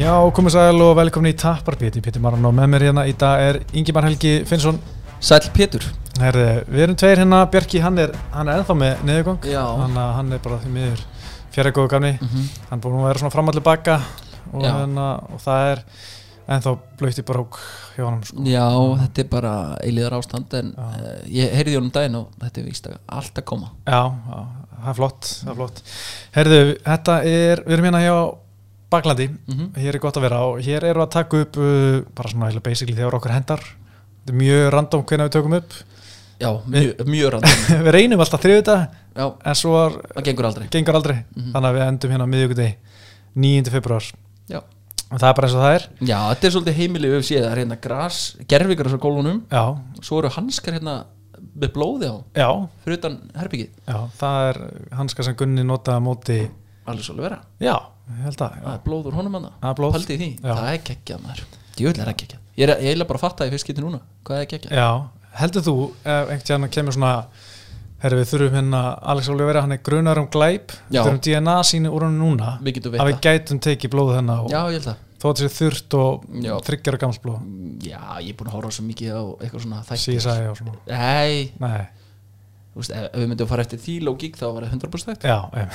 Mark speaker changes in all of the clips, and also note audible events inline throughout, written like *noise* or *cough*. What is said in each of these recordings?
Speaker 1: Já, komið sæl og velkomin í Tapparpéti, Pétur Marann og með mér hérna í dag er Ingimar Helgi Finnsson
Speaker 2: Sæll Pétur
Speaker 1: Herði, við erum tveir hérna, Bjarki, hann er, hann er ennþá með niðurgang
Speaker 2: Já.
Speaker 1: hann, hann er bara því miður fjara góðu gamni
Speaker 2: Mhm.
Speaker 1: hann búin að vera svona framallu bakka og,
Speaker 2: Já.
Speaker 1: hérna, og það er ennþá blöytt í brók hjá hann sko.
Speaker 2: Já, þetta er bara eilíðar ástand en
Speaker 1: Já.
Speaker 2: uh, ég heyrði honum daginn og þetta er víst að allt að koma
Speaker 1: Já, já, það er flott, það er flott Herðu, þetta er, við erum hérna hjá Baklandi,
Speaker 2: Mhm.
Speaker 1: hér er gott að vera og hér erum við að taka upp uh, bara svona heila basically þegar okkur hendar þetta er mjög random hvenær við tökum upp
Speaker 2: Já, mjög, mjög random
Speaker 1: *laughs* við reynum alltaf að þriðu þetta
Speaker 2: Já,
Speaker 1: en svo er,
Speaker 2: það gengur aldrei
Speaker 1: gengur aldrei
Speaker 2: Mhm.
Speaker 1: þannig að við endum hérna miðjögudegi 9. februar
Speaker 2: Já,
Speaker 1: og það er bara eins og það er
Speaker 2: Já þetta er svolítið heimilið við séð það er hérna gras, gerfigras á gólfunum
Speaker 1: já,
Speaker 2: svo eru hanskar hérna með blóði á
Speaker 1: já,
Speaker 2: fyrir utan herbyggið
Speaker 1: já, það er hanska sem Gunni notaði á móti
Speaker 2: alveg svolítið vera
Speaker 1: já, ég held að
Speaker 2: það
Speaker 1: já,
Speaker 2: er blóð úr honum hann
Speaker 1: Það er blóð.
Speaker 2: Paldið því,
Speaker 1: Já.
Speaker 2: það er geggjað maður Djúvill er það geggjað Ég er- ég eiginlega bara að fatta í fyrst geti núna hvað er geggjað
Speaker 1: já. heldur þú ef einhvern tíðan kemur svona herri við þurfum hérna Alex Olivera, hann er grunar um glæp við
Speaker 2: Já.
Speaker 1: þurfum DNA síni úr hann núna
Speaker 2: Við getum
Speaker 1: að við
Speaker 2: veit
Speaker 1: gætum tekið blóð hennar og
Speaker 2: Já, ég held að
Speaker 1: þó að þessi þurrt og
Speaker 2: Já.
Speaker 1: þryggjara gamalt blóð
Speaker 2: Já, ég er búin að horfa svo mikið á eitthvað svona þætti
Speaker 1: síðsæði og svona
Speaker 2: Nei,
Speaker 1: nei,
Speaker 2: þú veist, ef, ef við myndum að fara eftir því lógík þá var það 100% þægt.
Speaker 1: já, em,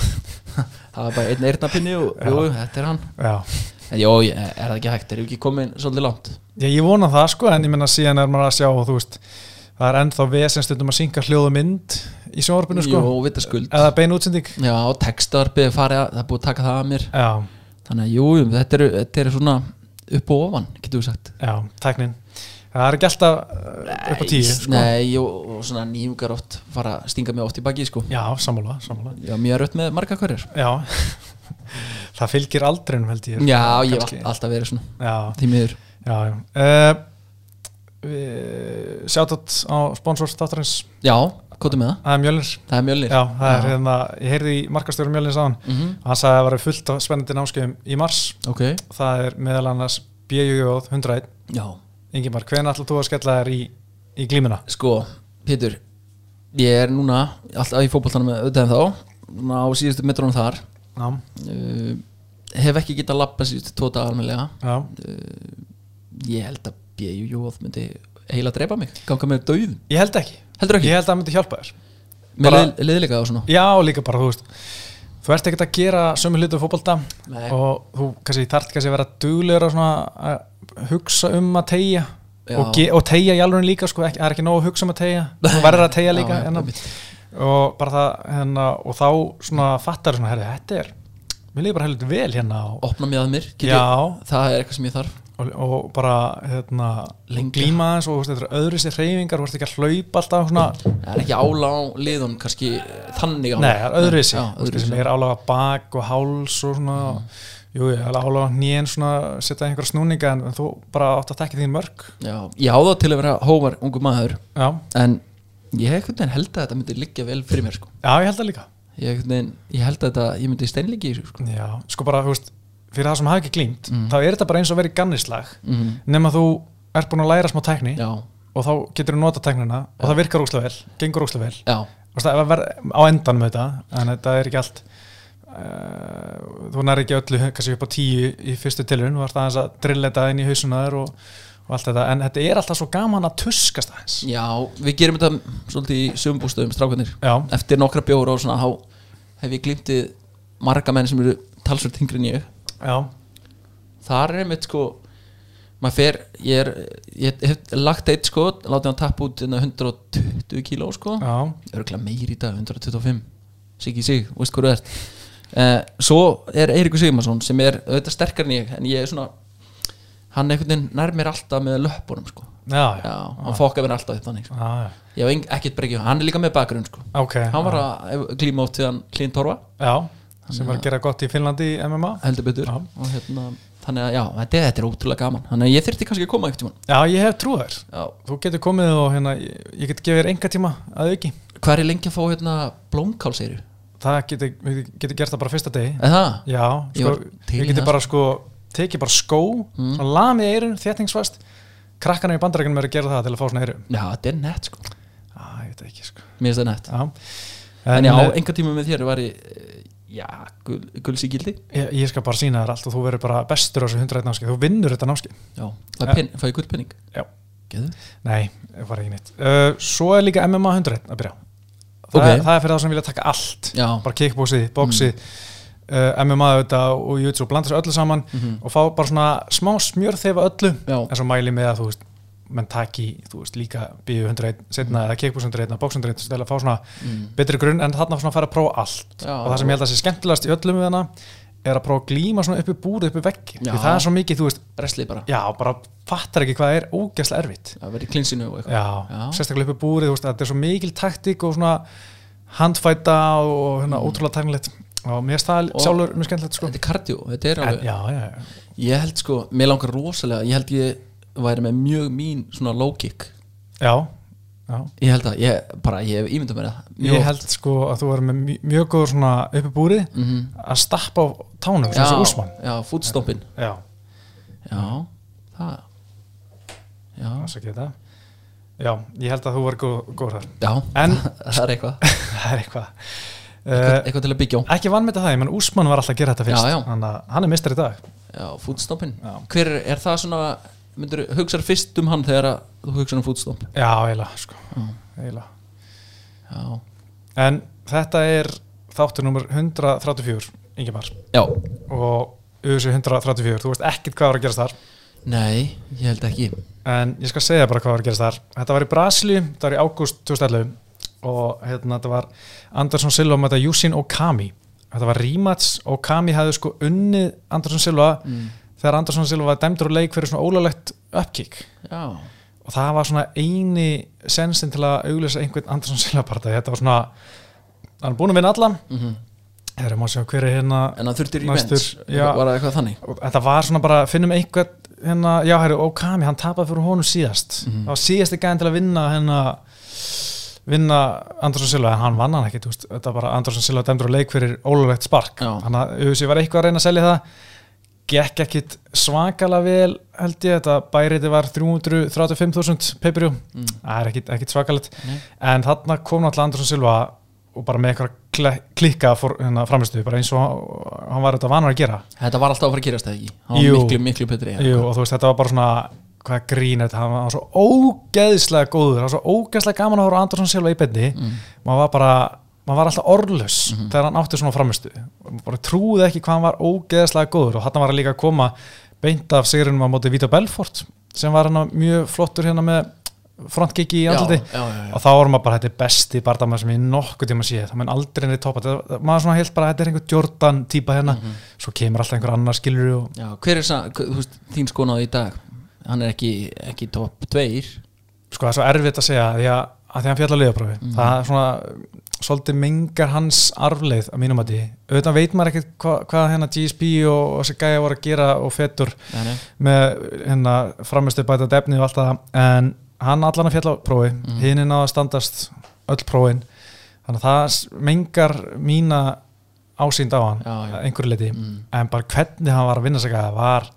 Speaker 2: það var bara einn eirnapinni og jú, þetta er hann
Speaker 1: já
Speaker 2: en jó, ég- er það ekki hægt, erum við ekki komin svolítið langt
Speaker 1: Já, ég vona það sko, en ég menna síðan er maður að sjá, þú veist, það er ennþá vesen stundum að synga hljóð og mynd í sjónvarpinu sko,
Speaker 2: Jó, vitaskuld
Speaker 1: eða bein útsending.
Speaker 2: Já, textarpið farið að, það er búið að taka það að mér
Speaker 1: Já,
Speaker 2: þannig að jú, jú, þetta eru þetta er svona upp og ofan, getur við sagt
Speaker 1: já, tæknin. Það er ekki alltaf uh, upp á tíu sko.
Speaker 2: Nei, jú, og svona nýjungar oft fara að stinga mig oft í baki, sko
Speaker 1: Já, sammála, sammála.
Speaker 2: Já, mjög rött með marga hverjir
Speaker 1: Já, *laughs* það fylgir aldrinum held ég.
Speaker 2: Já, ég hef
Speaker 1: Kannski.
Speaker 2: all- alltaf verið svona
Speaker 1: Já,
Speaker 2: því miður
Speaker 1: já, já. Uh, Sjáttátt á sponsors þáttarins,
Speaker 2: Já, kóttu með það,
Speaker 1: það er Mjölnir.
Speaker 2: það er mjölnir
Speaker 1: Já, það er hérna, ég heyrði í markastjóru Mjölnir sáðan,
Speaker 2: mm
Speaker 1: hann sagði að það var fullt af spennandi námskeiðum í mars.
Speaker 2: Ok,
Speaker 1: það er meðal annars BJJ 101
Speaker 2: já
Speaker 1: Ingimar, hvenær ætlar þú að skella þér í, í glímuna?
Speaker 2: Sko, Pétur Ég er núna alltaf í fótboltanum auðvitað en þá Núna á síðustu metrónum þar
Speaker 1: Já,
Speaker 2: uh, Hef ekki getað lappa síðustu tvo dagar almennilega
Speaker 1: já,
Speaker 2: Ég held að BJJ myndi heila að drepa mig Ganga mig dauð
Speaker 1: ég held ekki
Speaker 2: Heldur ekki?
Speaker 1: Ég held að það myndi hjálpa þér
Speaker 2: Með
Speaker 1: bara-
Speaker 2: leið, leiðilega og svona
Speaker 1: Já, og líka bara, þú veist Þú ert ekkert að gera sömu hlutu fótbolta
Speaker 2: Nei.
Speaker 1: og þú kannski þarft kannski að vera duglegur að svona að hugsa um að tegja
Speaker 2: Já.
Speaker 1: og, ge- og tegja í alveg líka sko, ekki, það er ekki nóg að hugsa um að tegja
Speaker 2: *laughs*
Speaker 1: þú verður að tegja líka
Speaker 2: Já,
Speaker 1: hérna.
Speaker 2: einmitt.
Speaker 1: og bara það hérna, og þá svona fattar svona, herri, þetta er mér líka bara heldur vel hérna og,
Speaker 2: Opna mig að mér get ég-
Speaker 1: Já,
Speaker 2: Það er eitthvað sem ég þarf
Speaker 1: og, og bara hérna,
Speaker 2: Lengja.
Speaker 1: glíma aðeins og þú veist, þetta eru öðru sér reyfingar þú ert ekki að hlaupa alltaf svona
Speaker 2: Það er ekki ála á liðun kannski eh, þannig á
Speaker 1: Nei, það er öðru sér,
Speaker 2: Já,
Speaker 1: þú veist,
Speaker 2: öðruvísi. Mm.
Speaker 1: sem er álaga bak og háls og svona jú, ég er álaga nýjen svona setja einhverja snúninga en, en þú bara átt að tekja þín mörg
Speaker 2: Já, ég á það til að vera hóvar ungu maður
Speaker 1: Já,
Speaker 2: En ég einhvern veginn held að þetta myndi liggja vel fyrir mér sko
Speaker 1: já ég held það líka
Speaker 2: ég, einhvern veginn, ég held að þetta, ég myndi steinleiki í þessu sko.
Speaker 1: Já, sko bara, þú veist, fyrir það sem hafa ekki glímt þá er þetta bara eins og að vera í gannislag
Speaker 2: mm.
Speaker 1: nema þú ert búin að læra smá tekni
Speaker 2: já,
Speaker 1: og þá getur þú nota teknina og það virkar óslega vel, gengur óslega vel
Speaker 2: já,
Speaker 1: Þú veist, það verð á endan með þetta en þetta er ekki allt uh, þú nær ekki öllu kannski upp á tíu í fyrstu tilhun þú ert aðeins að drilla þetta inn í hausuna þér og, og allt þetta, en þetta er alltaf svo gaman að tuskast aðeins
Speaker 2: já, við gerum þetta svolítið í sömbústöðum strákanir
Speaker 1: Já,
Speaker 2: eftir nokkra bjóra og svona þá hef ég glimtið marga menn sem eru talsvöld yngri en ég
Speaker 1: já,
Speaker 2: þar er einmitt sko maður fer, ég er ég hef lagt eitt sko, látið hann tappa út hérna 120 kíló sko
Speaker 1: já
Speaker 2: örgulega meir í dag, 125 Siggi Sig, veist hvað þú ert uh, Svo er Eiríkur Sigmarsson sem er auðvitað sterkar en ég en ég er svona hann einhvern veginn nær mér alltaf með löppunum sko.
Speaker 1: já, já,
Speaker 2: Já, hann fokkar mér alltaf upp þannig sko.
Speaker 1: já, já.
Speaker 2: Ég hef eng- ekkert breykið, hann er líka með bakgrunn sko.
Speaker 1: ok
Speaker 2: Hann var að klíma oft til hann Klín Torfa,
Speaker 1: já, sem var að gera gott í Finnlandi í MMA
Speaker 2: heldur betur
Speaker 1: Já.
Speaker 2: og hérna, þannig að já, þetta, þetta er ótrúlega gaman þannig að ég þyrfti kannski að koma einhvern tímann
Speaker 1: Já, ég hef trúið þér
Speaker 2: Já,
Speaker 1: þú getur komið og hérna, ég, ég get gefið þér enga tíma að auki
Speaker 2: hvað er ég lengi að fá hérna blómkálseyru?
Speaker 1: það getur getu gert það bara fyrsta degi
Speaker 2: Er það?
Speaker 1: Já,
Speaker 2: Ég
Speaker 1: sko,
Speaker 2: var til í
Speaker 1: við getum
Speaker 2: það,
Speaker 1: bara sko tekið bara skó, mm. svona lamið eirun þéttingsfast, krakkarna í bandarækjunum eru að gera það til að fá svona eirun
Speaker 2: Já, þetta er nett sko,
Speaker 1: ah, ég veit ekki sko
Speaker 2: mér finnst það nett
Speaker 1: Já,
Speaker 2: En
Speaker 1: en, eh,
Speaker 2: já,
Speaker 1: en,
Speaker 2: enga tíma með þér var ég, eh, já, gul, gulsíkildi
Speaker 1: ég, ég skal bara sína þér allt og þú verður bara bestur á þessu 101 námski, þú vinnur þetta námski
Speaker 2: já, fæ,
Speaker 1: Ja.
Speaker 2: pen, fæ ég gullpenning
Speaker 1: Já.
Speaker 2: Geðu?
Speaker 1: nei, það var ekki neitt uh, svo er líka MMA 101 að byrja það,
Speaker 2: Ok.
Speaker 1: er, það er fyrir þá sem vilja taka allt
Speaker 2: já,
Speaker 1: bara kickboxið, boxið uh, MMA auðvitað og YouTube, blanda þessu öllu saman
Speaker 2: Mm. mhm,
Speaker 1: og fá bara svona smá smjörþefa öllu
Speaker 2: já,
Speaker 1: en svo mæli með að þú veist menn taki, þú veist, líka BU 101 setna eða kickbox 101 eða box 101 til að fá svona
Speaker 2: mm,
Speaker 1: betri grunn en þarna svona að fara að prófa allt
Speaker 2: já
Speaker 1: og það sem ég held að sé skemmtilegast í öllum við hana er að prófa að glíma svona uppi búrið uppi veggi
Speaker 2: Já.
Speaker 1: því það er svo mikið, þú veist,
Speaker 2: breslið bara,
Speaker 1: já, bara fattar ekki hvað er ógeðslega erfitt
Speaker 2: að vera í klinsinu og eitthvað
Speaker 1: já,
Speaker 2: Já.
Speaker 1: sérstaklega uppi búrið, þú veist, þetta er svo mikil taktík og svona handfæta og hérna ótrúlega tæknilegt og mér finnst það
Speaker 2: Mm. Og-
Speaker 1: sjálfur mjög skemmtilegt sko
Speaker 2: þetta er kardió, þetta er
Speaker 1: en,
Speaker 2: alveg
Speaker 1: já, já, já,
Speaker 2: ég held sko, mér langar rosalega ég held ég væri með mjög mín svona low kick,
Speaker 1: já, já.
Speaker 2: ég held að ég bara, ég hef ímyndað mér það
Speaker 1: Ég held sko að þú verður með mj- mjög góður svona uppi búrið
Speaker 2: mm -hmm.
Speaker 1: að stappa á tánum sem þessu úsmann
Speaker 2: já, fútstoppin
Speaker 1: Já,
Speaker 2: já, það já,
Speaker 1: það sé ekki þetta Já, ég held að þú verður góð, góður þar
Speaker 2: já *laughs*
Speaker 1: En-
Speaker 2: það er eitthvað,
Speaker 1: Það er eitthvað
Speaker 2: eitthvað,
Speaker 1: uh,
Speaker 2: eitthvað til að byggja á
Speaker 1: Ekki vann með það, ég menn úsmann var alltaf að gera þetta fyrst
Speaker 2: Já, já.
Speaker 1: Þannig að hann er mistar í dag
Speaker 2: já, fútstoppin,
Speaker 1: Já.
Speaker 2: hver er, er það svona myndur, hugsar fyrst um hann þegar að þú hugsar um fútstopp
Speaker 1: Já, eiginlega sko,
Speaker 2: já,
Speaker 1: eiginlega
Speaker 2: já,
Speaker 1: En þetta er þáttur nummer 134, Ingemar
Speaker 2: já.
Speaker 1: Og USA 134, þú veist ekkit hvað var að gerast þar
Speaker 2: nei, ég held ekki
Speaker 1: En ég skal segja bara hvað var að gerast þar. Þetta var í Brasli, þetta var í ágúst 2011 og hérna þetta var Anderson Silva með þetta Yusin Okami. Þetta var rematch, Okami hefði sko unnið Anderson Silva
Speaker 2: mm.
Speaker 1: þegar Anderson Silva var dæmdur úr leik fyrir svona ólalegt uppkick
Speaker 2: já,
Speaker 1: og það var svona eini sensin til að auglýsa einhvern Anderson Silva parta. Þetta var svona, hann er búin að vinna alla,
Speaker 2: mm
Speaker 1: þeir eru maður að sjá hver er hérna
Speaker 2: en hann þurftir í
Speaker 1: Næstur, já.
Speaker 2: var það eitthvað þannig
Speaker 1: og þetta var svona bara, finnum einhvern hérna, já hæru, Okami, hann tapaði fyrir honum síðast
Speaker 2: Mhm.
Speaker 1: það var síðasti gæðin til að vinna hérna, vinna Andersson Silva, en hann vann hann ekki, þú veist þetta var bara Andersson Silva dæmdur á leik fyrir ólulegt spark,
Speaker 2: Já.
Speaker 1: þannig að auðvitað var eitthvað að reyna að selja það gekk ekkit svakalega vel held ég, þetta bæriði var 335.000 pay-per-view,
Speaker 2: mm.
Speaker 1: það er ekkit, ekkit svakalegt
Speaker 2: Nei.
Speaker 1: en þarna kom náttúrulega Andersson Silva og bara með eitthvað kle- klikka fór, hérna, framistu, bara eins og hann- hann var þetta vanar að gera
Speaker 2: Þetta var alltaf að fara að gerast það ekki Hann
Speaker 1: Jú.
Speaker 2: var miklu, miklu betri eða
Speaker 1: Jú,
Speaker 2: hvað?
Speaker 1: og þú veist, þetta var bara svona hvað grín þetta, hann var hann var svo ógeðslega góður, hann var svo ógeðslega gaman að horfa á Andersson Silva í beinni,
Speaker 2: mm.
Speaker 1: maður var bara maður var alltaf orðlaus
Speaker 2: Mhm.
Speaker 1: þegar hann átti svona framistu, maður bara trúði ekki hvað hann var ógeðslega góður og hann var hann líka að koma beint af sigurinnum á móti Vita Belfort sem var hann mjög flottur hérna með frontkiki í
Speaker 2: Já,
Speaker 1: andliti
Speaker 2: já, já, já.
Speaker 1: og þá vorum maður bara, þetta er besti bardamaður sem ég nokkuð tíma sé, það menn aldrei neitt topa, Þetta- maður svona heilt bara, þetta er einhver Jordan típa hérna,
Speaker 2: Mhm.
Speaker 1: svo kemur alltaf einhver annar skilur og
Speaker 2: já Hver er það, þú veist, þín skonaði í dag Hann er ekki, ekki top 2
Speaker 1: sko það er svo erfitt að segja því að, að því að hann fjallar liðaprófi
Speaker 2: Mhm.
Speaker 1: það er svona, svolítið mengar hans arfleið að mínum að því auðvitað veit maður ekkert hva, hvað hérna GSP og, og þessi gæja voru að gera og fetur með hérna framistu bæta defni og allt það en hann allan að fjalla prófi
Speaker 2: Mhm.
Speaker 1: hinn er náða að standast öll prófin þannig að það s- mengar mína ásýnd á hann
Speaker 2: Já, já.
Speaker 1: að einhverju leiti
Speaker 2: mm.
Speaker 1: en bara hvernig hann var að vinna sig að það var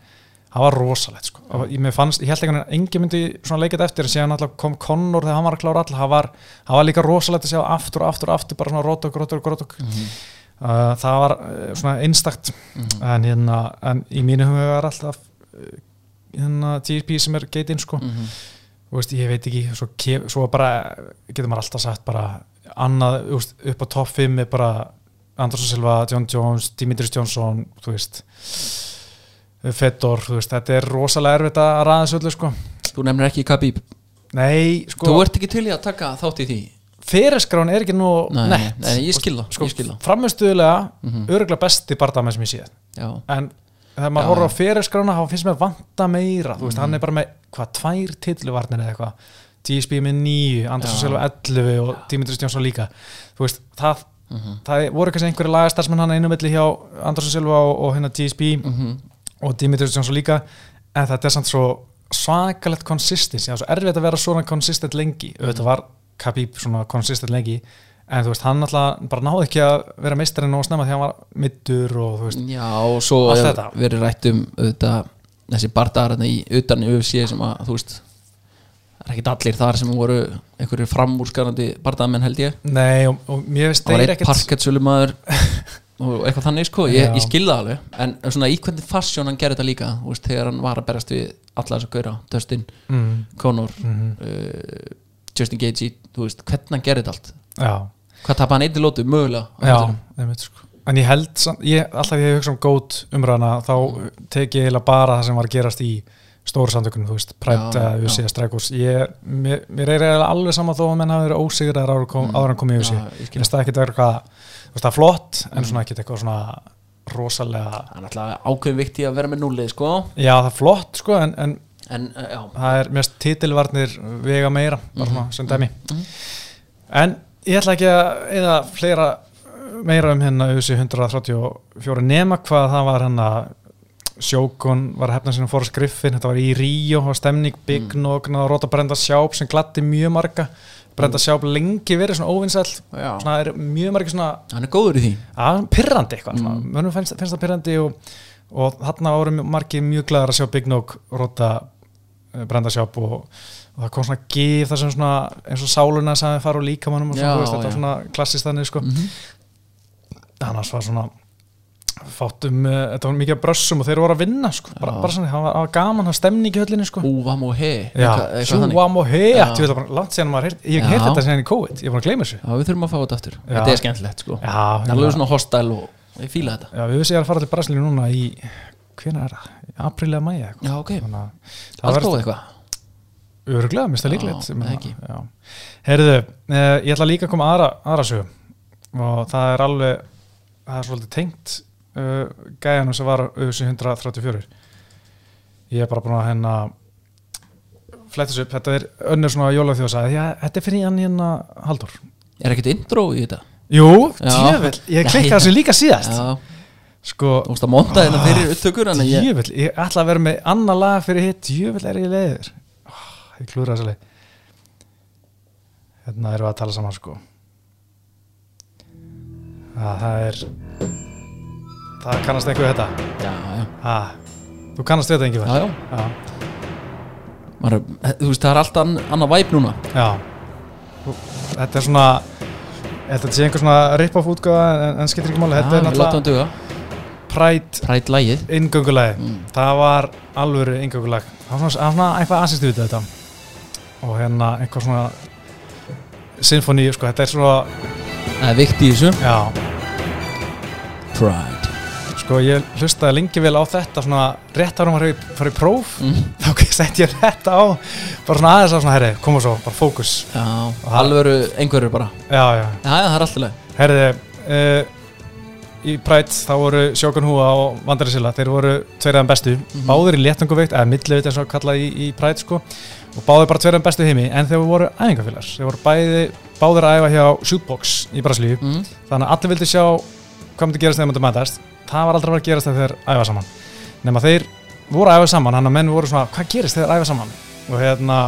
Speaker 1: það var rosalegt sko. Og ég, mér fannst, ég held ekki að engi myndi svona leikið eftir en síðan alltaf kom Connor þegar hann var að klára all það var, það var líka rosalegt að sjá aftur og aftur og aftur bara svona rótok, rótok, rótok uh,
Speaker 2: Mm.
Speaker 1: það var uh, svona einstakt
Speaker 2: Mm.
Speaker 1: en, hérna, en í mínu huga er alltaf uh, hérna GP sem er geit inn sko.
Speaker 2: Mm.
Speaker 1: Þú veist, ég veit ekki, svo, kef, svo bara getur maður alltaf sagt bara annað, þú veist, upp á topp 5 er bara Andersson Silva, John Jones, Dimitris Johnson þú veist Fedor, þú veist, þetta er rosalega erfitt að ræða þessu öllu, sko
Speaker 2: Þú nefnir ekki Khabib
Speaker 1: Nei, sko,
Speaker 2: Þú ert ekki til í að taka þátt í því
Speaker 1: fyrirskrán er ekki nú
Speaker 2: Nei,
Speaker 1: nett
Speaker 2: nei, nei, ég skil það,
Speaker 1: sko,
Speaker 2: ég skil það.
Speaker 1: Frammestuðulega,
Speaker 2: Mhm.
Speaker 1: örgulega besti bardamenn sem ég séð
Speaker 2: Já,
Speaker 1: en þegar
Speaker 2: Já, Mhm.
Speaker 1: maður horfður
Speaker 2: já.
Speaker 1: á fyrirskrána þá finnst mér vanta meira, þú veist, hann er bara með hvað, tvær titluvarnir eða eitthvað DSB með nýju, Andersson
Speaker 2: Já.
Speaker 1: Silva 11 og Dimitris Jónsson líka þú veist, það,
Speaker 2: Mhm.
Speaker 1: það voru kannski einhverju lagastarfsmenn hann einu milli hjá Andersson Silva og, og hérna DSB
Speaker 2: Mhm.
Speaker 1: og Dimitris Jónsson líka en þetta er samt svo svakalegt konsistens, það er svo erfitt að vera svona konsistent lengi,
Speaker 2: Mhm.
Speaker 1: auðvitað var Khabib svona konsistent lengi en þú veist, hann alltaf bara náði ekki að vera meistarinn og snemma því hann var middur og þú veist,
Speaker 2: já og svo
Speaker 1: Allt
Speaker 2: hefur
Speaker 1: þetta.
Speaker 2: verið rætt um auðvitað, þessi bardagarna í utan UFC sem að, þú veist það er ekkert allir þar sem voru einhverju framúrskarandi bardagamenn held ég
Speaker 1: Nei, og, og mér veist
Speaker 2: Það var
Speaker 1: þeir
Speaker 2: einn
Speaker 1: ekkert
Speaker 2: parkettsölumæður og eitthvað þannig sko, ég,
Speaker 1: Já.
Speaker 2: ég skilða alveg en svona í hvernig fasjón hann gerði þetta líka þú veist, þegar hann var að berast við alla þess að gauðra Dustin,
Speaker 1: mm,
Speaker 2: Conor
Speaker 1: mhm,
Speaker 2: uh, Justin Gagey, þú veist hvernig hann gerði þetta allt,
Speaker 1: já,
Speaker 2: hvað tappa hann einnig lótu mögulega á
Speaker 1: já
Speaker 2: vellinum?
Speaker 1: einmitt, sko. en ég held samt- ég, alltaf þegar ég hugsa um gót umræðana þá tek ég eiginlega bara það sem var að gerast í stóru samtökunum, þú veist, prætt
Speaker 2: Já,
Speaker 1: að við
Speaker 2: já.
Speaker 1: séð streikurs mér, mér er eiginlega alveg sama þó að menn hafa verið ósigraðar áður kom,
Speaker 2: Mm.
Speaker 1: áður en komið í sig
Speaker 2: Já, Mm. ég skil
Speaker 1: finnst það ekkert verið eitthvað, þú veist það er flott en svona ekkert eitthvað svona rosalega
Speaker 2: hann er alltaf ákveðin vikti að vera með núlið sko
Speaker 1: já það er flott sko en, en
Speaker 2: en uh, já,
Speaker 1: það er mest titilvarnir vega meira, bara svona sem dæmi
Speaker 2: Mhm.
Speaker 1: en ég ætla ekki að eða fleira meira um hérna UC 134 nema hvað það var hann að Sjókun var hefna sinna fór skriffin þetta var í Ríó, það var stemning byggnogn og róta brenda sjáp sem glatti mjög marga brenda sjáp lengi verið svona óvinsæll
Speaker 2: já.
Speaker 1: svona er mjög margi svona
Speaker 2: hann er góður í því
Speaker 1: að pyrrandi eitthvað mm.
Speaker 2: Mm.
Speaker 1: mönnum finnst, finnst það pyrrandi og, og þarna voru margir mjög glæðar að sjá Big Nog rota eh, brendasjáp og, og það kom svona gif þar sem svona eins og sáluna sem við fara og líka mannum og svona,
Speaker 2: Já,
Speaker 1: þú veist, þetta var
Speaker 2: já.
Speaker 1: svona klassist þannig sko
Speaker 2: mm
Speaker 1: annars var svona fátum, uh, þetta var mikið af brössum og þeir voru að vinna sko, bara,
Speaker 2: Já.
Speaker 1: bara svona, það var, það var gaman, það var stemning í höllinni sko
Speaker 2: Úvam og he
Speaker 1: Já,
Speaker 2: eitthvað- eitthvað þannig.
Speaker 1: sjúam og hea,
Speaker 2: Já.
Speaker 1: ég veit að bara langt síðan maður heyrt, ég hef
Speaker 2: Já.
Speaker 1: heyrt þetta síðan í COVID, ég er búin að gleyma þessu.
Speaker 2: Já, við þurfum að fá þetta aftur
Speaker 1: Já.
Speaker 2: Þetta er skemmtilegt sko
Speaker 1: Já,
Speaker 2: Það er alveg svona hostæl og ég fíla þetta
Speaker 1: Já, við vissum ég er að fara til Brasilíu núna í, hvena er það? Í Apríl eða mæja eitthvað.
Speaker 2: Já, ok,
Speaker 1: Þannig að það
Speaker 2: allt góð
Speaker 1: verður
Speaker 2: eitthvað
Speaker 1: öruglega, mér
Speaker 2: Já,
Speaker 1: finnst það líklegt. ég meina,
Speaker 2: það ekki.
Speaker 1: Já. Herðu, eh, ég ætla líka að koma aðra, aðra sögum og það er alveg, það er svolítið tengt uh, gæjanum sem var öðs 134. Ég er bara búin að hérna flættis upp, þetta er önnur svona jólaþjóðsæði, já, þetta er fyrir hann hérna Haldur.
Speaker 2: Er ekkert intro í þetta?
Speaker 1: Jú,
Speaker 2: Já.
Speaker 1: tjöfell, ég
Speaker 2: *laughs* Já, já.
Speaker 1: klikkaði þessu líka síðast.
Speaker 2: Já,
Speaker 1: Sko,
Speaker 2: þú veist að monta þetta
Speaker 1: Ah,
Speaker 2: fyrir upptökur Þannig að ég
Speaker 1: Djöfull, ég ætla að vera með annað lag fyrir hitt Djöfull er ég leiður oh, Ég klúra þess að leið Hérna erum við að tala saman sko ah, Það er Það kannast einhver við þetta
Speaker 2: Já, já,
Speaker 1: ah, Þú kannast við þetta einhver
Speaker 2: já, já.
Speaker 1: Já,
Speaker 2: Maður, er- Þú veist, það er alltaf ann- annað væp núna
Speaker 1: já. Þú- Þetta er svona Þetta sé einhver svona rip-off útgáða en, en skiptir ekki máli Þetta
Speaker 2: Já,
Speaker 1: er
Speaker 2: við látum
Speaker 1: náttúrulega
Speaker 2: hann duga
Speaker 1: Pride
Speaker 2: Præt lægið
Speaker 1: Ingöngulagi,
Speaker 2: Mm.
Speaker 1: það var alvöru ingöngulag, það var svona, það var svona eitthvað aðsistu við þetta og hérna eitthvað svona symfóni, sko, þetta er svona
Speaker 2: Það er vikt í þessu
Speaker 1: já,
Speaker 2: Pride
Speaker 1: sko ég hlustaði lengi vel á þetta svona rétt árum að fara í- fara í próf
Speaker 2: mm.
Speaker 1: *laughs* þá setti ég þetta á bara svona aðeins á svona, herri, koma svo, bara fókus
Speaker 2: Já, alvöru einhverju bara
Speaker 1: já, já,
Speaker 2: Já, já, það er alltaf leið
Speaker 1: herriði uh, í Pride þá voru Sjókun Húa og Vandari Silla, þeir voru tveirðan bestu, báðir í léttunguveikt eða milliveikt eins og kalla í, í Pride sko og báðir bara tveirðan bestu í heimi, en þeir voru æfingafélags, þeir voru bæði, báðir að æfa hjá Shootbox í Brasilíu,
Speaker 2: mm.
Speaker 1: þannig að allir vildi sjá hvað myndi gerast þegar myndi mætast það var aldrei að fara að gerast þegar þeir æfa saman nema þeir voru að æfa saman, hann að menn voru svona hvað gerist þegar þeir æfa saman og hérna,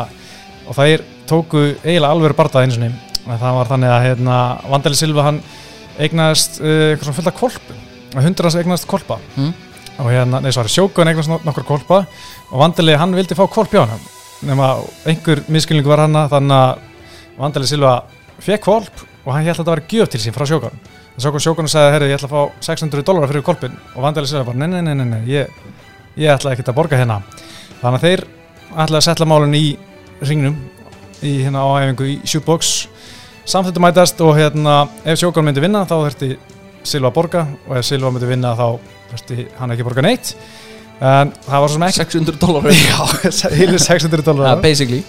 Speaker 1: og þeir tóku eiginlega alveg barndað eins og ným það var þannig að hérna, Vandali Silva hann eignast uh, eitthvað svona fullt af kolpum að hundur hans eignast kolpa
Speaker 2: Mm.
Speaker 1: og hérna, nei svari, sjókun eignast nok- nokkur kolpa og Vandali hann vildi fá kolp hjá hann nema einhver miskilning var hann þannig að Vandali Silva fekk kolp og hann held að þetta var gjöf til sín frá sjókun en sjókun sjókun sagði, herri, ég ætla að fá 600 dólar fyrir kolpin og Vandali Silva bara, nei, nei, nei, nei, nei ég, ég ætla ekkert að borga hérna þannig að þeir ætla að setla málun í ringnum í hérna áæfingu í shootbox samþýttu mætast og hérna ef sjókan myndi vinna þá þurfti Silva að borga og ef Silva myndi vinna þá þurfti hann ekki að borga neitt en það var svo sem ekki
Speaker 2: 600 dólar *laughs*
Speaker 1: Já, *laughs* heilir 600
Speaker 2: Já,
Speaker 1: dólar
Speaker 2: basically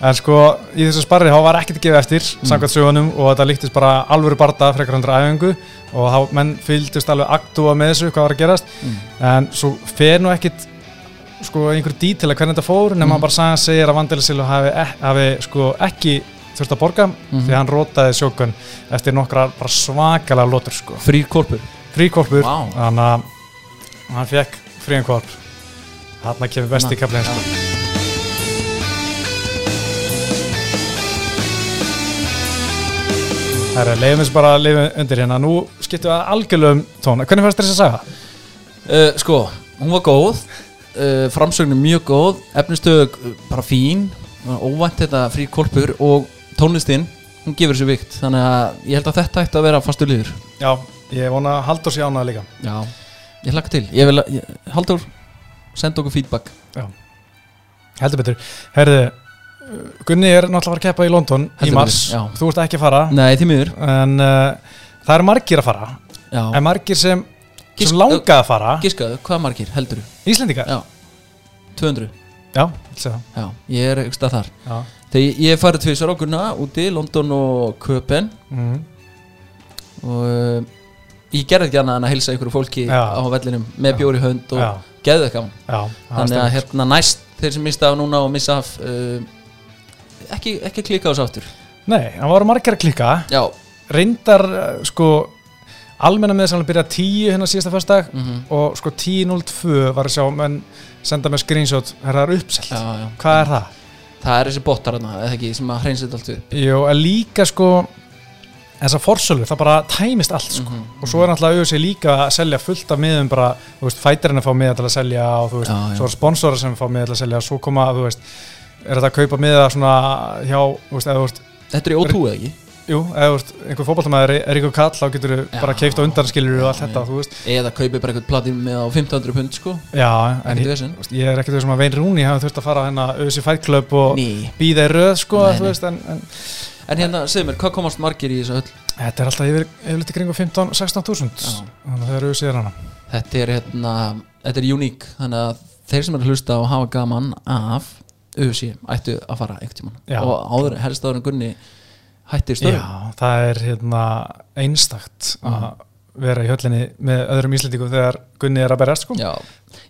Speaker 1: en sko í þessu sparri þá var ekkert að gefa eftir
Speaker 2: Mm.
Speaker 1: samkvæmt sögunum og þetta líktist bara alvöru barða frekar hundra æfingu og þá menn fylgdist alveg aktúa með þessu hvað var að gerast
Speaker 2: mm.
Speaker 1: en svo fer nú ekkit sko einhver dítil að hvernig þetta fór nema
Speaker 2: Mhm.
Speaker 1: hann bara sagði að segja að Vandelisilu hafi, ek- hafi sko ekki þurft að borga
Speaker 2: Mhm.
Speaker 1: því að hann rótaði sjókun eftir nokkra bara svakalega lótur sko
Speaker 2: Frýr korpur
Speaker 1: fríkorpur,
Speaker 2: Vá.
Speaker 1: þannig að hann fekk frían korp þarna kemur besti
Speaker 2: Na-
Speaker 1: kaflinn sko. Herra, leiðum þessu bara að lifa undir hérna nú skiptum við algjörlega um tóna hvernig fannst þér þess að saga?
Speaker 2: Uh, sko, hún var góð uh, framsögnin mjög góð efnistöðu uh, bara fín uh, óvænt þetta frí kolpur og tónlistinn hún gefur sér vikt þannig að ég held að þetta ætti að vera fastur liður
Speaker 1: Já, Ég vona að Halldór sé ánað líka
Speaker 2: Já, ég hlakka til ég vil, að- ég, Haldur, senda okkur feedback
Speaker 1: Heldur betur Herðu, uh, Gunni er náttúrulega að fara að keppa í London
Speaker 2: Heldur
Speaker 1: í mars
Speaker 2: betur, já.
Speaker 1: Þú ert ekki að fara
Speaker 2: Nei, því miður
Speaker 1: En uh, það eru margir að fara
Speaker 2: Já.
Speaker 1: En margir sem,
Speaker 2: Gísk-
Speaker 1: sem langa að fara
Speaker 2: Giskaðu, hvað margir heldur
Speaker 1: Íslendingar?
Speaker 2: Já. 200
Speaker 1: Já, ég sé það.
Speaker 2: Já, ég er ykkur stað þar
Speaker 1: já.
Speaker 2: Þegar ég hef farið tvisar okkurna úti, London og Köpen
Speaker 1: Mm.
Speaker 2: og uh, ég gerði ekki annað en að heilsa ykkur fólki
Speaker 1: Já.
Speaker 2: á vellinum með bjóri hönd og
Speaker 1: já,
Speaker 2: geðu ekki hann
Speaker 1: já
Speaker 2: þannig að
Speaker 1: stemmer.
Speaker 2: hérna næst þeir sem mista af núna og missa af uh, ekki, ekki klika á þessu aftur
Speaker 1: Nei, það voru margir að klikka
Speaker 2: já,
Speaker 1: Reyndar, uh, sko Almenna með þess að byrja 10 hérna síðasta föstudag
Speaker 2: mm
Speaker 1: og sko 10.02 var að sjá menn senda með screenshot herra það er uppselt,
Speaker 2: já, já.
Speaker 1: hvað er það?
Speaker 2: það er þessi botar hana, eða ekki, sem að hreinsa þetta allt upp
Speaker 1: Jú, en líka sko þessar forsölu, það bara tæmist allt sko.
Speaker 2: Mhm.
Speaker 1: og svo er náttúrulega auðvitað líka að selja fullt af miðum bara, þú veist, fætirinn að fá miða til að selja og þú veist,
Speaker 2: Já, já.
Speaker 1: svo er sponsorar sem fá miða til að selja og svo koma, þú veist er þetta að kaupa miða svona hjá þú veist, eða þú veist,
Speaker 2: þetta er í O2 eða ekki
Speaker 1: jú, eða þú veist, einhver fótballtamaður er ykkur kall, þá getur þú
Speaker 2: Já.
Speaker 1: bara keift og undanskilur og allt
Speaker 2: Já,
Speaker 1: þetta,
Speaker 2: já.
Speaker 1: þú veist
Speaker 2: eða kaupið bara eitthvað platin með á 500 pund sko,
Speaker 1: já, en
Speaker 2: ekki
Speaker 1: ég,
Speaker 2: þessum
Speaker 1: þú veist, ég er ekkert þessum að Vein Rúni hafa þurft að fara á hennar Ösi Fight Club og
Speaker 2: Ný.
Speaker 1: býða í röð, sko,
Speaker 2: Nei,
Speaker 1: þú
Speaker 2: nei.
Speaker 1: veist en, en
Speaker 2: en hérna, segð mér, hvað komast margir í þessu öll
Speaker 1: þetta er alltaf yfir, yfir litt kringu 15-16.000
Speaker 2: Já.
Speaker 1: þannig að það eru Ösi er hana
Speaker 2: þetta er hérna, þetta er uník þannig að þeir sem eru að hlusta og hafa gaman af öfusi ættu að fara einhvern
Speaker 1: Já.
Speaker 2: tímann og áður, helst áður en Gunni hættir stöðum
Speaker 1: Já, það er hérna einstakt að vera í höllinni með öðrum íslendingum þegar Gunni er að berjast sko.
Speaker 2: Já,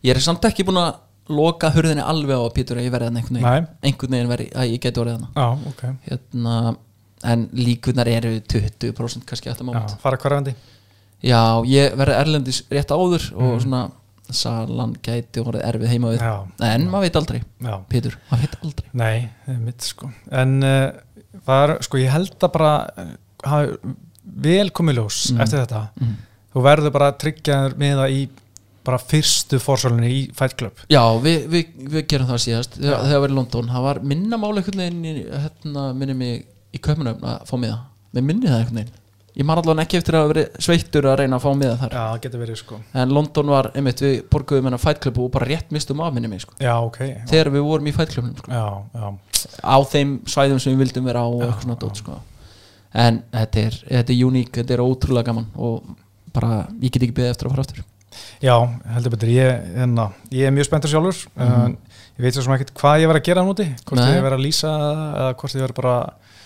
Speaker 2: ég er samt ekki búin að loka hurðinni alveg á að Pétur að ég verði hann einhvern veginn
Speaker 1: Nei,
Speaker 2: einhvern veginn verði, að ég geti orðið hann
Speaker 1: já, ok já,
Speaker 2: hérna, en líkunar eru 20% kannski alltaf mót
Speaker 1: fara hverfandi
Speaker 2: Já, ég verði erlendis rétt áður
Speaker 1: Mhm.
Speaker 2: og svona salan gæti orðið erfið heima við
Speaker 1: Já,
Speaker 2: en maður veit aldrei,
Speaker 1: já,
Speaker 2: Pétur, maður veit aldrei
Speaker 1: nei, það er mitt sko En uh, það er, sko, ég held að bara eh, hafi vel komið ljós
Speaker 2: Mm.
Speaker 1: eftir þetta
Speaker 2: mm.
Speaker 1: Þú verður bara að tryggja þér með það í bara fyrstu forsölunni í Fight Club
Speaker 2: Já, við, við, við gerum það síðast
Speaker 1: Já.
Speaker 2: þegar þegar var í London, það var minna máli einhvern veginn, í, hérna, minni mig í köpunum að fá miða, með minni það einhvern veginn ég man allavega ekki eftir að hafa verið sveittur að reyna að fá miða þar
Speaker 1: Já, það getur verið sko
Speaker 2: en London var, einmitt, við borguðum hennar Fight Club og bara rétt mistum af minni mig sko.
Speaker 1: Já, ok
Speaker 2: þegar við vorum í Fight Clubnum sko.
Speaker 1: Já, já,
Speaker 2: á þeim svæðum sem við vildum vera á og eitthvað svona dót sko. en þetta er, þetta er uník, þetta er ótrúlega gaman og bara, ég get ekki beðið eftir að fara aftur
Speaker 1: já, heldur betur Ég, hérna, ég er mjög spenntur sjálfur
Speaker 2: Mhm.
Speaker 1: uh, Ég veit svo sem ekkert hvað ég verið að gera núti Hvort
Speaker 2: Nei.
Speaker 1: ég verið að lýsa eða hvort ég verið bara að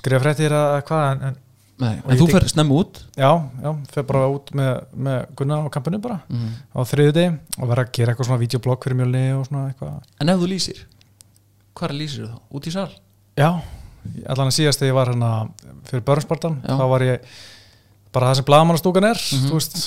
Speaker 1: skrifa fréttir eða hvað en, en,
Speaker 2: Nei,
Speaker 1: Og
Speaker 2: en
Speaker 1: ég
Speaker 2: þú
Speaker 1: tek-
Speaker 2: fer snemma út
Speaker 1: Já, já, fyrir bara út með, með Gunna á kampinu bara
Speaker 2: mm.
Speaker 1: á þriðudegi og verið að gera eitthvað svona videoblog fyrir mjölni og svona eitthvað
Speaker 2: en ef þú lýsir, hvað lýsir þú? út í sal?
Speaker 1: Já, allan að síðast þegar ég var hérna fyrir börnspartan,
Speaker 2: Já.
Speaker 1: þá var ég bara það sem blagamannastúkan er
Speaker 2: Mhm.
Speaker 1: þú veist,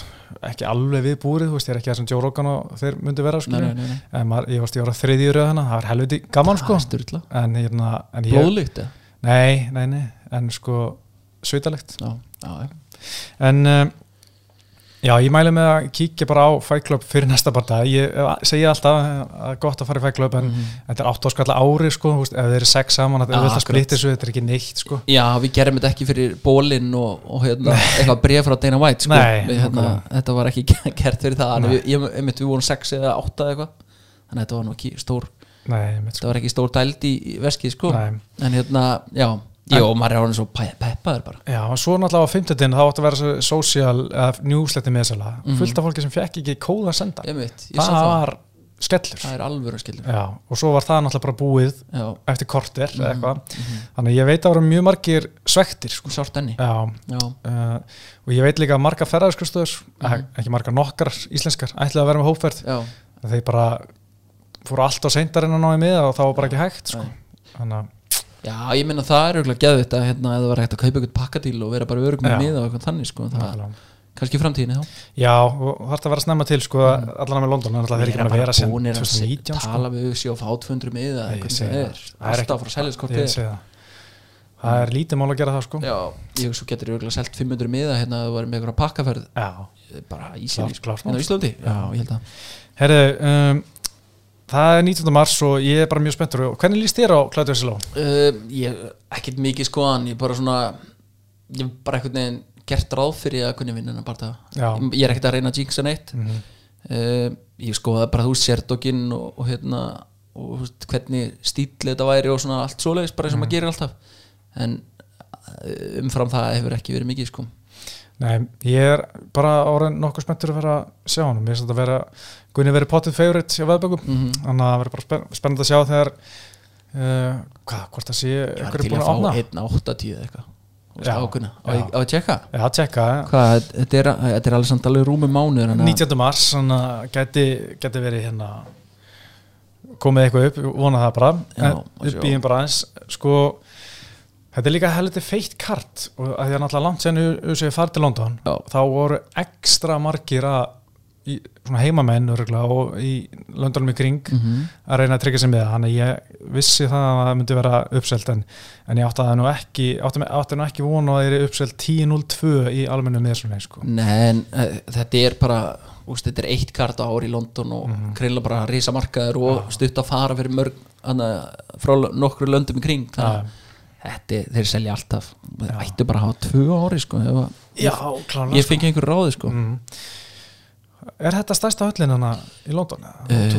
Speaker 1: ekki alveg við búrið þú veist, ég er ekki það sem Joe Rogan og þeir myndi vera
Speaker 2: nei,
Speaker 1: skilur.
Speaker 2: nei, nei, nei.
Speaker 1: en maður, Eh, ég varst ég var að þriðju röð hana, það var helviti gaman sko
Speaker 2: Það er styrla
Speaker 1: en hérna, en ég
Speaker 2: Blóðlíkt eða?
Speaker 1: nei, nei, nei, en sko sveitalegt,
Speaker 2: Já, já, já.
Speaker 1: en um, já, ég mæli með að kíkja bara á Fight Club fyrir næsta barndag, ég eh, segi alltaf eh, að gott að fara í Fight Club en
Speaker 2: Mhm.
Speaker 1: Þetta er 8 áskalla ári sko, þú veist, ef þeir eru 6 saman þetta er
Speaker 2: Ah,
Speaker 1: auðvitað að
Speaker 2: akkurat.
Speaker 1: splitta þessu, þetta er ekki neitt sko.
Speaker 2: já, við gerum þetta ekki fyrir bólinn og, og hérna, eitthvað bregð frá Dana White sko.
Speaker 1: Nei,
Speaker 2: við, hérna,
Speaker 1: nákvæmlega.
Speaker 2: Þetta var ekki *laughs* gert fyrir það en
Speaker 1: Nei.
Speaker 2: við, ég, einmitt, við vorum sex eða átta eða eitthvað Þannig að þetta var nú ekki stór
Speaker 1: Nei, mitt
Speaker 2: Þetta
Speaker 1: sko.
Speaker 2: var ekki stór dæld í, í veskið sko.
Speaker 1: Nei.
Speaker 2: En hérna, já Jó, maður er orðin svo pe- peppaður bara
Speaker 1: Já, og svo náttúrulega á fimmtudinn þá átti að vera svo social uh, newsletter með þessala
Speaker 2: Mhm.
Speaker 1: fullt af fólki sem fekk ekki kóða að senda
Speaker 2: Einmitt, ég
Speaker 1: það
Speaker 2: sá það,
Speaker 1: var skellur
Speaker 2: það er alvöru skilur
Speaker 1: Já, og svo var það náttúrulega bara búið
Speaker 2: Já,
Speaker 1: eftir korter eða
Speaker 2: Mhm.
Speaker 1: eitthvað þannig að ég veit að það voru mjög margir svektir sko.
Speaker 2: sárt enni
Speaker 1: Já,
Speaker 2: Já,
Speaker 1: uh, og ég veit líka að margar ferðarskristöður
Speaker 2: Mhm.
Speaker 1: ekki margar nokkar íslenskar ætlaði að vera með hópferð
Speaker 2: já
Speaker 1: þeir bara fóru allt á seindarinn að náði miða og það var bara ekki hægt sko.
Speaker 2: Nei.
Speaker 1: þannig að
Speaker 2: Já, ég minna það er auðvitað geðvitt að hérna, eða var hægt að kaupa eitthvað pakkadíl og vera bara örg með
Speaker 1: Já.
Speaker 2: miða og eitthvað þannig sko, það,
Speaker 1: Nákvæmlega.
Speaker 2: kannski í framtíðinni þá
Speaker 1: Já, og það þarf að vera snemma til sko,
Speaker 2: Mhm.
Speaker 1: allan með London, þannig að það er ekki búin að vera sem
Speaker 2: búnir að
Speaker 1: 2019 sko.
Speaker 2: tala við sig og fá 200 miða
Speaker 1: Nei, ég
Speaker 2: eða
Speaker 1: segi
Speaker 2: eitthvað sem
Speaker 1: það.
Speaker 2: er,
Speaker 1: Það er
Speaker 2: alltaf frá
Speaker 1: Ég
Speaker 2: sæliðskortið
Speaker 1: segi það. Það er lítið mál að gera það sko.
Speaker 2: Mhm. Já, ég svo getur auðvitað selt 500 miða hérna að það var með eitthvað pakkaferð
Speaker 1: Já,
Speaker 2: eh, bara í
Speaker 1: klart,
Speaker 2: síðan
Speaker 1: klart.
Speaker 2: á Íslandi, já, ég held að
Speaker 1: Herðu, um, það er 19. mars og ég er bara mjög spenntur. Og Hvernig líst þér á Klædu Siló?
Speaker 2: Eh, sko, Uh, ég, ekkert mikið skoðan ég bara svona ég bara einhvern veginn gert ráð fyrir að kunni vinna hennar bara
Speaker 1: Já.
Speaker 2: ég er ekkert að reyna að jinxa neitt mm
Speaker 1: Mhm.
Speaker 2: ég skoðaði bara þú sérdokinn og, og hérna og þú veist, hvernig stíli þetta væri og svona allt svoleiðis bara eins og maður gerir alltaf en eh, umfram það hefur ekki verið mikið sko
Speaker 1: Nei, ég er bara orðin nokkuð spenntur að vera að sjá hann. Mér finnst þetta að vera, Gunni verið potið favorite hjá veðböku,
Speaker 2: Mhm.
Speaker 1: þannig að það verið bara spen- spennandi að sjá þegar, uh, hvað, hvort það sé
Speaker 2: ég var
Speaker 1: ykkur
Speaker 2: til
Speaker 1: er búin
Speaker 2: að
Speaker 1: að
Speaker 2: fá
Speaker 1: opna.
Speaker 2: einn á 80 eða eitthvað Þú veist,
Speaker 1: Já,
Speaker 2: ákunna, á,
Speaker 1: já.
Speaker 2: ég- á að tjekka
Speaker 1: Já, það tjekka, eh.
Speaker 2: hvað, þetta er, þetta er alveg samt alveg rúmi mánuður þannig að-
Speaker 1: 19. mars, þannig að geti, geti verið hérna, komið eitthvað upp, ég vona það bara.
Speaker 2: Já,
Speaker 1: En
Speaker 2: og
Speaker 1: við
Speaker 2: sjá.
Speaker 1: býjum bara eins, sko, þetta er líka heldur feitt kart og að því að náttúrulega langt sen USA farið til London,
Speaker 2: Já.
Speaker 1: þá voru ekstra margir að í, svona heimamenn örgla, og í löndunum í kring
Speaker 2: Mhm.
Speaker 1: að reyna að tryggja sig með það þannig að ég vissi það að það myndi vera uppselt en, en ég átti að það nú ekki átti, mig- átti nú ekki vona að það er uppselt 10.02 í almennu neðsumleik sko.
Speaker 2: Nei, en uh, þetta er bara úst, þetta er eitt kart á ári í London og
Speaker 1: Mhm.
Speaker 2: mm bara risa markaður og stutt að fara fyrir mörg hana, frá l- nokkru löndum í kring
Speaker 1: Já.
Speaker 2: það, þetta, er- þeir selja alltaf þeir ættu bara að hafa tvö ári sko, ef að-
Speaker 1: Já, klána
Speaker 2: ég fengi einhver ráði sko. mm.
Speaker 1: Er þetta stærsta höllin hana í London?
Speaker 2: Eh.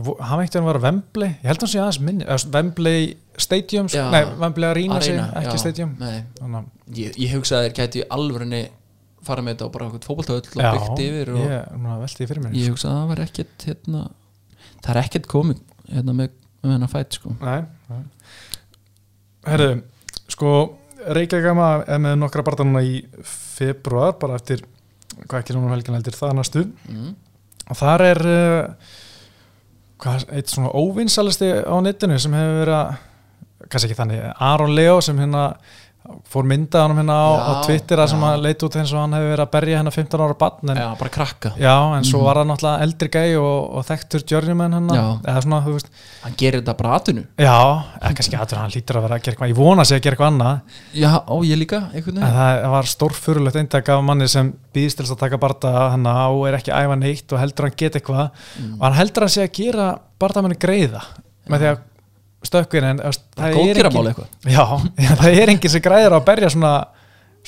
Speaker 1: Uh, hann einhvern veginn var að Wembley ég held að hann sé aðeins minni eða, Wembley Stadium, sko.
Speaker 2: Já.
Speaker 1: nei Wembley Arena, Arena
Speaker 2: Arena,
Speaker 1: ekki
Speaker 2: já,
Speaker 1: Stadium
Speaker 2: nei.
Speaker 1: þannig að
Speaker 2: ég, ég hugsa að þeir gæti í alvörunni fara með þetta á bara okkur fótboltaöll og byggt yfir og
Speaker 1: ég, núna velti ég fyrir mér
Speaker 2: ég hugsa að það var ekkert hérna, það er ekkert komið hérna, með, með hennar fætt sko.
Speaker 1: Nei, nei. Herru, sko Reykjagama er með nokkra barða núna í februar, bara eftir hvað ekki núna um helgina heldur, það er næstu
Speaker 2: mm.
Speaker 1: og þar er uh, hvað, eitt svona óvinsalisti á netinu sem hefur verið að kannski ekki þannig, Aron Leo sem hérna fór mynda hann hérna á, á
Speaker 2: Já,
Speaker 1: Twitter að sem
Speaker 2: já.
Speaker 1: að leita út eins og hann hefur verið að berja hérna 15 ára barn en
Speaker 2: Já, bara krakka
Speaker 1: Já, en svo var það náttúrulega eldri gæi og, og þekktur journeyman hann
Speaker 2: Já.
Speaker 1: eða svona, þú veist,
Speaker 2: hann gerir þetta bara atvinnu
Speaker 1: Já, eða kannski aðtur hann lítur að vera að gera eitthvað, ég vona að sé að gera eitthvað annað
Speaker 2: Já, á ég líka, einhvern
Speaker 1: en
Speaker 2: veginn
Speaker 1: það var stórfurulegt eintak af manni sem býðst til þess að taka barða hann og er ekki að æfa neitt og heldur að hann get eitthvað
Speaker 2: Mm.
Speaker 1: og hann heldur að hann sé að gera barðamennu greiða með því að stökkur en það, það er
Speaker 2: Góðgerðarmál
Speaker 1: engin-
Speaker 2: eitthvað.
Speaker 1: Já, *laughs* já, það er engin sem græðir á að berja svona,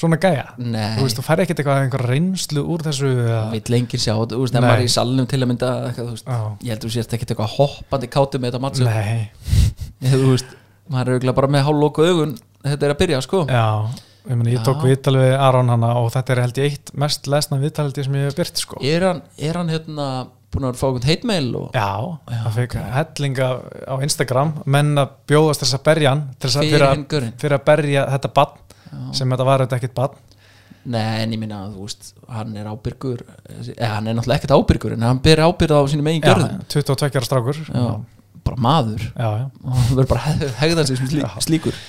Speaker 1: svona gæja
Speaker 2: Nei.
Speaker 1: Þú veist, þú fær ekkert eitthvað einhver reynslu úr þessu
Speaker 2: Það
Speaker 1: eða-
Speaker 2: vill enginn sjá, þú veist, þegar
Speaker 1: Nei.
Speaker 2: maður er í salnum til að mynda eitthvað, þú veist,
Speaker 1: Já.
Speaker 2: ég heldur þú sért ekkert eitthvað hoppandi kátum með þetta mattsum
Speaker 1: Nei,
Speaker 2: Ég, þú veist, maður er auðvitað bara með hálflóku augun þetta er að byrja, sko
Speaker 1: já Ég, meni, ég
Speaker 2: Já.
Speaker 1: tók viðtal við Aron hana og þetta er held ég eitt mest lesna viðtal held ég sem ég hef byrt sko.
Speaker 2: er hann, er hann hérna búin að fá einhvern heitmail og
Speaker 1: Já, það sko. fekk hellinga á Instagram menn að bjóðast til þess að berja hann til þess að
Speaker 2: Fyrir
Speaker 1: fyrir, að,
Speaker 2: hinn gaurinn.
Speaker 1: fyrir að berja þetta barn sem þetta var þetta ekkit barn
Speaker 2: Nei, en ég minna, þú veist, hann er ábyrgur eða hann er náttúrulega ekkert ábyrgur en hann byrja ábyrða á sínum eigin
Speaker 1: Já,
Speaker 2: görðum
Speaker 1: 22 ára strákur
Speaker 2: Já, bara maður
Speaker 1: Já, já.
Speaker 2: og hann verður bara að hegða sig sem slí, slíkur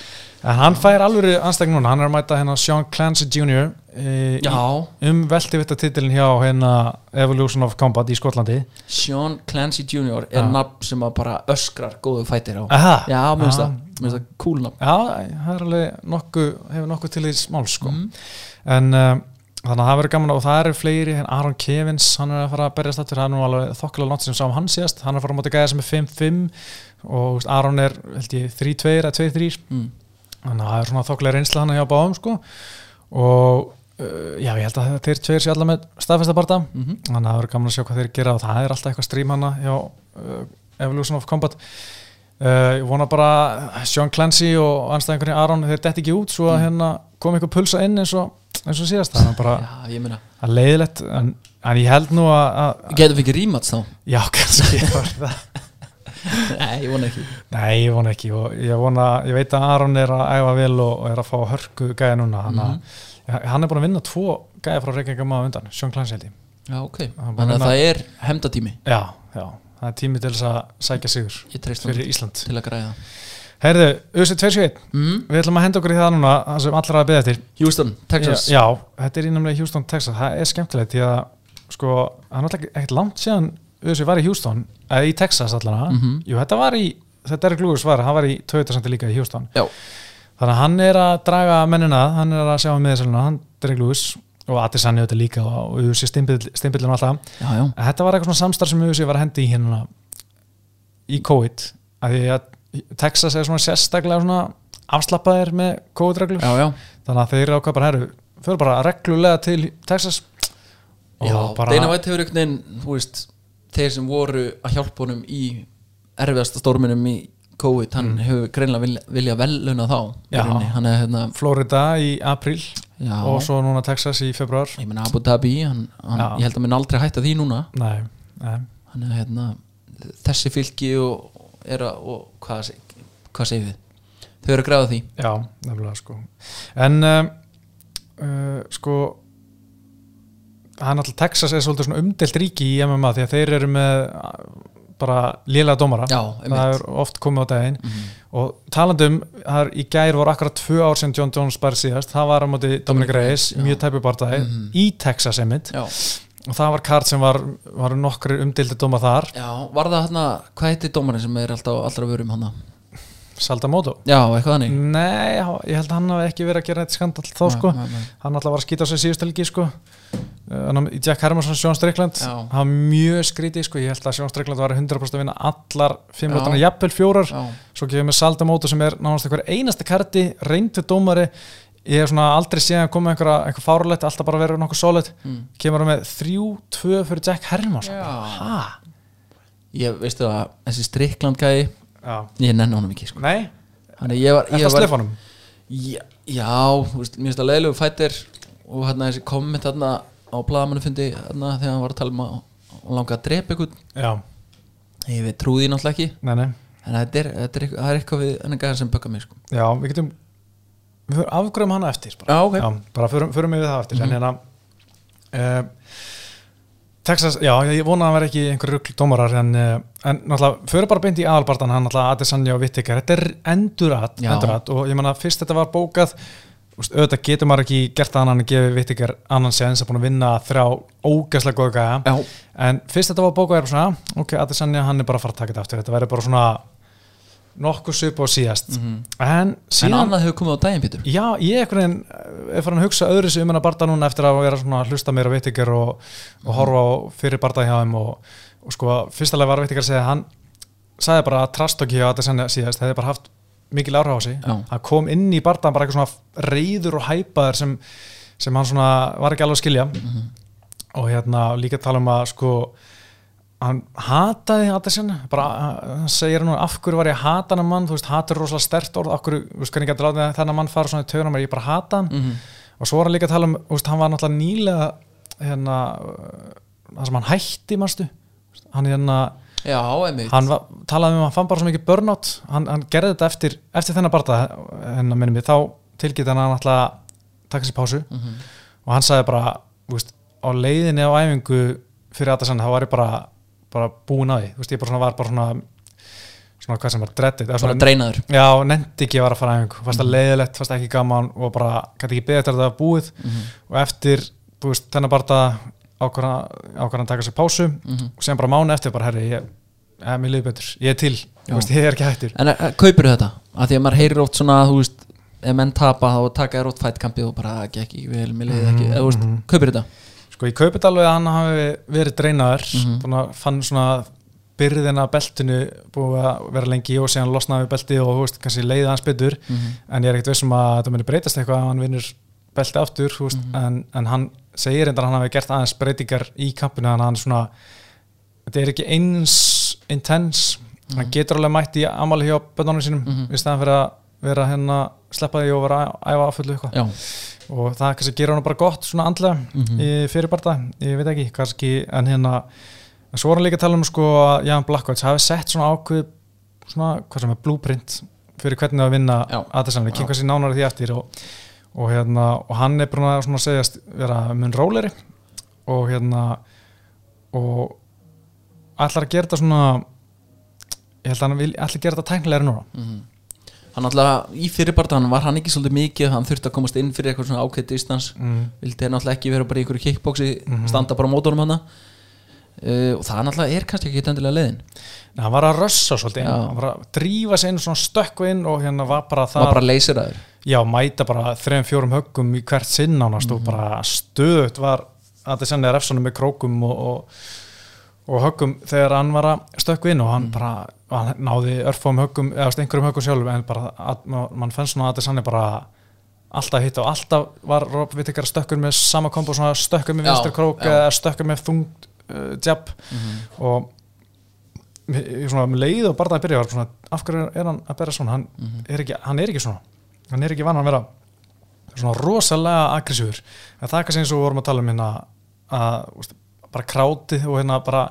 Speaker 1: En hann fær alveg anstækn núna, hann er að mæta hérna Sean Clancy Jr. E,
Speaker 2: Já,
Speaker 1: um veltivitta titilin hjá hérna Evolution of Combat í Skotlandi
Speaker 2: Sean Clancy Jr. er
Speaker 1: Já.
Speaker 2: nafn sem að bara öskrar góðu fætir á
Speaker 1: Aha.
Speaker 2: Já, mér
Speaker 1: Já.
Speaker 2: finnst það, mér finnst það cool nafn
Speaker 1: Já, það er alveg nokku, hefur nokkuð til í smál sko
Speaker 2: Mm.
Speaker 1: en uh, þannig að það verður gaman og það eru fleiri, en Aron Kevins hann er að fara að berjast aftur, hann er nú alveg þokkulega langt sem sá um hann síðast, hann er að fara að móti gæða sem er 5-5 og þú veist, Aron er held ég 3-2 eða 2-3
Speaker 2: Mm.
Speaker 1: þannig að það er svona þokkulega reynsla hann hjá báðum sko og uh, já, ég held að þeir tveir sér allar með staðfestabarta
Speaker 2: Mhm.
Speaker 1: þannig að það verður gaman að sjá hvað þeir gera og það er alltaf eitthvað strím hana hjá uh, Evolution of Combat Uh, ég vona bara að Sean Clancy og anstæðingunni Aron þeir detti ekki út svo að hérna kom eitthvað pulsa inn eins og, eins og síðast þannig að bara
Speaker 2: Já, ég meina
Speaker 1: það er leiðilegt en, en ég held nú að, að
Speaker 2: Getum við ekki rímats þá?
Speaker 1: *laughs* já kannski var það.
Speaker 2: Nei, ég vona ekki
Speaker 1: nei ég vona ekki og ég, vona, ég veit að Aron er að æfa vel og, og er að fá hörku gæja núna hann, mm hann er búin að vinna tvo gæja frá reykjengum að undan Sean Clancy held ég
Speaker 2: Já, ok
Speaker 1: bara
Speaker 2: Þannig að
Speaker 1: hérna-
Speaker 2: það er hemdatími
Speaker 1: já, já, það er tími til þess að sækja sigur
Speaker 2: Ég treyst hún
Speaker 1: fyrir Mhm. Ísland
Speaker 2: til að græða
Speaker 1: Herðu, USA 271
Speaker 2: mm?
Speaker 1: við ætlum að henda okkur í það núna það sem allra er að beða eftir
Speaker 2: Houston, Texas
Speaker 1: Já, já, þetta er innamlega Houston, Texas Það er skemmtilegt því að sko, það er náttúrulega ekkert langt síðan Össi var í Houston, eða í Texas allan
Speaker 2: Mhm.
Speaker 1: Jú, þetta var í, þetta er glúður svar hann var í Toyota-sandi líka í Houston
Speaker 2: Já.
Speaker 1: Þannig að hann er að draga mennina að, hann er að sjá um miðasalina, hann Derek Lewis og Adesanya auðvitað líka og Össi stimpillin og alltaf
Speaker 2: já, já.
Speaker 1: En Þetta var eitthvað svona samstarf sem Össi var að hendi í hérna í COVID af því að Texas er svona sérstaklega svona afslappaðir með COVID-reglur
Speaker 2: já, já.
Speaker 1: þannig að þeir ákvað bara herru fyrir bara reglulega til Texas og
Speaker 2: Já,
Speaker 1: bara
Speaker 2: Dana White hefur einhvern veginn, þú veist, þeir sem voru að hjálpa honum í erfiðasta storminum í COVID, hann hefur greinlega vilja, vilja veluna þá í
Speaker 1: Mm. Já.
Speaker 2: rauninni. hann er hérna
Speaker 1: Florida í april
Speaker 2: já,
Speaker 1: og svo núna Texas í februar
Speaker 2: ég meina Abu Dhabi, hann, hann,
Speaker 1: Já.
Speaker 2: ég held að minn aldrei hætta því núna
Speaker 1: Nei, nei,
Speaker 2: hann er hérna þessi fylki og, er að, og hvað, seg- hvað segir við þau eru að græða því
Speaker 1: já, nefnilega sko En um, uh, sko hann alltaf Texas er svolítið svona umdelt ríki í MMA því að þeir eru með uh, bara lélega dómara
Speaker 2: já,
Speaker 1: það
Speaker 2: einmitt
Speaker 1: er oft komið á daginn
Speaker 2: Mhm.
Speaker 1: og talandum, það er, í gær voru akkurat tvö ár sem John Jones bara síðast það var á móti Dominic Reyes,
Speaker 2: já. Mhm.
Speaker 1: mjög tæpi barndagi í Texas einmitt
Speaker 2: já,
Speaker 1: og það var kart sem var, var nokkri umdildi dóma þar,
Speaker 2: já, var það hérna hvað heitir dómarinn sem er alltaf á allra vörum hann
Speaker 1: Saldamoto
Speaker 2: já, eitthvað þannig
Speaker 1: Nei, há- ég held að hann hafi ekki verið að gera eitt skandal þá
Speaker 2: Nei,
Speaker 1: sko,
Speaker 2: nei, nei.
Speaker 1: hann alltaf var að skýta á sig síðust helgi sko Uh, hann á- Jack Hermansson, Sjón Strickland
Speaker 2: Já.
Speaker 1: hann var mjög skrítið sko, ég held að Sjón Strickland var 100% að vinna allar fimm
Speaker 2: Já.
Speaker 1: lótana, jafnvel fjórar
Speaker 2: já,
Speaker 1: svo kemur með Saldamótu sem er nánast einhver einasta karti, reyndu dómari ég hef svona aldrei séð að koma einhver, einhver fárulegt, alltaf bara verið nokkuð solid
Speaker 2: Mm.
Speaker 1: kemur hann með 3-2 fyrir Jack sko. Hermansson
Speaker 2: já.
Speaker 1: hæ?
Speaker 2: ég veistu að þessi strikland gæði
Speaker 1: Já.
Speaker 2: ég nenni honum ekki sko
Speaker 1: Nei,
Speaker 2: Þannig ég var,
Speaker 1: eftir
Speaker 2: ég
Speaker 1: að
Speaker 2: var,
Speaker 1: slefa honum
Speaker 2: Já, já þú veist, mér finnst það leiðilegu fættir og hérna þessi komment hérna á blaðamannu fundi hérna þegar hann var að tala um að hann langa að drepa einhvern
Speaker 1: Já,
Speaker 2: ég veit trúði því náttúrulega ekki
Speaker 1: nei, nei
Speaker 2: en þetta er, þetta er, eitthvað- það er eitthvað við hennar gæðan sem bökka mig sko.
Speaker 1: Já, við getum við fyrir afgröðum hana eftir bara,
Speaker 2: Já, ok. Mhm.
Speaker 1: já, bara förum, förum við það hérna, eftir en hérna uh, Texas, já, ég vona að það vera ekki einhver rugl dómarar en, uh, en náttúrulega, förum bara beint í aðalbartan hann náttúrulega Adesanya og Vittikar, þetta er endurat,
Speaker 2: Já.
Speaker 1: endurat og ég meina fyrst þetta var bókað úst, auðvitað getur maður ekki gert annan en gefið Vittikar annan séns að búin að vinna þrjá ógæslega góða gæja
Speaker 2: já,
Speaker 1: En fyrst þetta var bókað er bara svona, "Ah, ok, Adesanya hann er bara að fara að taka þetta aftur, þetta verður bara svona nokkuð söp á síðast en
Speaker 2: Mm. Mhm. en
Speaker 1: síðan,
Speaker 2: annað hefur komið á daginn Pétur
Speaker 1: já, ég einhvern veginn eh, er farin að hugsa öðru sig um hennar barða núna eftir að vera svona að hlusta meira á veitingar og, og horfa á fyrir barða hjá þeim og, og sko, fyrst alveg var veitingar að segja að hann sagði bara að trast okki á Adesanya síðast, það hefði bara haft mikil áhrif á sig,
Speaker 2: Já.
Speaker 1: hann kom inn í barða bara eitthvað svona reyður og hæpaður sem, sem hann svona var ekki alveg að skilja
Speaker 2: Mhm.
Speaker 1: og hérna líka tala um að sko hann hataði Adesina bara uh, hann segir nú af hverju var ég að hata hann mann þú veist, hatur er rosalega stert orð af hverju, þú veist, hvernig gæti látið þennan mann fara svona í tögunum ég bara hata hann
Speaker 2: Mhm.
Speaker 1: og svo var hann líka að tala um þú veist, hann var náttúrulega nýlega hérna, uh, það sem hann hætti manstu, Þú veist, hann hérna
Speaker 2: já, einmitt
Speaker 1: hann var, talaði um að hann fann bara svo mikið burnout hann, hann gerði þetta eftir, eftir þennan barða hennar minnum ég, þá tilgæti hann að hann alltaf taka sér pásu
Speaker 2: Mhm.
Speaker 1: og hann sagði bara, þú veist, á leiðinni á æfingu fyrir Adesanya þá var ég bara, bara búin að því, þú veist, ég bara svona var bara svona svona hvað sem var dreddit eða
Speaker 2: bara
Speaker 1: svona-
Speaker 2: dreinaður
Speaker 1: Já, nefndi ekki að vara að fara á æfingu fast að leiðilegt, fast ekki gaman og bara gæti ekki beðið eftir að þetta var búið og eftir, þú veist, þennan bara ákvarðan að taka sér pásu og sem bara mánu eftir bara, herri, ég eh, mér liður betur, ég er til, þú veist, ég er ekki hættur
Speaker 2: en eh, kaupir þetta, af því að maður heyrir oft svona þú veist, ef menn tapa þá taka þér oft fætkampið og bara "Það gekk ekki vel, mér leiði ekki, eða þú veist, kaupir þetta
Speaker 1: Sko ég kaupið alveg að hann hafi verið dreinaður búin að fann svona byrðina af beltinu búið að vera lengi í og síðan losnaði við belti og þú veist, kannski leiði hans betur en ég er ekkert vissum að þetta muni breytast eitthvað ef hann vinnur belti aftur þú veist, en, en hann segir reyndar að hann hafi gert aðeins breytingar í kampinu þannig að hann svona þetta er ekki eins intense hann getur alveg mætt í amáli hjá bönnunum sínum í staðan fyrir að vera hérna sleppa því og vera að æfa affullu eitthvað
Speaker 2: já, Mhm.
Speaker 1: og það kannski gerir hann bara gott svona andlega mm -hmm. fyrirbarta, ég veit ekki kannski, en hérna en svo var hann líka að tala um sko að Jan Blackwards hafi sett svona ákveð svona, hvað sem er blueprint fyrir hvernig það að vinna
Speaker 2: Já.
Speaker 1: aðeinsann, við kynkast í nánari því eftir og, og hérna, og hann er búin að svona segjast vera mun róleri og hérna og ætlar að gera þetta svona ég held að hann vil, ætlar að gera þetta tæknilega núna
Speaker 2: hann alltaf í fyrirbartan var hann ekki svolítið mikið hann þurfti að komast inn fyrir eitthvað svona ákveðt distans
Speaker 1: mm.
Speaker 2: vildi hann alltaf ekki vera bara í einhverju kickboxi
Speaker 1: Mhm.
Speaker 2: standa bara á mótunum hann uh, og það alltaf er kannski ekki tendilega leiðin
Speaker 1: Nei, hann var að rössa svolítið inn,
Speaker 2: Já.
Speaker 1: hann var að drífa sig inn og svona stökkva inn og hérna var bara það
Speaker 2: það var bara leysir að þér
Speaker 1: já, mæta bara þrejum fjórum höggum í hvert sinn nánast
Speaker 2: Mhm.
Speaker 1: og bara stöðut var að það sennið refsunum með krókum og, og, og höggum þegar hann var að stökkva inn og
Speaker 2: Mhm.
Speaker 1: hann bara hann náði örfum höggum, eða þú veist, einhverjum höggum sjálf en bara, að, ma- mann fennst svona að það sennið bara alltaf hitt og alltaf var Rob Vittekar stökkur með sama kombo svona stökkur með
Speaker 2: Já,
Speaker 1: vinstur krók
Speaker 2: já. Mhm.
Speaker 1: eða stökkur með þungt uh, jab og ég- ég svona um leið og bara það að byrja var svona, af hverju er hann að bera svona hann, er, ekki, hann er ekki svona hann er ekki vann að vera svona rosalega aggressífur en það er kannski eins og við vorum að tala um hérna að úst, bara krátið og hérna bara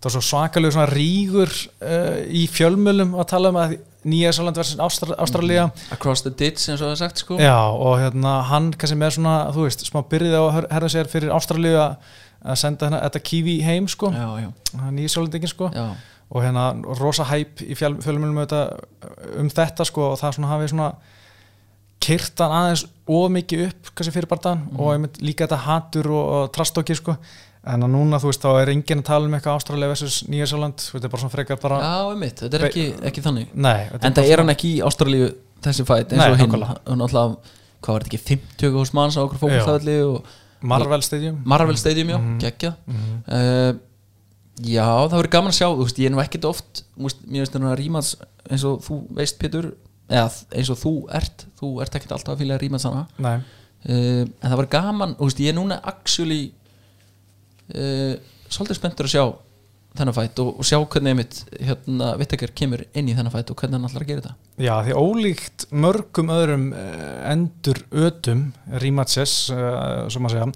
Speaker 1: það var svo svakalegu svona rígur uh, í fjölmölum að tala um að Nýja Sjálfland versus Ástral Ástralía
Speaker 2: Mm. Across the ditch eins og það er sagt sko
Speaker 1: Já, og hérna, hann kannski með svona, þú veist, smá byrðið á að her- herða sér fyrir Ástralíu að að senda hérna, þetta Kiwi heim, sko,
Speaker 2: já, já,
Speaker 1: nýjusjólendingin, sko,
Speaker 2: já.
Speaker 1: og hérna, rosa hæp í fjál- fjölmiðlum auðvitað, um þetta, sko, og það svona hafi svona kyrtan aðeins of mikið upp, kannski fyrir barðan,
Speaker 2: Mhm.
Speaker 1: og einmitt, líka þetta hatur og, og trastokki, sko, en að núna, þú veist, þá er enginn að tala um eitthvað Ástralíu versus Nýjusjóland, þetta er bara svona frekar bara,
Speaker 2: já einmitt, þetta er
Speaker 1: Be-
Speaker 2: ekki, ekki þannig
Speaker 1: nei, þetta
Speaker 2: En það er hann ekki í Ástralíu þessi fætt eins
Speaker 1: Nei,
Speaker 2: og hinn,
Speaker 1: nákvæmlega.
Speaker 2: hann alltaf hvað var þetta ekki, 50 hús manns á okkur fókbaltafalli og
Speaker 1: Marvel Stadium,
Speaker 2: Marvel Stadium, já,
Speaker 1: Mhm.
Speaker 2: geggja
Speaker 1: Mhm.
Speaker 2: uh, Já, það verður gaman að sjá þú veist, ég er nú ekkit oft, þú veist, mér veist þannig að rímans eins og þú veist Pétur eða eins og þú ert, þú ert ekkit alltaf að fylja rímans hana
Speaker 1: nei,
Speaker 2: uh, en það var gaman, þú veist, ég er núna actually uh, svolítið spenntur að sjá þennan fætt og, og sjá hvernig einmitt hérna Vittakar kemur inn í þennan fætt og hvernig hann ætlar að gera þetta
Speaker 1: Já, því ólíkt mörgum öðrum eh, endur ötum rematches, eh, sem að segja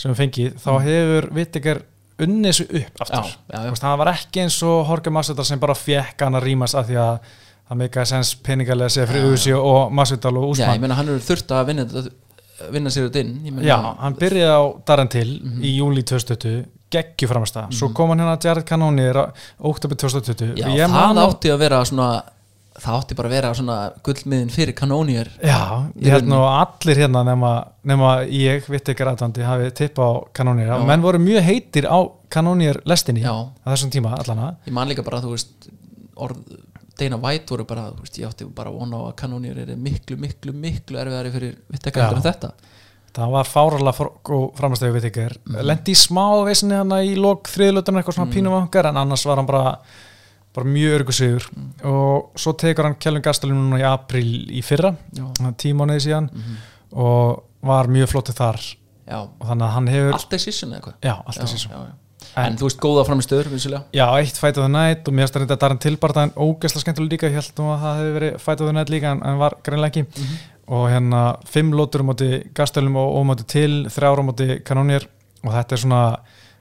Speaker 1: sem við fengið, þá hefur Vittiger unnið þessu upp aftur
Speaker 2: Mhm. Já, já, já.
Speaker 1: Þú veist, það var ekki eins og Jorge Masvidal sem bara fekk hann að rímas af því að það meika sens peningalega séð fyrir Uzi og Masvidal og
Speaker 2: Já, ég
Speaker 1: Úsman
Speaker 2: meina hann er þurft að vinna, þetta- vinna sér þetta inn Ég meina, Mhm.
Speaker 1: Já, hann byrjaði á Darren Till í júli 2020 geggju framast það, svo kom hann hérna að Jared Cannonier á oktober 2020
Speaker 2: já
Speaker 1: Og ég man
Speaker 2: það
Speaker 1: á-
Speaker 2: átti að vera svona það átti bara að vera svona gullmiðin fyrir kanónýjar
Speaker 1: Já,
Speaker 2: Í
Speaker 1: ég held nú að allir hérna nema, nema ég, vitt ykkur aðdandi hafi tippa á kanónir,
Speaker 2: Já.
Speaker 1: menn voru mjög heitir á kanónir lestinni
Speaker 2: Já.
Speaker 1: á þessum tíma allana
Speaker 2: ég man líka bara, þú veist orð, Dana White voru bara, þú veist, ég átti bara von á að kanónýjar eru miklu, miklu, miklu erfiðari fyrir vittekar
Speaker 1: Já.
Speaker 2: heldur en þetta
Speaker 1: það var fárala framastæðu vitt ykkur mm. lendi í smá vesinni hana í lok þriðlutunum eitthvað svona pínum okkar en annars var hann bara, bara mjög örgusigur og svo tekur hann Kjellum Gastelum núna í april í fyrra
Speaker 2: Já. Mhm.
Speaker 1: tímanuði síðan og var mjög flottu þar
Speaker 2: Já,
Speaker 1: og þannig að hann hefur
Speaker 2: allt er sísun eða hvað
Speaker 1: já, alltaf sér
Speaker 2: já, já.
Speaker 1: En-
Speaker 2: En þú veist, góða framistöður, vissulega
Speaker 1: Já, eitt Fight of the Night og mér finnst að reynda að Darren Tilbarta en ógeðslega skemmtilega líka, ég held nú að það hefði verið Fight of the Night líka en, en var greinlega ekki
Speaker 2: Mhm.
Speaker 1: og hérna fimm lótur á móti Gastelum og ómáti til, þrjára móti Kanónir og þetta er svona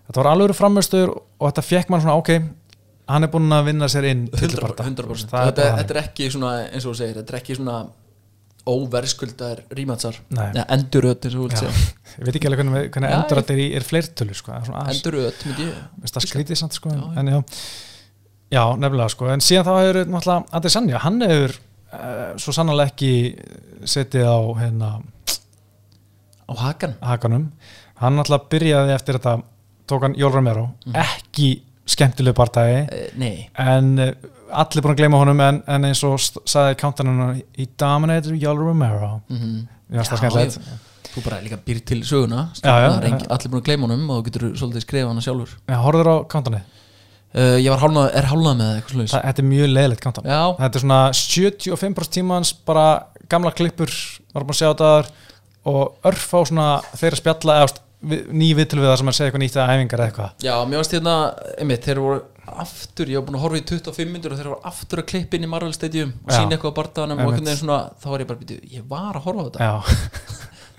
Speaker 1: þetta var alveg framöstur og þetta fekk mann svona ok, hann er búinn að vinna sér inn
Speaker 2: 100%,
Speaker 1: Tilbarta. Það er
Speaker 2: 100%. Þetta,
Speaker 1: bara
Speaker 2: þetta
Speaker 1: þannig.
Speaker 2: er ekki svona, eins og þú segir þetta er ekki svona óverskuldar rímatsar,
Speaker 1: Nei.
Speaker 2: enduröð eins og þú vilt
Speaker 1: Já.
Speaker 2: segja,
Speaker 1: Ég veit ekki alveg hvernig, hvernig
Speaker 2: Já,
Speaker 1: endur þetta er, í- er fleirtölu sko, það er svona aðeins-
Speaker 2: enduröð myndi ég,
Speaker 1: Veist það skrítið samt sko
Speaker 2: Já, já.
Speaker 1: En, já, já, nefnilega sko En síðan þá hefur náttúrulega Andri Sanja Hann hefur uh, svo sannlega ekki setið á hérna,
Speaker 2: á hakan
Speaker 1: hakanum Hann náttúrulega byrjaði eftir þetta Tók hann Jól Romero
Speaker 2: Mhm.
Speaker 1: Ekki skemmtilegu partæði
Speaker 2: Eh, Nei,
Speaker 1: En uh, allir búin að gleyma honum En, en eins og st- sagði countanum He dominated Jól Romero
Speaker 2: Mhm.
Speaker 1: Já, það
Speaker 2: Já,
Speaker 1: er skemmtilegt
Speaker 2: já. Þú bara líka býr til söguna
Speaker 1: Já, já.
Speaker 2: Það er engi- Allir búin að gleyma honum og þú getur svolítið skrifa hana sjálfur
Speaker 1: Já, Horður á countanum
Speaker 2: uh, Ég var hálnað, er hálnað með það eitthvað slags
Speaker 1: Þa- Þetta er mjög leiðilegt countan
Speaker 2: Já,
Speaker 1: þetta er svona 75% tímans bara gamla klippur var búin að sjá þetta þar og örf á svona þeirra spjalla eða við, ný viðtölu við það sem að segja eitthvað nýtt eða æfingar eða eitthvað
Speaker 2: já, mér varst hérna einmitt, Þeir voru aftur, ég var búin að horfa í 25 myndur og þeir voru aftur að klippa inn í Marvel Stadium og
Speaker 1: Já.
Speaker 2: sína eitthvað á bardaðanum og
Speaker 1: Einmitt.
Speaker 2: einhvern veginn svona, þá var ég bara býtu, ég var að horfa á þetta
Speaker 1: já,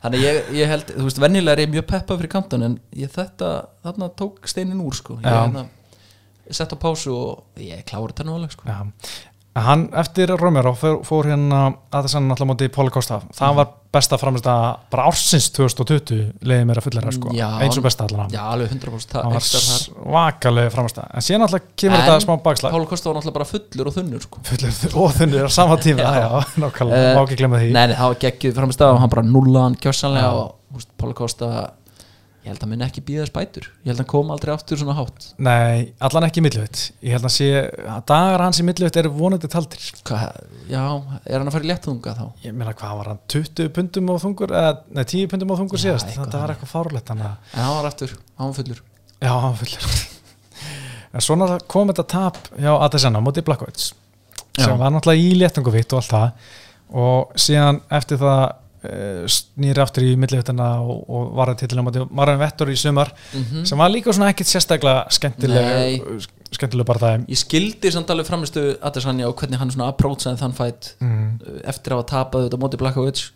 Speaker 2: Þannig ég, ég held, þú veist, venjulega er ég mjög peppa fyrir kantan en ég þetta, þarna tók steinin úr sko. Ég
Speaker 1: Já.
Speaker 2: hérna, sett á pásu og ég klára þetta nú alveg sko.
Speaker 1: já. En hann eftir Romero fór, fór hérna að þess að hann alltaf móti í Póli Kosta
Speaker 2: Mm.
Speaker 1: það var besta framist að bara ársins 2020 leiði mér að fullera sko
Speaker 2: Já.
Speaker 1: eins og besta allan
Speaker 2: Já, alveg 100% það
Speaker 1: hann var
Speaker 2: ekstra þar.
Speaker 1: svakalega framist að en síðan alltaf kemur
Speaker 2: En
Speaker 1: þetta smá bakslag
Speaker 2: Pál Kosta var náttúrulega bara fullur og þunnur sko.
Speaker 1: fullur og þunnir á sama tíma já,
Speaker 2: Já.
Speaker 1: já, nákvæmlega,
Speaker 2: Eh,
Speaker 1: má ekki glemma því
Speaker 2: Nei, nei, það var geggjuð framist að hann bara nulla hann kjörsanlega
Speaker 1: Já.
Speaker 2: og þú veist, Pál Kosta ég held að minn ekki býða spætur ég held að hann kom aldrei aftur svona hátt
Speaker 1: Nei, allan ekki millivit Ég held að sé, að dagar hans í millivit eru vonandi taldir
Speaker 2: Hva, Já, er hann að fara í léttunga þá?
Speaker 1: Ég meina hvað var hann, 20 pundum á þungur eða, nei, 10 pundum á þungur
Speaker 2: Já,
Speaker 1: síðast
Speaker 2: eitthvað
Speaker 1: þetta var eitthvað fárlegt hann að,
Speaker 2: En hann var aftur, hann var fullur
Speaker 1: já, hann fullur *laughs* En svona kom þetta tap hjá Adesana á móti Blackovits
Speaker 2: Já.
Speaker 1: sem var náttúrulega í léttunguvitt og allt það og síðan eftir það eh, snýri aftur í millihutana og, og var að titilega mátti Marjan Vettur í sumar
Speaker 2: Mhm.
Speaker 1: sem var líka svona ekkit sérstaklega
Speaker 2: Mm. Nei.
Speaker 1: skemmtileg skemmtileg bara það
Speaker 2: Ég skildi samt alveg framistu Adesanya og hvernig hann svona approachaði þann fætt
Speaker 1: mm,
Speaker 2: eftir að hafa tapað þetta móti Blackovic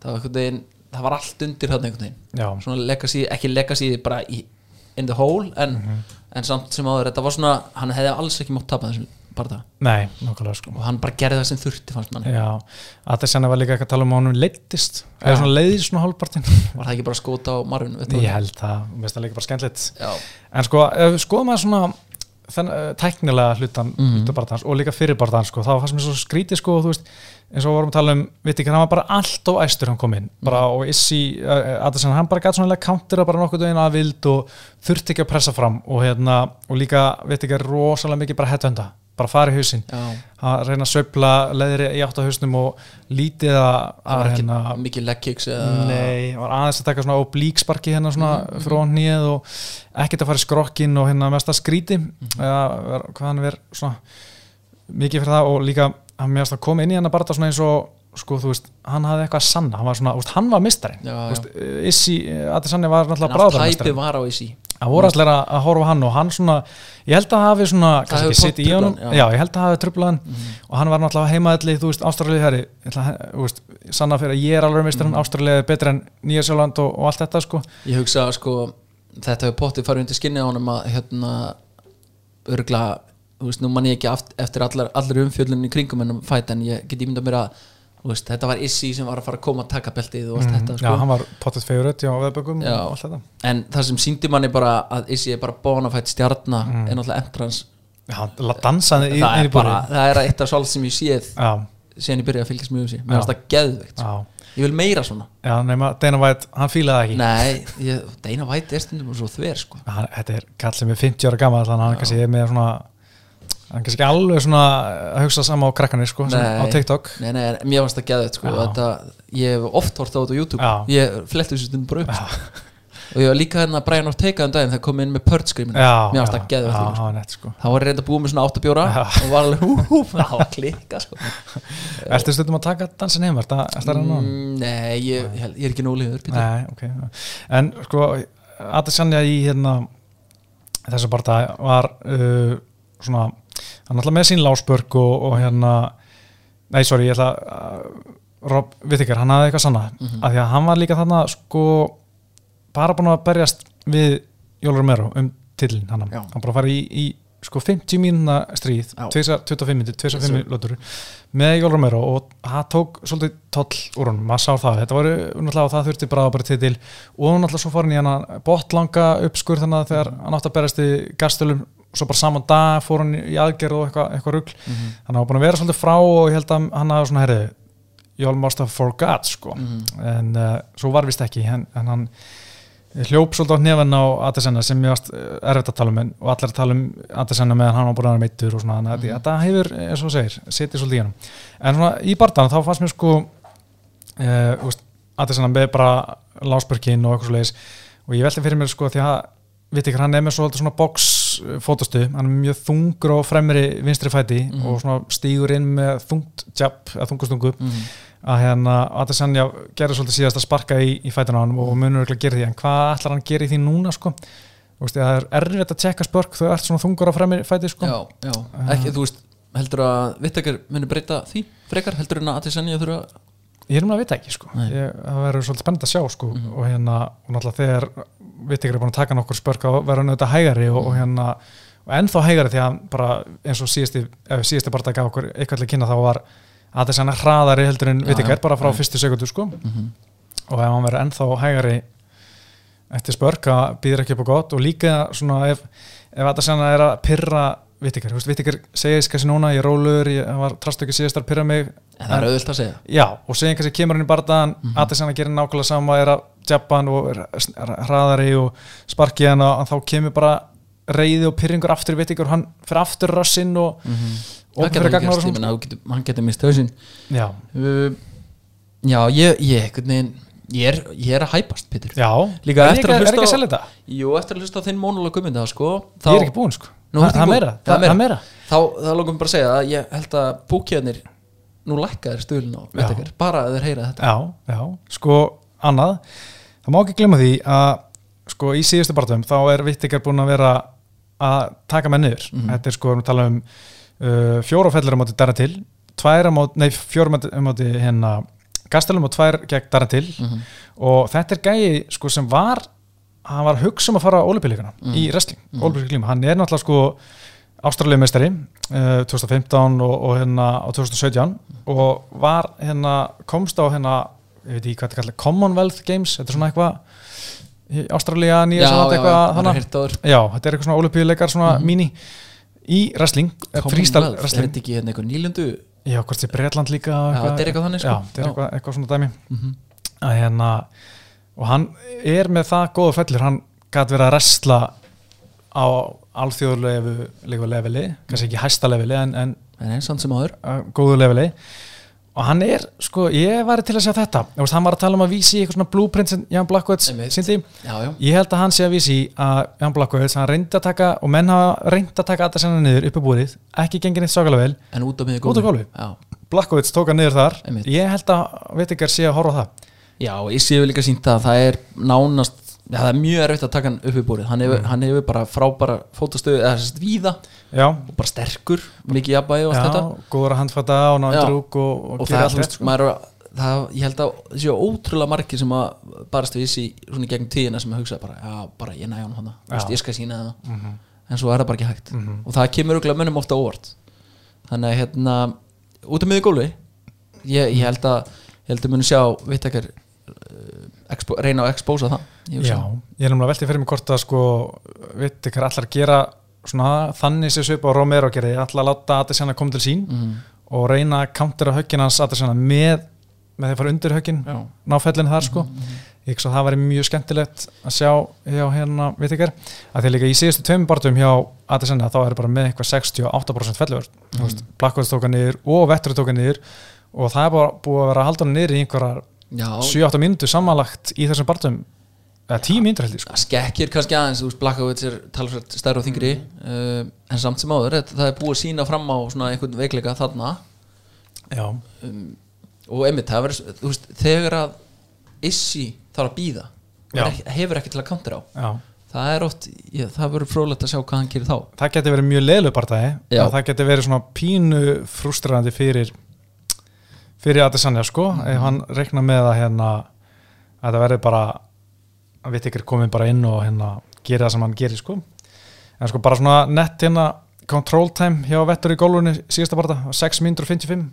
Speaker 2: það var einhvern veginn, það var allt undir hann einhvern veginn,
Speaker 1: Já,
Speaker 2: svona legacy, ekki legacy bara í, in the hole en,
Speaker 1: Mhm.
Speaker 2: en samt sem áður, þetta var svona hann hefði alls ekki mótt tapað þessum barða
Speaker 1: nei, nokkulega sko
Speaker 2: og hann bara gerði það sem þurfti fannst mann
Speaker 1: Já, Adesanya var líka ekki að tala um að honum leittist eða svona leiðist svona hálfpartinn
Speaker 2: var það ekki bara að skóta á marfin
Speaker 1: Ég held það, mér finnst það líka bara skemmtilegt
Speaker 2: Já,
Speaker 1: En sko, ef við skoðum að svona þann, uh, tæknilega hlutan mm -hmm. barðans, og líka fyrir barðans, sko, þá var það sem er svo skrítið sko, þú veist, eins og við vorum að tala um veit ekki, hann var bara allt og æstur hann kom inn bara, og Issi, uh, Adesina, hann bara gæti svona kántir að bara nokkuð veginn að vild og þurfti ekki að pressa fram og, hérna, og líka, veit ekki, rosalega mikið bara hettönda, bara fara í hausinn
Speaker 2: já,
Speaker 1: að reyna að sveifla leðri í átt á hausnum og lítið að,
Speaker 2: það var
Speaker 1: að
Speaker 2: ekki uh,
Speaker 1: hérna,
Speaker 2: mikið leg kicks eða
Speaker 1: Nei, hann var aðeins að taka svona oblíksparki hérna svona
Speaker 2: Mm,
Speaker 1: frá hnið og ekkert að fara í skrokkin og hérna mest að skríti
Speaker 2: Mhm.
Speaker 1: eða ver- hvað hann verð svona mikið fyrir það og líka hann mest að koma inn í hann að barða svona eins og sko þú veist, hann hafði eitthvað að sanna hann var svona, úst, hann var mistarinn
Speaker 2: Já, já.
Speaker 1: Úst, Issi, Adi Sanni eh, var
Speaker 2: en
Speaker 1: náttúrulega
Speaker 2: allt
Speaker 1: bráðar
Speaker 2: hæpi
Speaker 1: mistarinn
Speaker 2: var á Isi
Speaker 1: hann voru allir að að horfa á hann og hann svona ég held að það hafi svona, kannski
Speaker 2: hefur
Speaker 1: ekki sitt í
Speaker 2: truflað
Speaker 1: honum
Speaker 2: hann,
Speaker 1: já.
Speaker 2: já. Mhm.
Speaker 1: ég held að það hafi trublaðan og hann var náttúrulega heimaðalli, þú veist, Ástralíu herri ég ætla að- þú veist, sanna fyrir að ég er alveg meistar mm
Speaker 2: Mhm.
Speaker 1: Ástralíu er betur en Nýja Sjáland og, og allt þetta sko
Speaker 2: Ég hugsa að sko þetta hefur pottið farið undir skinnið á honum að hérna örgla, þú veist, nú man ég ekki aft, eftir allar, allar umfjöllunni í kringum ennum fæt en ég get ímyndað mér að þú veist, þetta var Issi sem var að fara að koma að taka beltið og allt þetta
Speaker 1: Mhm. já,
Speaker 2: sko.
Speaker 1: hann var pottet favorite já, á veðbökum
Speaker 2: Já.
Speaker 1: og allt þetta
Speaker 2: en það sem síndi manni bara að Issi er bara bonafætt stjarnar en náttúrulega entrans
Speaker 1: já, hann la- dansaði Mm. í,
Speaker 2: það
Speaker 1: inn
Speaker 2: er
Speaker 1: í
Speaker 2: bara,
Speaker 1: búri
Speaker 2: það er eitt af svolít sem ég séð
Speaker 1: já,
Speaker 2: síðan ég byrjaði að fylgjast mjög um sér,
Speaker 1: Já.
Speaker 2: mér finnst það geðveikt
Speaker 1: já,
Speaker 2: ég vil meira svona,
Speaker 1: já, nema Dana White, hann fílaði það ekki
Speaker 2: nei ég, Deina Væti er stundum svo þver sko
Speaker 1: hann, þetta er kall sem er 50 ára gammal þannig að hann kannski er með svona hann kannski ekki alveg svona að hugsa sama á krakkanir sko, sem,
Speaker 2: Nei.
Speaker 1: á TikTok
Speaker 2: Nei, nei, en mér varst það geðið sko,
Speaker 1: Já.
Speaker 2: og þetta, Ég hef oft hort á þetta á YouTube
Speaker 1: Já.
Speaker 2: Ég fletti þessu stundum bara upp sko. Og ég var líka hérna Brian Ortega um daginn Það kom inn með Purge skrimin
Speaker 1: já,
Speaker 2: Mér varst
Speaker 1: já,
Speaker 2: það geðið
Speaker 1: já,
Speaker 2: sko.
Speaker 1: já, nett, sko.
Speaker 2: Það var reynda að búa með svona áttabjóra Og var alveg hú hú Það var klikka sko.
Speaker 1: Ertu stundum að taka dansin heim? Ertu að stæra hann á? hann?
Speaker 2: mm, Nei, ég, ég, held- ég er ekki nóliður
Speaker 1: Nei, ok. En sko, Adesanya í hérna þessu barða var uh, svona, hann alltaf með sín lásbörg og, og hérna nei, sorry, ég ætla að Rob Vittinger, hann hafði eitthvað sanna
Speaker 2: Mhm.
Speaker 1: af því að hann var líka þarna sko bara búin að berjast við Jólur Mero um tillin hann
Speaker 2: Já.
Speaker 1: hann bara farið í, í sko 50 mínuna stríð,
Speaker 2: Já.
Speaker 1: tvisvar- 25 mínútur, 25
Speaker 2: Yes,
Speaker 1: yes, lótur með Jól Romero og það tók svolítið toll úr honum, maður sá það þetta var eh, náttúrulega, það þurfti bara bara titil og náttúrulega svo fór hann í hann botlanga uppskur þannig að þegar hann átti að berast í gastölum, svo bara saman dag fór hann í aðgerð og eitthvað eitthva rugl
Speaker 2: Mhm.
Speaker 1: þannig að hann var búin að vera svolítið frá og ég held að hann hafa svona herrið Jól must have forgot sko
Speaker 2: Mhm.
Speaker 1: en uh, svo var vist ekki en, en hann hljóp svolítið á hnefann á Adesanya sem ég varst erfitt að tala um en- og allir að tala um Adesanya meðan hann var búin að vera meittur og svona þannig að mm. þetta hefur, eins og þú segir, setið svolítið í hann en svona í barndana þá fannst mér sko uh, úst, Adesanya með bara lásbörkin og eitthvað svoleiðis og ég velti fyrir mér sko því að veit ekki, hann er með svolítið svona box eh, fótastu, hann er mjög þungur og fremri vinstri fæti og svona stígur inn með þungt jab, eða þungustungu að hérna Adesanya gerði svolítið síðast að sparka í, í fætun á hann og munur ekki að gera því en hvað ætlar hann að gera í því núna sko Þú veist, það er erfitt að tjekka spörk þau ert svona þungur á fremri fæti sko
Speaker 2: Já, já, ekki, þú veist Heldur að Vittakar muni breyta því frekar Heldur en að Adesanya þurfa
Speaker 1: ég er um að vita ekki sko
Speaker 2: Nei. Mhm.
Speaker 1: ég, það verður svolítið spennt að sjá sko og hérna, og náttúrulega þegar við ykkur er búin að taka nokkur spörk þá verður hann auðvitað hægari og, og hérna, og ennþá hægari því að hann bara eins og síðasti, ef síðasti bara gaf okkur eitthvað til að kynna þá var að þess hann hraðari heldur en
Speaker 2: Já,
Speaker 1: við ykkur
Speaker 2: já.
Speaker 1: bara frá fyrstu sekundu sko og ef hann verður ennþá hægari eftir spörk að býður ekki upp á gott og líka svona ef, ef að þess er að pyrra Vittikar, Vittikar segir kannski núna, ég er rólur, ég hann var trast ekki síðast að pyrra mig
Speaker 2: En það er Mhm. auðvöld að segja
Speaker 1: Já, og segja kannski kemur hann í bardaðan mm -hmm. Adesanya gerir nákvæmlega sama er að jabba hann og er er hraðari og sparki hann að þá kemur bara reyði og pyrringur aftur veit ykkur, hann fyrir aftur rassinn og mm -hmm.
Speaker 2: Mhm. Það getur hann gerst, ég meina, þú getur- hann getur mist hausinn
Speaker 1: Já,
Speaker 2: Uh, já, ég, ég, einhvern veginn ég er, ég er að hæpast, Pétur
Speaker 1: já
Speaker 2: Líka
Speaker 1: Er
Speaker 2: eftir
Speaker 1: ekki- Er ekki
Speaker 2: að
Speaker 1: að
Speaker 2: hlusta á-
Speaker 1: selja þetta?
Speaker 2: Jú, eftir að hlusta á þinn mónulega gummynda sko,
Speaker 1: Ég er ekki búinn sko
Speaker 2: Nú ertu
Speaker 1: Það er
Speaker 2: ekki búinn.
Speaker 1: meira, það er meira
Speaker 2: Þá, þá lókum bara að segja að ég held að búkjarnir nú lækkaðir stöðlun á
Speaker 1: Já.
Speaker 2: Whittaker, bara að þeir heyra þetta
Speaker 1: Já, já, sko annað, það má ekki glemma því að sko í síðustu barndum þá er Vittikar búin að vera að taka menn niður,
Speaker 2: Mhm.
Speaker 1: þetta er sko við tala um uh, fjórafellur á móti Daratil tvær á móti, nei fjórum á móti hérna Gastelum og tvær gegn Daratil
Speaker 2: mm -hmm.
Speaker 1: og þetta er gæi sko sem var hann var að hugsa um að fara á olipillíkuna í wrestling, mm. hann er náttúrulega sko ástralega meistari uh, 2015 og, og hérna á 2017 og var hérna komst á hérna, ég veit ekki hvað þetta kallar Commonwealth Games, þetta er svona eitthvað ástralega nýja sem þetta eitthvað
Speaker 2: hann
Speaker 1: þannig.
Speaker 2: er hirtaður
Speaker 1: já, þetta er eitthvað svona olipillíkar svona
Speaker 2: Mhm.
Speaker 1: mini í wrestling, eh, freestyle
Speaker 2: er
Speaker 1: wrestling
Speaker 2: þetta ekki hérna einhver nýlundu
Speaker 1: já, hvort sé Breitland líka
Speaker 2: Já, þetta er eitthvað þannig, sko.
Speaker 1: já, þetta er
Speaker 2: Já.
Speaker 1: eitthvað, eitthvað svona dæmi
Speaker 2: mm -hmm.
Speaker 1: að hérna og hann er með það góða fellur hann gæti verið að resla á alþjóðulegu leveli kannski ekki hæsta leveli en, en
Speaker 2: en eins hann sem áður
Speaker 1: uh, góðu leveli og hann er, sko, ég væri til að segja þetta Þú veist, hann var að tala um að vísi í eitthvað svona blueprint sem Jan Blackwood
Speaker 2: Einmitt.
Speaker 1: síndi
Speaker 2: já, já,
Speaker 1: ég held að hann sé að vísi í að Jan Blackwood hann reyndi að taka, og menn hafa reyndi að taka að senna niður uppi búrið, ekki gengið neitt sákala vel
Speaker 2: en út á miðju
Speaker 1: Út á gólfi.
Speaker 2: já,
Speaker 1: Blackwood tók hann niður þar
Speaker 2: Einmitt.
Speaker 1: ég held að, veit ekki að sé að horfa á það
Speaker 2: já ég séu líka sínt að það er nánast já, það er mjög erfitt að taka hann upp í búrið hann hefur,
Speaker 1: Mm.
Speaker 2: hann hefur bara frábara fótastöðu eða sérst víða
Speaker 1: Já,
Speaker 2: og bara sterkur, mikið jafnbæði og allt
Speaker 1: já
Speaker 2: þetta
Speaker 1: góður að handfata og
Speaker 2: Já.
Speaker 1: nándrúk og,
Speaker 2: og,
Speaker 1: og,
Speaker 2: það
Speaker 1: gera
Speaker 2: er,
Speaker 1: allt
Speaker 2: þú
Speaker 1: rétt, sko.
Speaker 2: veist, maður er að það, ég held að það séu ótrúlega margir sem að barist við þessi svona í gegnum tíðina sem að hugsa bara, já, bara ég næja hann hana
Speaker 1: Já. Mm.
Speaker 2: Vist, ég skal sína það,
Speaker 1: Mhm,
Speaker 2: en svo er það bara ekki hægt og það kemur auðvitað mönnum ofta óvart þannig að hérna út af miður gólfi ég, ég held að ég held að munum sjá, veit ekki expo, reyna að expósa það ég hugsa.
Speaker 1: Já, ég er náttúrulega veltið fyrir mig hvort að sko, vitt ykkur allar gera svona þannig sem svipa á Romero gerði, allar láta Adesina koma til sín
Speaker 2: Mhm.
Speaker 1: og reyna að countera höggin hans Adesina með, með því að fara undir höggin,
Speaker 2: Já.
Speaker 1: ná fellin þar sko. Ég hugsa að það væri mjög skemmtilegt að sjá hjá hérna, vitt ykkur, að því líka í síðustu tveim barndum hjá Adesina þá er bara með eitthvað 68% fellur, þú veist, Blackwood tóka niður og Vettur tóka niður og það er bara búið að vera að halda hann niður í einhverjar
Speaker 2: já,
Speaker 1: 7-8 mínútu samanlagt í þessum barndum eða 10 mínútur heldur sko.
Speaker 2: það skekkir kannski aðeins, þú veist, Blakkovits er talsvært stærri og þingri uh, en samt sem áður, þetta- það er búið að sína fram á svona einhvern veikleika þarna
Speaker 1: já.
Speaker 2: um, og einmitt, það verður, þú veist, þegar að issi þarf að býða
Speaker 1: Já.
Speaker 2: hefur ekki til að kantur á það er oft, ég, það verður frólægt að sjá hvað hann gerir þá
Speaker 1: það geti verið mjög leilu barndagi
Speaker 2: Já.
Speaker 1: og það geti verið svona pínu frustrandi fyrir fyrir Adesanya sko ef hann reikna með að hérna að það verði bara að við ykkur komið bara inn og hérna gera það sem hann gerir sko en sko bara svona nett hérna control time hjá Vettur í gólfunni síðasta barnda 6 mínútur og 55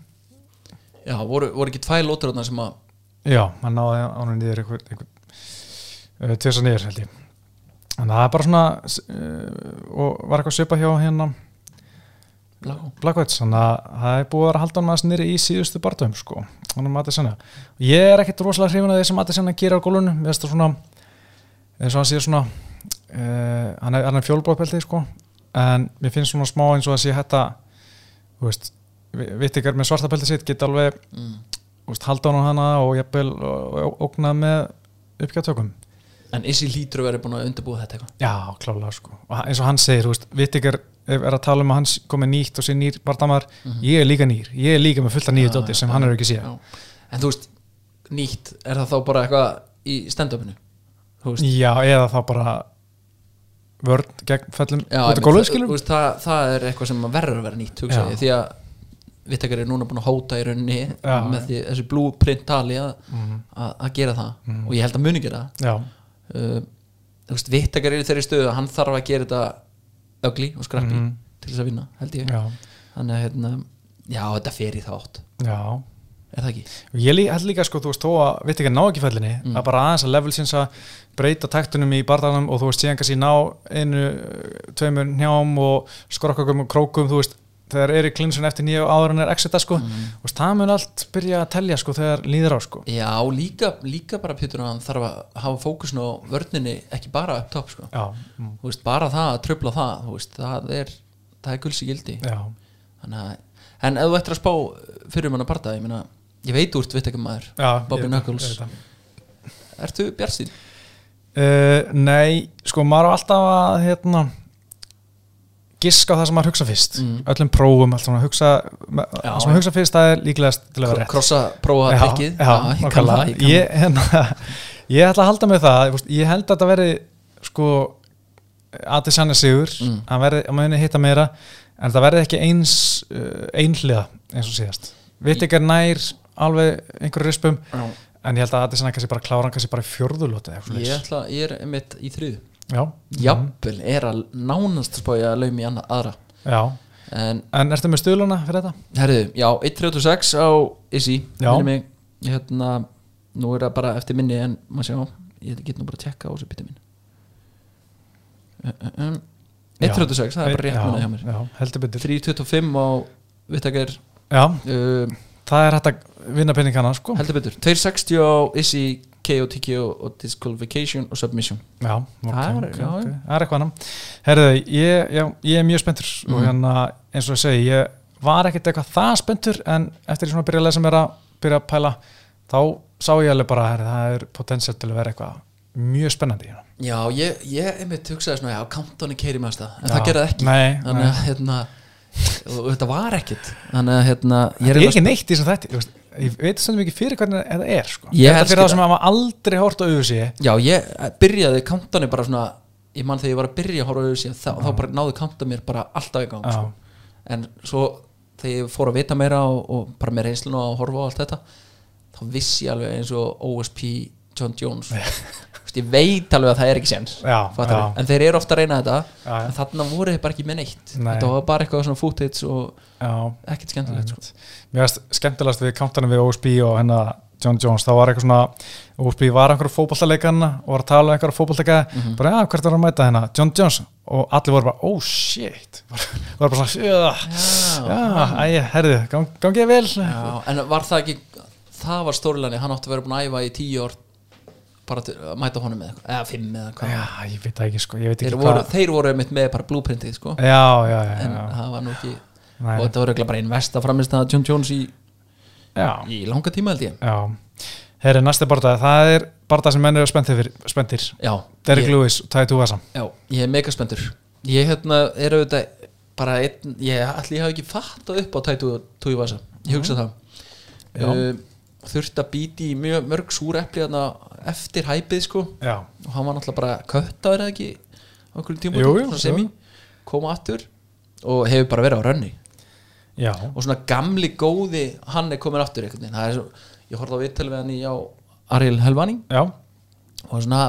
Speaker 2: já, voru, voru ekki tvær lótur þarna sem að
Speaker 1: Já, hann náði ánum niður einhver, einhver, uh, tvisar niður held ég en það er bara svona uh, og var eitthvað svipa hjá hérna
Speaker 2: Blakko,
Speaker 1: Blackvets, þannig að það er búið að vera að halda hann aðeins niður í síðustu barndum sko, hann er matið senna ég er ekkit rosalega hrifin að því sem matið senna gerir á gólunum, mér finnst það svona eins og hann sé svona uh, hann er, hann er fjólblóðpeldi sko en mér finnst svona smá eins og að sé þetta þú veist, vitt ykkur með svarta peldi sitt geta alveg
Speaker 2: mm.
Speaker 1: úst, halda hann á hana og jafnvel og- og ógna með uppgjátökum
Speaker 2: en issi lítur að vera búin að undirbúa þetta eitthvað
Speaker 1: já, klálega sko og hann- eins og hann segir, þú veist, Vittiger er að tala um að hann komið nýtt og sé nýr bardamar ég er líka nýr, ég er líka með fullta nýju
Speaker 2: Mhm. Já,
Speaker 1: dóti
Speaker 2: já,
Speaker 1: sem
Speaker 2: já,
Speaker 1: hann er ekki séð
Speaker 2: já. en þú veist, nýtt, er það þá bara eitthvað í stand-upinu þú veist
Speaker 1: já, eða þá bara vörn gegn fellum
Speaker 2: Já,
Speaker 1: út af
Speaker 2: einmitt,
Speaker 1: gólfið
Speaker 2: það-
Speaker 1: skilur
Speaker 2: þú veist, það, það er eitthvað sem verður að vera nýtt hugsa
Speaker 1: Já.
Speaker 2: ég, því að vittakar er núna búin að hóta í rauninni
Speaker 1: Já. Mhm.
Speaker 2: með því, þessu blúprint tali að, að, að gera það og ég held að muni gera
Speaker 1: já,
Speaker 2: það uh, þú veist, vittakar er í þeirri stöðu að hann þarf að gera þetta ögli og skrappi
Speaker 1: Mhm.
Speaker 2: til þess að vinna, held ég
Speaker 1: já,
Speaker 2: þannig að hérna, já, þetta fer í þátt
Speaker 1: já
Speaker 2: er það ekki?
Speaker 1: Og Ég lí- held líka sko, þú veist, þó að vitt ekki að ná ekki fellinni,
Speaker 2: Mm.
Speaker 1: að bara aðeins að levelsinsa breyta taktunum í barðanum og þú veist, síðan kannski ná einu eh, tveimur njám og skorokkakum og krókum, þú veist, þegar er í klinsun eftir nýju áður en er exita sko,
Speaker 2: Mm.
Speaker 1: þú veist, það mun allt byrja að telja sko þegar líður á sko.
Speaker 2: Já, líka, líka bara Pétur að hann þarf að hafa fókusin á vörninni ekki bara upp topp, sko
Speaker 1: Já, mm,
Speaker 2: þú veist, bara það að tröfla það, þú veist, það er það er gulsi gildi
Speaker 1: já,
Speaker 2: Þannig að, en ef þú ættir að spá fyrir manna parta, ég meina, ég veit úr vitt ekki maður,
Speaker 1: já.
Speaker 2: Bobby
Speaker 1: ég- ég
Speaker 2: Knuckles.
Speaker 1: veit það.
Speaker 2: ertu Bjartstín?
Speaker 1: Eh, nei, sko, maður á alltaf að, hérna, giska á það sem maður hugsa fyrst öllum prófum, allt svona hugsa
Speaker 2: Mm. Já,
Speaker 1: það sem maður
Speaker 2: já.
Speaker 1: hugsa fyrst, það er líklegast til að vera rétt
Speaker 2: krossa prófa
Speaker 1: Já,
Speaker 2: pikkið Ah,
Speaker 1: já,
Speaker 2: ég kann
Speaker 1: nákvæmlega.
Speaker 2: það, ég kann
Speaker 1: ég, hérna, *laughs* ég ætla að halda með það þú veist, ég held að þetta verði sko Adesanya sigur
Speaker 2: Mm.
Speaker 1: hann verði, hann muni hitta meira en það verði ekki eins uh, einhliða eins og síðast vitt ekki nær alveg einhverju rispum
Speaker 2: það.
Speaker 1: en ég held að Adesanya kannski bara klára hann kannski bara í fjörðulóti eða eitthvað
Speaker 2: ég
Speaker 1: svoleiðis.
Speaker 2: ætla, ég er einmitt í þriðu
Speaker 1: já, Mm,
Speaker 2: jafnvel, er að nánast spája að laumi í annað aðra
Speaker 1: já,
Speaker 2: en
Speaker 1: en ertu með stuðluna fyrir þetta?
Speaker 2: Herðu, já, 1.36 á Izzy,
Speaker 1: Já.
Speaker 2: minni mig hérna, nú er það bara eftir minni en maður sjá, ég get nú bara að tjekka á þessu bytti minn Uh, uh, um, 1.36, það er bara rétt
Speaker 1: Já,
Speaker 2: munið hjá mér
Speaker 1: já, heldur betur
Speaker 2: 3.25 á Vittager
Speaker 1: já,
Speaker 2: uh,
Speaker 1: það er hægt að vinna peningana sko
Speaker 2: heldur betur, 2.60 á Izzy KO, TKO og Disqualification og Submission
Speaker 1: Já, ok,
Speaker 2: Það er-
Speaker 1: ok,
Speaker 2: já,
Speaker 1: ok.
Speaker 2: já.
Speaker 1: það er eitthvað annan Herðu, ég, já, ég er mjög spenntur og
Speaker 2: Mhm.
Speaker 1: hérna, eins og ég segi, ég var ekkert eitthvað það spenntur en eftir ég svona byrja að lesa mér að byrja að pæla þá sá ég alveg bara herri, það er potensiál til að vera eitthvað mjög spennandi hérna.
Speaker 2: Já, ég, ég einmitt hugsaði svona, já, Countdowni keiri með þetta en
Speaker 1: Já.
Speaker 2: það gerði það ekki,
Speaker 1: Nei,
Speaker 2: þannig
Speaker 1: nei.
Speaker 2: að hérna, og, og þetta var ekkit þannig að hérna,
Speaker 1: Ég er
Speaker 2: eiginlega
Speaker 1: ekki neitt í þess að þetta ég, veist, ég veit stundum ekki fyrir hvernig þetta er sko.
Speaker 2: Ég
Speaker 1: Þetta
Speaker 2: elski
Speaker 1: fyrir það
Speaker 2: það.
Speaker 1: sem hafa aldrei hórt á auðvísi
Speaker 2: Já, ég eh, byrjaði kantanir bara svona ég mann þegar ég var að byrja að horfa yfir síðan þá, þá bara náðu kantan mér bara alltaf í gang
Speaker 1: Mm. Já.
Speaker 2: sko. en svo þegar ég fór að vita meira og, og bara með reynslun og að horfa á allt þetta þá vissi ég alveg eins og OSP John Jones Vist, ég veit alveg að það er ekki sens
Speaker 1: Já,
Speaker 2: fattarðu?
Speaker 1: já.
Speaker 2: en þeir eru ofta að reyna þetta
Speaker 1: Já, já.
Speaker 2: en þarna voru þeir bara ekki með neitt
Speaker 1: Nei. Mm.
Speaker 2: þetta var bara eitthvað svona footage og
Speaker 1: Já,
Speaker 2: ekkert skemmtilegt sko.
Speaker 1: Mér finnst skemmtilegast við kantanum við OSB og hennar John Jones, þá var eitthvað svona OSB var einhverjum fótballtaleikanna og var að tala um einhverjum fótballtaka,
Speaker 2: Mhm.
Speaker 1: bara ja, hvert er hann að mæta hennar John Jones og allir voru bara oh shit, *laughs* voru bara svona já, já, æja, herðu gang, gangið vel
Speaker 2: já, en var það ekki það var stórlani, hann átti að vera búin að æfa í tíu ár bara til að mæta honum með eitthvað eða fimm eða hvað
Speaker 1: Já, ég veit það ekki sko, ég veit
Speaker 2: þeir
Speaker 1: ekki
Speaker 2: voru,
Speaker 1: hvað
Speaker 2: þeir voru einmitt með bara blúprintið sko.
Speaker 1: Já, já, já,
Speaker 2: en
Speaker 1: já,
Speaker 2: það var nú ekki
Speaker 1: Nei.
Speaker 2: og þetta var eiginlega bara einn versta framist að John Jones í,
Speaker 1: já,
Speaker 2: í langa tíma held ég
Speaker 1: já. Herri, næsti barða, það er barða sem menn eru spenntir, fyrir- spenntir.
Speaker 2: já,
Speaker 1: Derek
Speaker 2: ég,
Speaker 1: Lewis og Tætu Vassam
Speaker 2: já, ég er mega spendur ég hérna er auðvitað bara einn, ég allir hafa ekki fattað upp á tætu túi vasa, ég hugsa
Speaker 1: Mhm. Já.
Speaker 2: það uh, þurfti að býti í mjög mörg súrepli þarna eftir hæpið sko
Speaker 1: Já,
Speaker 2: og hann var náttúrulega bara köttaður eða ekki á einhverjum tíma
Speaker 1: Jú, jú, jú.
Speaker 2: koma aftur og hefur bara verið á rönni
Speaker 1: já,
Speaker 2: og svona gamli góði hann er komin aftur einhvern veginn Það er svo, ég horfði á viðtölu við hann í á Ariel Helvani
Speaker 1: já,
Speaker 2: og svona,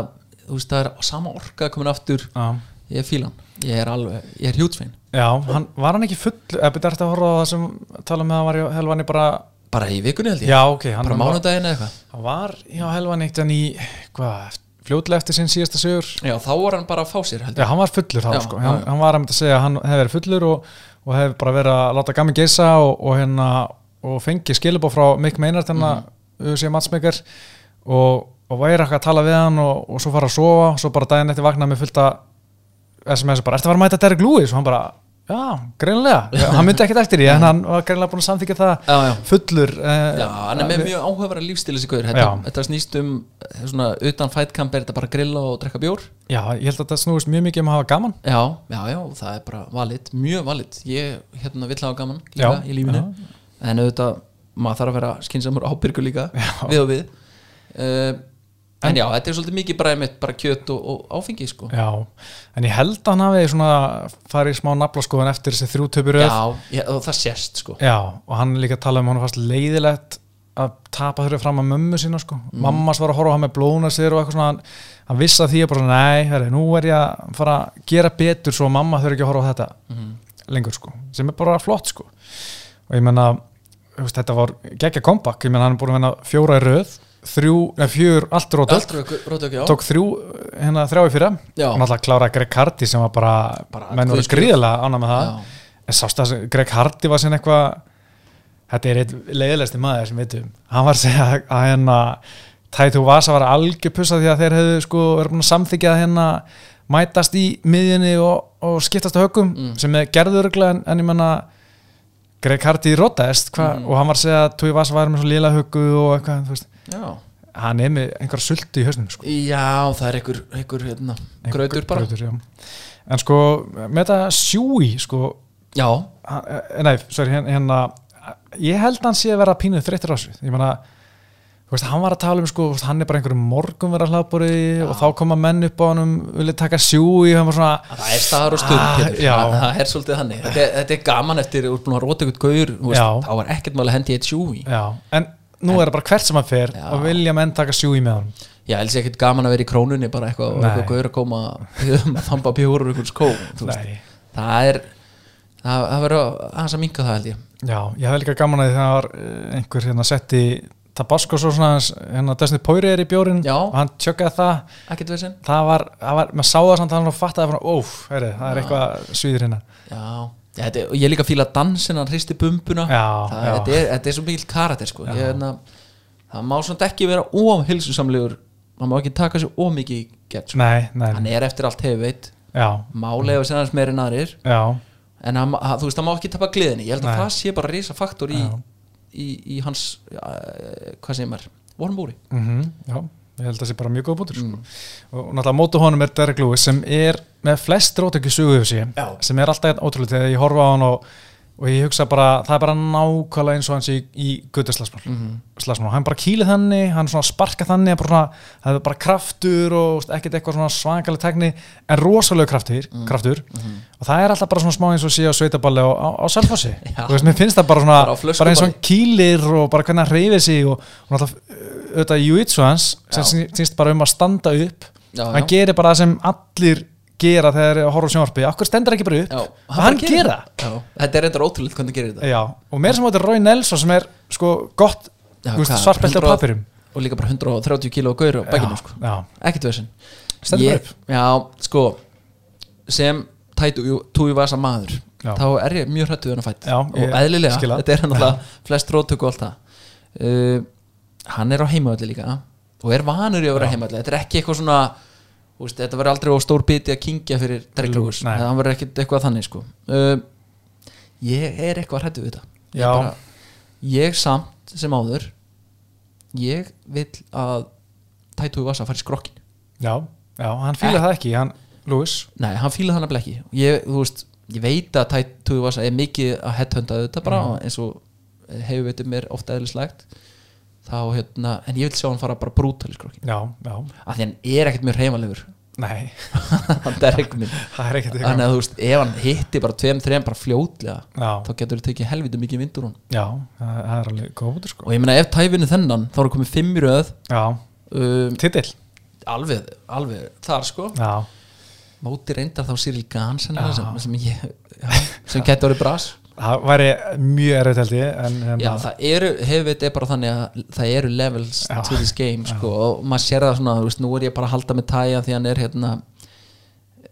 Speaker 2: þú veist það er sama orka komin aftur,
Speaker 1: já.
Speaker 2: ég er fílan ég er alveg, ég er hjútsvein
Speaker 1: Já, hann, var hann ekki full eða byrja eftir að horfa á það sem tala með að hann var hjá Helvani bara
Speaker 2: bara í vikunni held ég,
Speaker 1: Já, ok, hann, hann,
Speaker 2: bara
Speaker 1: var,
Speaker 2: mánudaginn eða eitthvað
Speaker 1: hann var hjá Helvani eitt en í hvað, eft- fljótlega eftir sinn síðasta sigur
Speaker 2: já, þá var hann bara að fá sér held
Speaker 1: Já,
Speaker 2: ég
Speaker 1: hann var fullur þá,
Speaker 2: Já,
Speaker 1: sko
Speaker 2: já,
Speaker 1: hann,
Speaker 2: já.
Speaker 1: hann var að mynda að segja að hann hefði verið fullur og, og hefði bara verið að láta gammi geisa og, og hérna, og fengi skilubá frá Mick Maynard hennar,
Speaker 2: Mhm.
Speaker 1: mm -hmm. matsmekar og, og væri eitthvað að tala við hann og, og svo fara að sofa, svo bara daginn eftir vakna með fullta SMS bara, ertu að fara að mæta Derek Lewis? og hann bara, já,
Speaker 2: *laughs*
Speaker 1: greinlega hann myndi ekkert eftir því, en hann var greinlega búin að samþykja það
Speaker 2: já, já,
Speaker 1: fullur eh,
Speaker 2: já, hann er með mjög áhefara lífstil þessi gauður, þetta,
Speaker 1: Já.
Speaker 2: þetta snýst um eh, svona, utan fætkamp er þetta bara að grilla og drekka bjór
Speaker 1: já, ég held að það snúist mjög mikið um að hafa gaman
Speaker 2: Já, já, já, það er bara valit, mjög valit Ég hérna vill hafa gaman líka
Speaker 1: Já,
Speaker 2: í lífinu En auðvitað, maður þarf að vera skinsamur og ábyrgur líka Við og við uh, En já, þetta er svolítið mikið bara, einmitt, bara kjöt og, og áfengi sko.
Speaker 1: já, en ég held að hann hafi svona farið í smá naflaskoðan eftir þessi þrjú töpur
Speaker 2: Já, já, og það sést sko.
Speaker 1: já, og hann er líka að tala um að honum fast leiðilegt að tapa þurfið fram að mömmu sína sko.
Speaker 2: Mm.
Speaker 1: mammas var að horfa á hann með blóna sér og eitthvað svona, hann, hann vissi að því að bara svona, nei, herri, nú er ég að fara að gera betur svo að mamma þurfi ekki að horfa á þetta
Speaker 2: Mhm.
Speaker 1: lengur sko, sem er bara flott sko og ég menna þú veist, þetta var geggja kompakk, ég menna hann er búin að vinna fjóra í röð, þrjú, eða fjör allt rótöld,
Speaker 2: Rótök, já
Speaker 1: tók þrjú hérna þrjá í fyrra,
Speaker 2: Já.
Speaker 1: og náttúrulega klára Greg Hardy sem var bara,
Speaker 2: Bara
Speaker 1: menn voru
Speaker 2: guðskjöf.
Speaker 1: gríðilega ánað með það
Speaker 2: Já.
Speaker 1: en sást það, sem- Greg Hardy var sem eitthvað þetta er eitt leiðilegsti maður sem við veitum, hann var að segja að- að hérna Taitu Vasa var algjör pussa því að þeir hefðu sko verið búin að samþykja að hérna mætast í miðjunni og, og skiptast á högum
Speaker 2: Mm.
Speaker 1: sem er gerðuruglega en, en ég menna Greg Hardy rotaðist hva,
Speaker 2: Mm.
Speaker 1: og hann var að segja að Tui Vasa var með svo lila höggu og eitthvað, þú veist,
Speaker 2: já.
Speaker 1: hann er með einhverja sultu í hausnum sko
Speaker 2: já, það er einhver, einhver, hérna, grötur bara
Speaker 1: gröður, já. en sko, með þetta sjúi sko,
Speaker 2: já,
Speaker 1: hann- eh, nei, sorry, hérna, hérna ég held að hann sé að vera pínuð þreyttur á þessu ég meina, þú veist, hann var að tala um sko, þú veist, hann er bara einhverjum morgun vera hlaðbúri og þá koma menn upp á honum vilja taka sjúi, hann var svona
Speaker 2: það er staðar og stund
Speaker 1: Ah,
Speaker 2: Pétur.
Speaker 1: já.
Speaker 2: það, það er svolítið þannig þetta, er- þetta er gaman eftir, úr búin að róta ykkur gaur þú veist,
Speaker 1: Já.
Speaker 2: þá var ekkert mál að hendi eitt sjúi
Speaker 1: já, en nú er það bara hvert sem hann fer
Speaker 2: Já.
Speaker 1: og vilja menn taka sjúi með honum
Speaker 2: já, els er ekkert gaman að vera í krónunni bara eitthvað og
Speaker 1: Nei.
Speaker 2: eitthvað gaur að koma *laughs* um að þamba pjóður úr ykkur skó þú veist.
Speaker 1: Nei.
Speaker 2: það er það, það verður aðeins að minka það held ég
Speaker 1: já, ég hefði líka gaman að því þegar var eh, einhver hérna setti tabasco svo svona hans, hérna Desni Póri er í bjórin
Speaker 2: Já.
Speaker 1: og hann tjöggaði það
Speaker 2: ekkert veginn
Speaker 1: það var, það var, maður sá það samt að hann fattaði bara, óf, heyrðu, það er eitthvað svíður hérna
Speaker 2: Já, já þetta, er- og ég líka fíla dansin hann hristi bumbuna
Speaker 1: Já,
Speaker 2: það,
Speaker 1: já.
Speaker 2: Þetta, er, þetta er svo mikil karakter sko. ég, na, það má svona ekki vera óhilsusamlegur hann má ekki taka sér ómikið í gert sko.
Speaker 1: nei, nei,
Speaker 2: hann er eftir allt hefur veit
Speaker 1: já,
Speaker 2: málega sem hans meira en aðrir
Speaker 1: já
Speaker 2: en hann, ma- þú veist, hann má ekki tapa gleðinni ég held að
Speaker 1: Nei.
Speaker 2: það sé bara risa faktor í,
Speaker 1: Já.
Speaker 2: í, í hans ja, hvað segir maður, vormbúri
Speaker 1: mm Já, ég held að það sé bara mjög góð bútur
Speaker 2: Mm.
Speaker 1: og náttúrulega á mótu honum er Derek Lewis sem er með flest rótökju sugu yfir sig,
Speaker 2: Já.
Speaker 1: sem er alltaf einn ótrúlega þegar ég horfa á hann og, og ég hugsa bara það er bara nákvæmlega eins og hans í, í guttaslagsmál
Speaker 2: Mhm.
Speaker 1: mm -hmm. hann bara kýlið þannig, hann svona sparka þannig bara svona, það er bara kraftur og þú veist, ekkert eitthvað svona svakalega tekni en rosalega kraftur,
Speaker 2: Mm.
Speaker 1: kraftur.
Speaker 2: Mhm.
Speaker 1: og það er alltaf bara svona smá eins og sé á sveitaballi á, á, á selfossi,
Speaker 2: *laughs* Já.
Speaker 1: þú veist, mér finnst það bara svona
Speaker 2: Bara á
Speaker 1: bara,
Speaker 2: flöskuballi.
Speaker 1: eins og hann kýlir og bara hvernig hann reyfið sig og, og náttúrulega uh, auðvitað júitsu hans sem sný- snýst bara um að standa upp
Speaker 2: Já,
Speaker 1: hann
Speaker 2: já.
Speaker 1: gerir bara það sem allir gera þegar þeir horfa á sjónvarpi, okkur stendur ekki bara upp
Speaker 2: Já,
Speaker 1: og hann, hann
Speaker 2: bara gerir
Speaker 1: gera
Speaker 2: það. Já, þetta er reyndar ótrúlega hvernig hann gerir þetta
Speaker 1: já, og meira sem þetta er Rói Nelson sem er sko gott
Speaker 2: Já,
Speaker 1: þú veist,
Speaker 2: hvað,
Speaker 1: svartbelti á
Speaker 2: 100
Speaker 1: papirum
Speaker 2: og líka bara 130 kíló gaur á bækinu sko.
Speaker 1: já,
Speaker 2: ekkert veginn
Speaker 1: Stendur bara upp.
Speaker 2: já, sko sem tætu túi vasa maður
Speaker 1: Já.
Speaker 2: þá er ég mjög hrættu hann að fætt
Speaker 1: Já,
Speaker 2: og
Speaker 1: ég
Speaker 2: eðlilega,
Speaker 1: skil það.
Speaker 2: þetta er hann alltaf flest rótök og allt það uh, hann er á heimavalli líka og er vanur í að vera heimavalli þetta er ekki eitthvað svona úst, þetta verður aldrei á stór biti að kingja fyrir dreglugus,
Speaker 1: Nei.
Speaker 2: það verður ekkit eitthvað þannig sko uh, ég er eitthvað hrættu við þetta ég,
Speaker 1: Já.
Speaker 2: ég samt sem áður ég vil að tætu vasa fari skrokkin
Speaker 1: já, já, hann
Speaker 2: Eh.
Speaker 1: fýla það ekki hann, Lewis,
Speaker 2: Nei, hann fílaði hann að blekki ég, þú veist, ég veit að Tætu Vasa er mikið að headhunda þetta bara eins og hefur veitum mér ofta eðlislegt þá hérna, en ég vil sjá hann fara bara brútal skrokkin,
Speaker 1: já, já,
Speaker 2: af því hann er ekkert mjög heimalegur
Speaker 1: nei
Speaker 2: *laughs*
Speaker 1: *laughs*
Speaker 2: hann er ekkert minn
Speaker 1: það er ekkert
Speaker 2: þannig að þú veist, ef hann hitti bara tveim, þreim bara fljótlega,
Speaker 1: já,
Speaker 2: þá getur þú tekið helviti mikið vindur hún,
Speaker 1: já, það það er alveg góð bútur sko
Speaker 2: og ég meina ef Tævinu þennan þá eru komið fimm í röð
Speaker 1: já,
Speaker 2: um,
Speaker 1: titill
Speaker 2: alveg, alveg þar sko
Speaker 1: já,
Speaker 2: móti reyndar þá Cyril Gans sem, sem, ég, já, sem getur orðið bras
Speaker 1: það væri mjög erfitt held ég en, hérna- en
Speaker 2: Já, það eru, hefur er bara þannig að það eru levels
Speaker 1: Já.
Speaker 2: to this game sko, og maður sér það svona, þú veist, nú er ég bara að halda með tæja því hann er hérna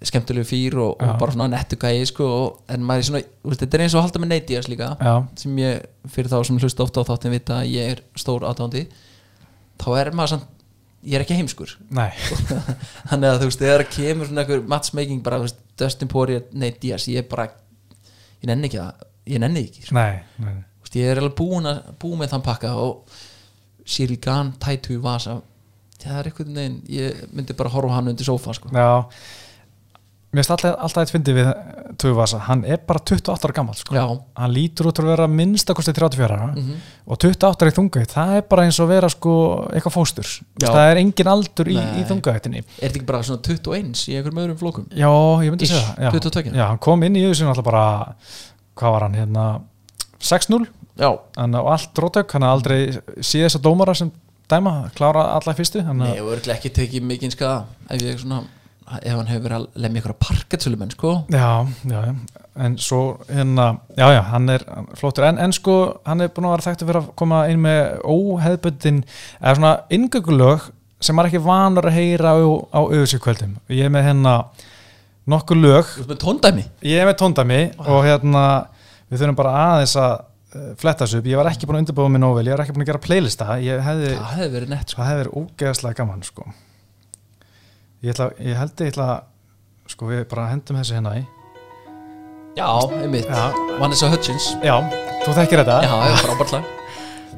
Speaker 2: skemmtilegu fýr og, og bara svona nettu gæi sko, og, en maður er svona, þú veist, þetta er eins og að halda með neitiðas líka,
Speaker 1: já,
Speaker 2: sem ég fyrir þá sem hlusta ofta á þáttin vita að ég er stór aðdándi, þá er maður samt, ég er ekki heimskur *laughs*
Speaker 1: nei
Speaker 2: þannig að þú veist, þegar kemur svona einhver matchmaking bara, þú veist, Dustin Poirier, Nate Diaz ég er bara, ég nenni ekki það ég nenni því ekki, sko.
Speaker 1: Nei, nei, nei.
Speaker 2: Þú veist, ég er alveg búin að búin með þann pakka og Cyril Gahn, Taitu Vasa það er eitthvað neginn, ég myndi bara horfa á hann undir sófa sko.
Speaker 1: Já Mér finnst alltaf, alltaf eitt fyndi við Tugvasa, hann er bara 28 ára gammal sko.
Speaker 2: já,
Speaker 1: hann lítur út til að vera minnstakosti 34 ára
Speaker 2: Mhm.
Speaker 1: og 28 ára í þungaveit það er bara eins og vera sko eitthvað fóstur
Speaker 2: Já.
Speaker 1: það er engin aldur í,
Speaker 2: Nei.
Speaker 1: í þungaveitinni
Speaker 2: er þetta ekki bara svona 21 í einhverjum öðrum flókum
Speaker 1: Já, ég myndi
Speaker 2: Ish,
Speaker 1: segja það já.
Speaker 2: 22.
Speaker 1: Já, hann kom inn í þessu alltaf bara hvað var hann hérna 6-0
Speaker 2: já,
Speaker 1: hann- og allt rótök, hann hafði aldrei síð þess að dómara sem dæma, klára alla í fyrstu hann,
Speaker 2: nei, ég voru ekki tekið mikinn skaða ef ég svona, ef hann hefur verið að lemja ykkur að parketsölu menn sko
Speaker 1: Já, já, já. en svo hérna, já, já, hann er flottur en, en sko, hann er búin að vera þekkt að vera að koma inn með óheðbundin eða svona yngökulög sem maður er ekki vanur að heyra á, á auðvísikvöldum ég er með hérna nokkur lög,
Speaker 2: þú veist með tóndæmi
Speaker 1: ég er með tóndami og hérna, við þurfum bara aðeins að eh, fletta þessu upp, ég var ekki búin að undirbúa mig nóvel, ég var ekki búin að gera playlista ég hefði,
Speaker 2: það hefði verið nett sko
Speaker 1: það hefði verið ógeðslega gaman sko ég, ætla, ég held ég ætla sko, við bara hendum þessu hérna í
Speaker 2: já, sko. einmitt,
Speaker 1: Já.
Speaker 2: Vanessa Hudgens
Speaker 1: Já, þú þekkir þetta
Speaker 2: já, já, frábært lag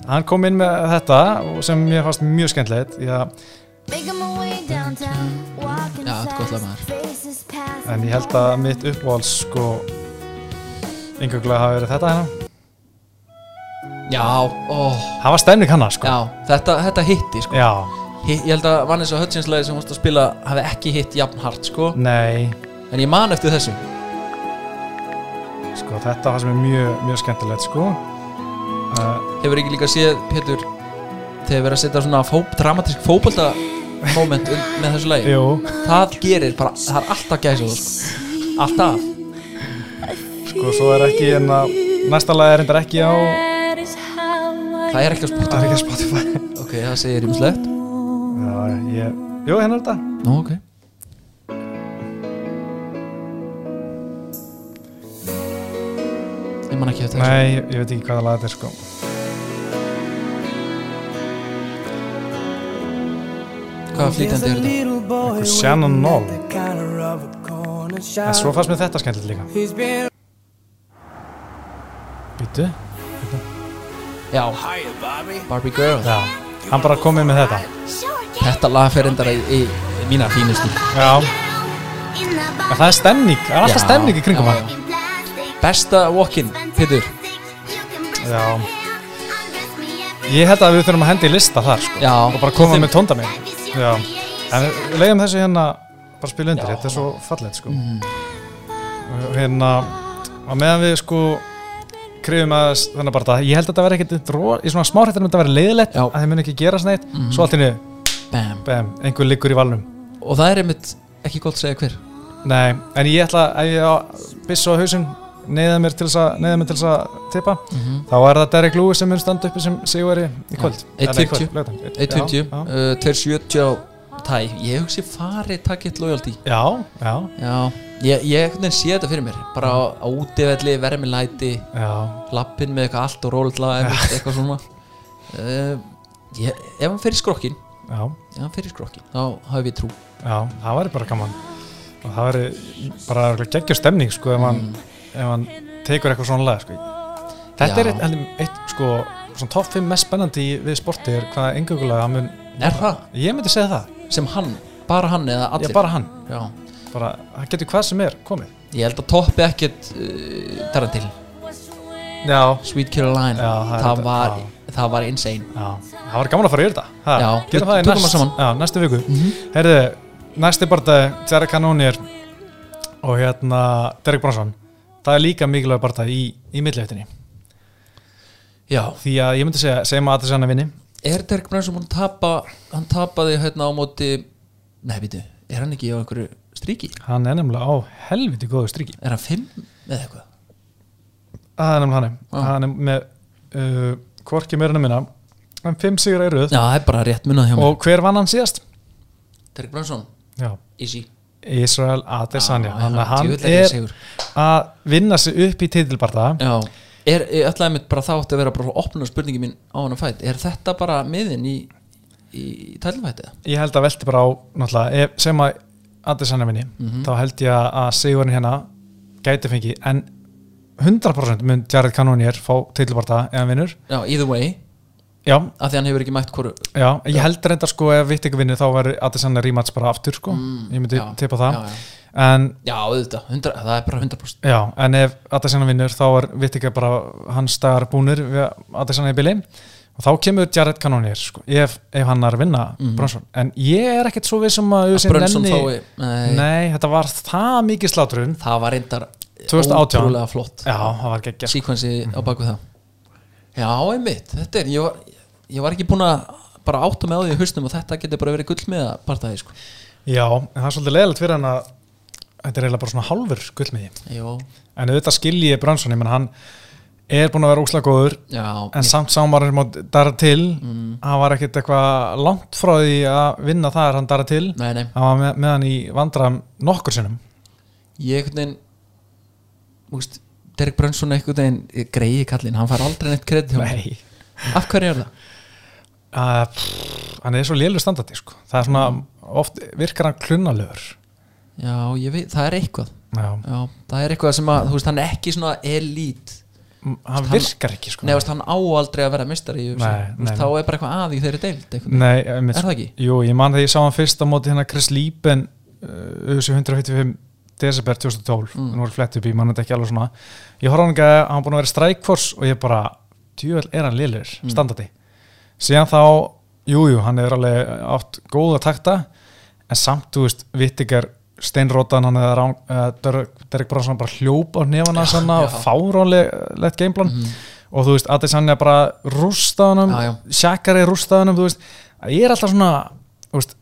Speaker 1: Hann kom inn með þetta og sem mér fannst mjög skemmtilegt Já,
Speaker 3: Making my way downtown, walking
Speaker 2: Já, þetta skotla maður
Speaker 1: en ég held að mitt uppváls sko yngjögulega hafi verið þetta hérna
Speaker 2: Já, ó,
Speaker 1: það var stefning hana sko
Speaker 2: já, þetta, þetta hitti sko.
Speaker 1: já.
Speaker 2: Hi- Ég held að Vanessa Hutchins lagi sem hún varst að spila hafi ekki hitt jafn hart sko.
Speaker 1: nei
Speaker 2: En ég man eftir þessu
Speaker 1: sko þetta var það sem er mjög, mjög skemmtilegt sko uh,
Speaker 2: Hefur ekki líka séð, Pétur Þegar verið að setja svona fó, dramatísk fótbolta moment um, með þessu lagi
Speaker 1: jú,
Speaker 2: Það gerir bara, það er alltaf gæsað sko. Alltaf
Speaker 1: sko svo er ekki en að næsta lag er reyndar ekki á
Speaker 2: Það er ekki á
Speaker 1: það
Speaker 2: spotta
Speaker 1: er ekki að Spotify *laughs*
Speaker 2: Ok, það segir ímislegt
Speaker 1: já, ég, jú hérna er þetta
Speaker 2: Nú, ok Ég man ekki eftir þessu
Speaker 1: nei, ég, ég veit ekki hvaða lag þetta er sko
Speaker 2: Hvaða flýtandi er þetta?
Speaker 1: Einhver
Speaker 3: Eitthvað
Speaker 1: Shannon Knoll. en
Speaker 3: En
Speaker 1: svo fannst mér þetta skemmtilegt líka býtu,
Speaker 2: Já, Barbie Girl
Speaker 1: já, hann bara komið með þetta
Speaker 2: Þetta lag fer endara í, í, í mína fínustu
Speaker 1: já, en það er stemning það er alltaf
Speaker 2: Já,
Speaker 1: stemning í kringum
Speaker 2: já,
Speaker 1: hann
Speaker 2: já. Besta walk-in, Pétur
Speaker 1: Já. ég held að við þurfum að hendi lista þar sko
Speaker 2: Já.
Speaker 1: og bara koma
Speaker 2: Þeim-
Speaker 1: með tónda já, en við leiðum þessu hérna bara spila undir, þetta er svo fallegt sko
Speaker 2: Mhm.
Speaker 1: og hérna og meðan við sko krifum að þennan bara það, ég held að þetta verði ekkit dró, í svona smáhrættir myndi að vera leiðilegt
Speaker 2: Já. Mhm.
Speaker 1: að þeim muni ekki gera sneitt, svo allt inni
Speaker 2: Bam.
Speaker 1: bam, einhver liggur í valnum
Speaker 2: Og það er einmitt ekki gott að segja hver
Speaker 1: nei, en ég ætla að ég á byssu á hausinn neyða mér til þess að, neyða mér til þess að tippa þá er það Derek Lewis sem mun standa uppi sem sigurveri í kvöld
Speaker 2: Mhm. Já. 1.50. 1.50,
Speaker 1: 1.50 já,
Speaker 2: uh, 2.70 á tæ Ég hugsi farið takk eitt lojaldi
Speaker 1: já, já,
Speaker 2: Já, ég, ég einhvern veginn sé þetta fyrir mér Bara á, á útivelli, vermi læti
Speaker 1: já.
Speaker 2: Lappin með eitthvað allt og rólit lag einmitt, Eitthvað svona uh, ég, Ef hann fer í skrokkin
Speaker 1: Já,
Speaker 2: Ef hann fer í skrokkin, þá hafi ég trú
Speaker 1: já, það væri bara gaman og það væri bara geggjur stemning sko ef
Speaker 2: Mhm.
Speaker 1: hann, ef hann tekur eitthvað svona lag sko. Þetta
Speaker 2: Já.
Speaker 1: er eitt, eitt, eitt sko svona top 5 mest spennandi í- við sporti er hvaða engungulega hann mun
Speaker 2: Er það?
Speaker 1: ég myndi segja það,
Speaker 2: Sem hann, bara hann eða allir
Speaker 1: ég bara hann
Speaker 2: Já
Speaker 1: bara, hann getur hvað sem er komið
Speaker 2: Ég held að toppi ekkert uh, Tarantil,
Speaker 1: Já,
Speaker 2: Sweet Caroline
Speaker 1: Já, það
Speaker 2: það,
Speaker 1: er þetta-
Speaker 2: var,
Speaker 1: já.
Speaker 2: það var insane
Speaker 1: já. það væri gaman að fara yfir þetta ha,
Speaker 2: Já,
Speaker 1: gerum
Speaker 2: við
Speaker 1: það í
Speaker 2: tökum það
Speaker 1: næst,
Speaker 2: saman. Mhm.
Speaker 1: já, næstu viku Herðu, næsti barndagi Derek Kanónir og hérna Derek Bronsson það er líka mikilvæg barndagi í, í milleftinni
Speaker 2: Já
Speaker 1: því að ég myndi segja, segjum að Adriana vinni
Speaker 2: Er Derek Brunson búin að tapa Hann tapaði hérna á móti Nei, veitu, er hann ekki á einhverju stríki?
Speaker 1: hann er nefnilega á helviti góðu striki
Speaker 2: Er hann fimm eða eitthvað?
Speaker 1: það er nefnilega hann
Speaker 2: Já.
Speaker 1: er hann er með uh, hvorki meira minna hann fimm sigur í röð
Speaker 2: Já, það er bara rétt munnað hjá mér
Speaker 1: og hver vann hann síðast?
Speaker 2: Derek Brunson,
Speaker 1: Já.
Speaker 2: easy
Speaker 1: Israel Adesanya
Speaker 2: Já,
Speaker 1: þannig
Speaker 2: já,
Speaker 1: að hann
Speaker 2: djöfull er ég
Speaker 1: er
Speaker 2: sigur.
Speaker 1: að vinna sig upp í titilbarta
Speaker 2: Já Er, ég ætlaði mitt bara þá átti að vera bara opnuna spurningi mín á hann að fætt Er þetta bara miðin í, í, í tælfætið?
Speaker 1: ég held að velti bara á náttúrulega ef, sem að Adesanya vinni
Speaker 2: Mhm.
Speaker 1: þá held ég að sigurinn hérna gæti fengi en 100% mun Jared Cannonier fá titilbarta ef hann vinnur
Speaker 2: Já, either way,
Speaker 1: já,
Speaker 2: af því hann hefur ekki mætt hvoru
Speaker 1: Já, ég held reyndar sko ef vitt ekki vinnu þá verður Adesanya rematch bara aftur sko ég myndi
Speaker 2: Mm. já,
Speaker 1: tippa það
Speaker 2: já, já.
Speaker 1: en
Speaker 2: Já, auðvitað, 100, það er bara 100%
Speaker 1: já, en ef Adesanya vinnur þá er vitt ekki bara hans dagar búnir við Adesanya í bili og þá kemur Jared Cannonier sko ef, ef hann er að vinna Brunson en ég er ekkert svo við sem að, UFC
Speaker 2: Brunson
Speaker 1: nenni-
Speaker 2: Mhm. fái- nei.
Speaker 1: nei, þetta var það mikið slátrun
Speaker 2: Það var reyndar
Speaker 1: 2018.
Speaker 2: ótrúlega flott
Speaker 1: já, það var geggja sko.
Speaker 2: Sýkvensi á baku það Já, einmitt, þetta er Ég var, ég var ekki búin að bara átta með á því í hausnum og þetta getur bara verið gull með að partaði sko.
Speaker 1: já, en það er svolítið leiðilegt fyrir hann að þetta er eiginlega bara svona hálfur gullmiði
Speaker 2: Jó,
Speaker 1: en auðvitað skilji ég Brunson, ég menn hann er búin að vera óslag góður
Speaker 2: já
Speaker 1: en samt sá maður mót dara til
Speaker 2: Mm.
Speaker 1: hann var ekkert eitthvað langt frá því að vinna þar hann dara til
Speaker 2: Nei, nei,
Speaker 1: hann var með, með hann í vandram nokkur sinnum
Speaker 2: ég einhvern veginn Þú veist, Derek Brunson er einhvern veginn greiði kallinn, hann fær aldrei neitt kredit hjá mér. Af hverju er það?
Speaker 1: uh, pff, hann er svo lélur standardi sko. það er svona, oft virkar hann klunnalögur
Speaker 2: Já, ég veit, það er eitthvað
Speaker 1: já,
Speaker 2: Já, það er eitthvað sem að, þú veist, hann er ekki svona elít
Speaker 1: M- hann
Speaker 2: Hann-
Speaker 1: virkar ekki sko.
Speaker 2: Nei, veist, hann á aldrei að vera mistari nei,
Speaker 1: Nei,
Speaker 2: veist,
Speaker 1: nei.
Speaker 2: þá er bara eitthvað að í þeirri deild einhvern veginn.
Speaker 1: Nei, einmitt,
Speaker 2: Er það
Speaker 1: sko.
Speaker 2: ekki?
Speaker 1: Jú, ég man þegar ég sá hann fyrst á móti hérna Chris Lieben UC 155 desember 2012
Speaker 2: Mm.
Speaker 1: nú er flett upp í, mann veit ekki alveg svona ég horfði á hann ekki að hann búin að vera strækkors og ég bara, djúvel er hann liður
Speaker 2: Mm.
Speaker 1: standardi, síðan þá jújú, jú, hann er alveg átt góða takta, en samt þú veist vittingar steinrótan hann eða Rán- eða Derek Derek Bronson bara hljóp á nefana
Speaker 2: Já,
Speaker 1: sanna og
Speaker 2: já. Mhm.
Speaker 1: fáránlegt gameplan og þú veist, Adesanya bara rústaðanum,
Speaker 2: Já, já.
Speaker 1: Shakari rústaðanum þú veist, það er alltaf svona þú veist,